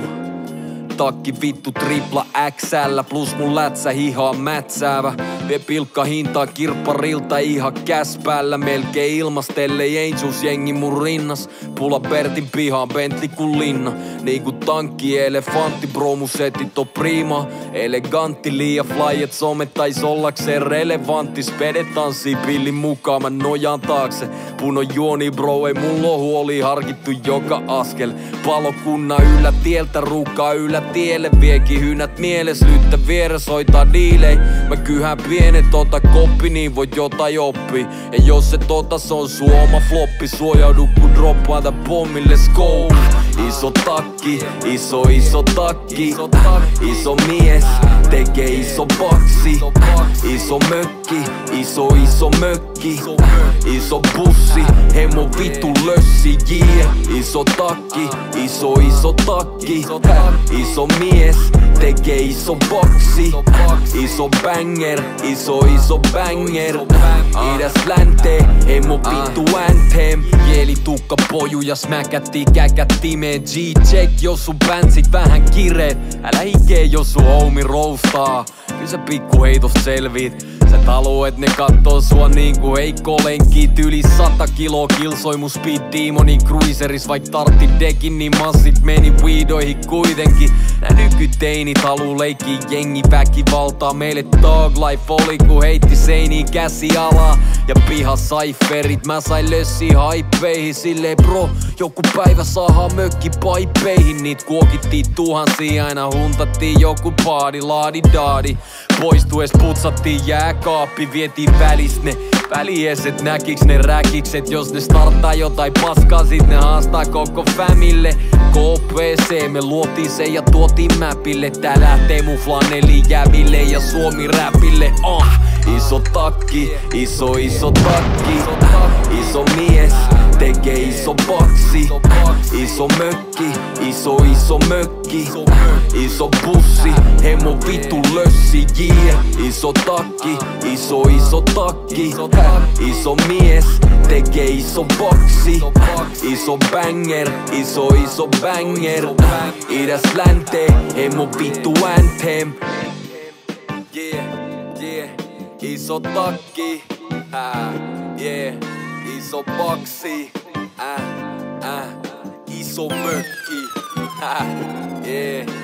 Takki vittu tripla XL plus mun lätsä hihaa mätsäävä. Vie pilkka hintaa kirpparilta ihan käspäällä. Melkein ilmastelle Angels jengi mun rinnas. Pula Pertin pihaan Bentley kuin linna. Niinku tankki elefantti bromusetit on prima. Elegantti liia fly et some tais ollakseen relevantti. Spede tanssii pillin mukaan mä nojaan taakse. Puno juoni bro ei mulla oo huoli harkittu joka askel. Palokunna yllä tieltä ruukaa yllä tielle. Viekin hynät mieles lyttä vieres hoitaa diilei. Mä kyhään pienet ota koppi niin voi jotain oppii. Ja jos et ota se on sun oma floppi. Suojaudu kun droppaa tän pommin let's go. Iso takki, iso iso takki. Iso mies, tekee iso boksi Iso mökki, iso iso mökki Iso bussi, hemo vitu lössi yeah. Iso takki, iso iso takki Iso mies, tekee iso boksi Iso banger, iso iso banger Idäs länteen, hemo vittu anthem Kielitukka poju ja smäkätti käkättimeen G-check jos sun bändsit vähän kireet Älä hikee jos sun homi roustaa Kyllä sä pikku heitos selviit Sä taluet ne kattoo sua niinku heikko lenkkiit Yli sata kiloa kilsoi mun speed demoni cruiseris Vaik tartti dekin niin massit meni weedoihin kuitenkin Nää nykyteinit haluu leikkiä jengi väkivaltaa Meille dog life oli kun heitti seiniin käsi alaa Ja piha saiferit mä sain lössi haippeihin Silleen bro, joku päivä saadaan mökki paippeihin Niit kuokittiin tuhansia aina huntattiin joku paadi laadi daadi Poistues putsattiin jääkaappi vietiin välis ne Välieset näkiks ne räkikset Jos ne starttaa jotain paskaa sit ne haastaa koko famille KPC me luotiin se ja tuotiin mäpille Tää lähtee mun flaneli jäville ja suomi räpille oh. Iso takki, iso iso takki Iso mies, tekee iso boksi Iso mökki, iso iso mökki Iso bussi, hemo vitu lössi yeah. Iso takki, iso iso takki Iso mies, tekee iso boksi Iso banger, iso iso banger Idäs länteen, hemo vitu anthem Yeah, yeah, iso takki ah, Yeah, iso boksi ah, ah, Iso mökki ah, Yeah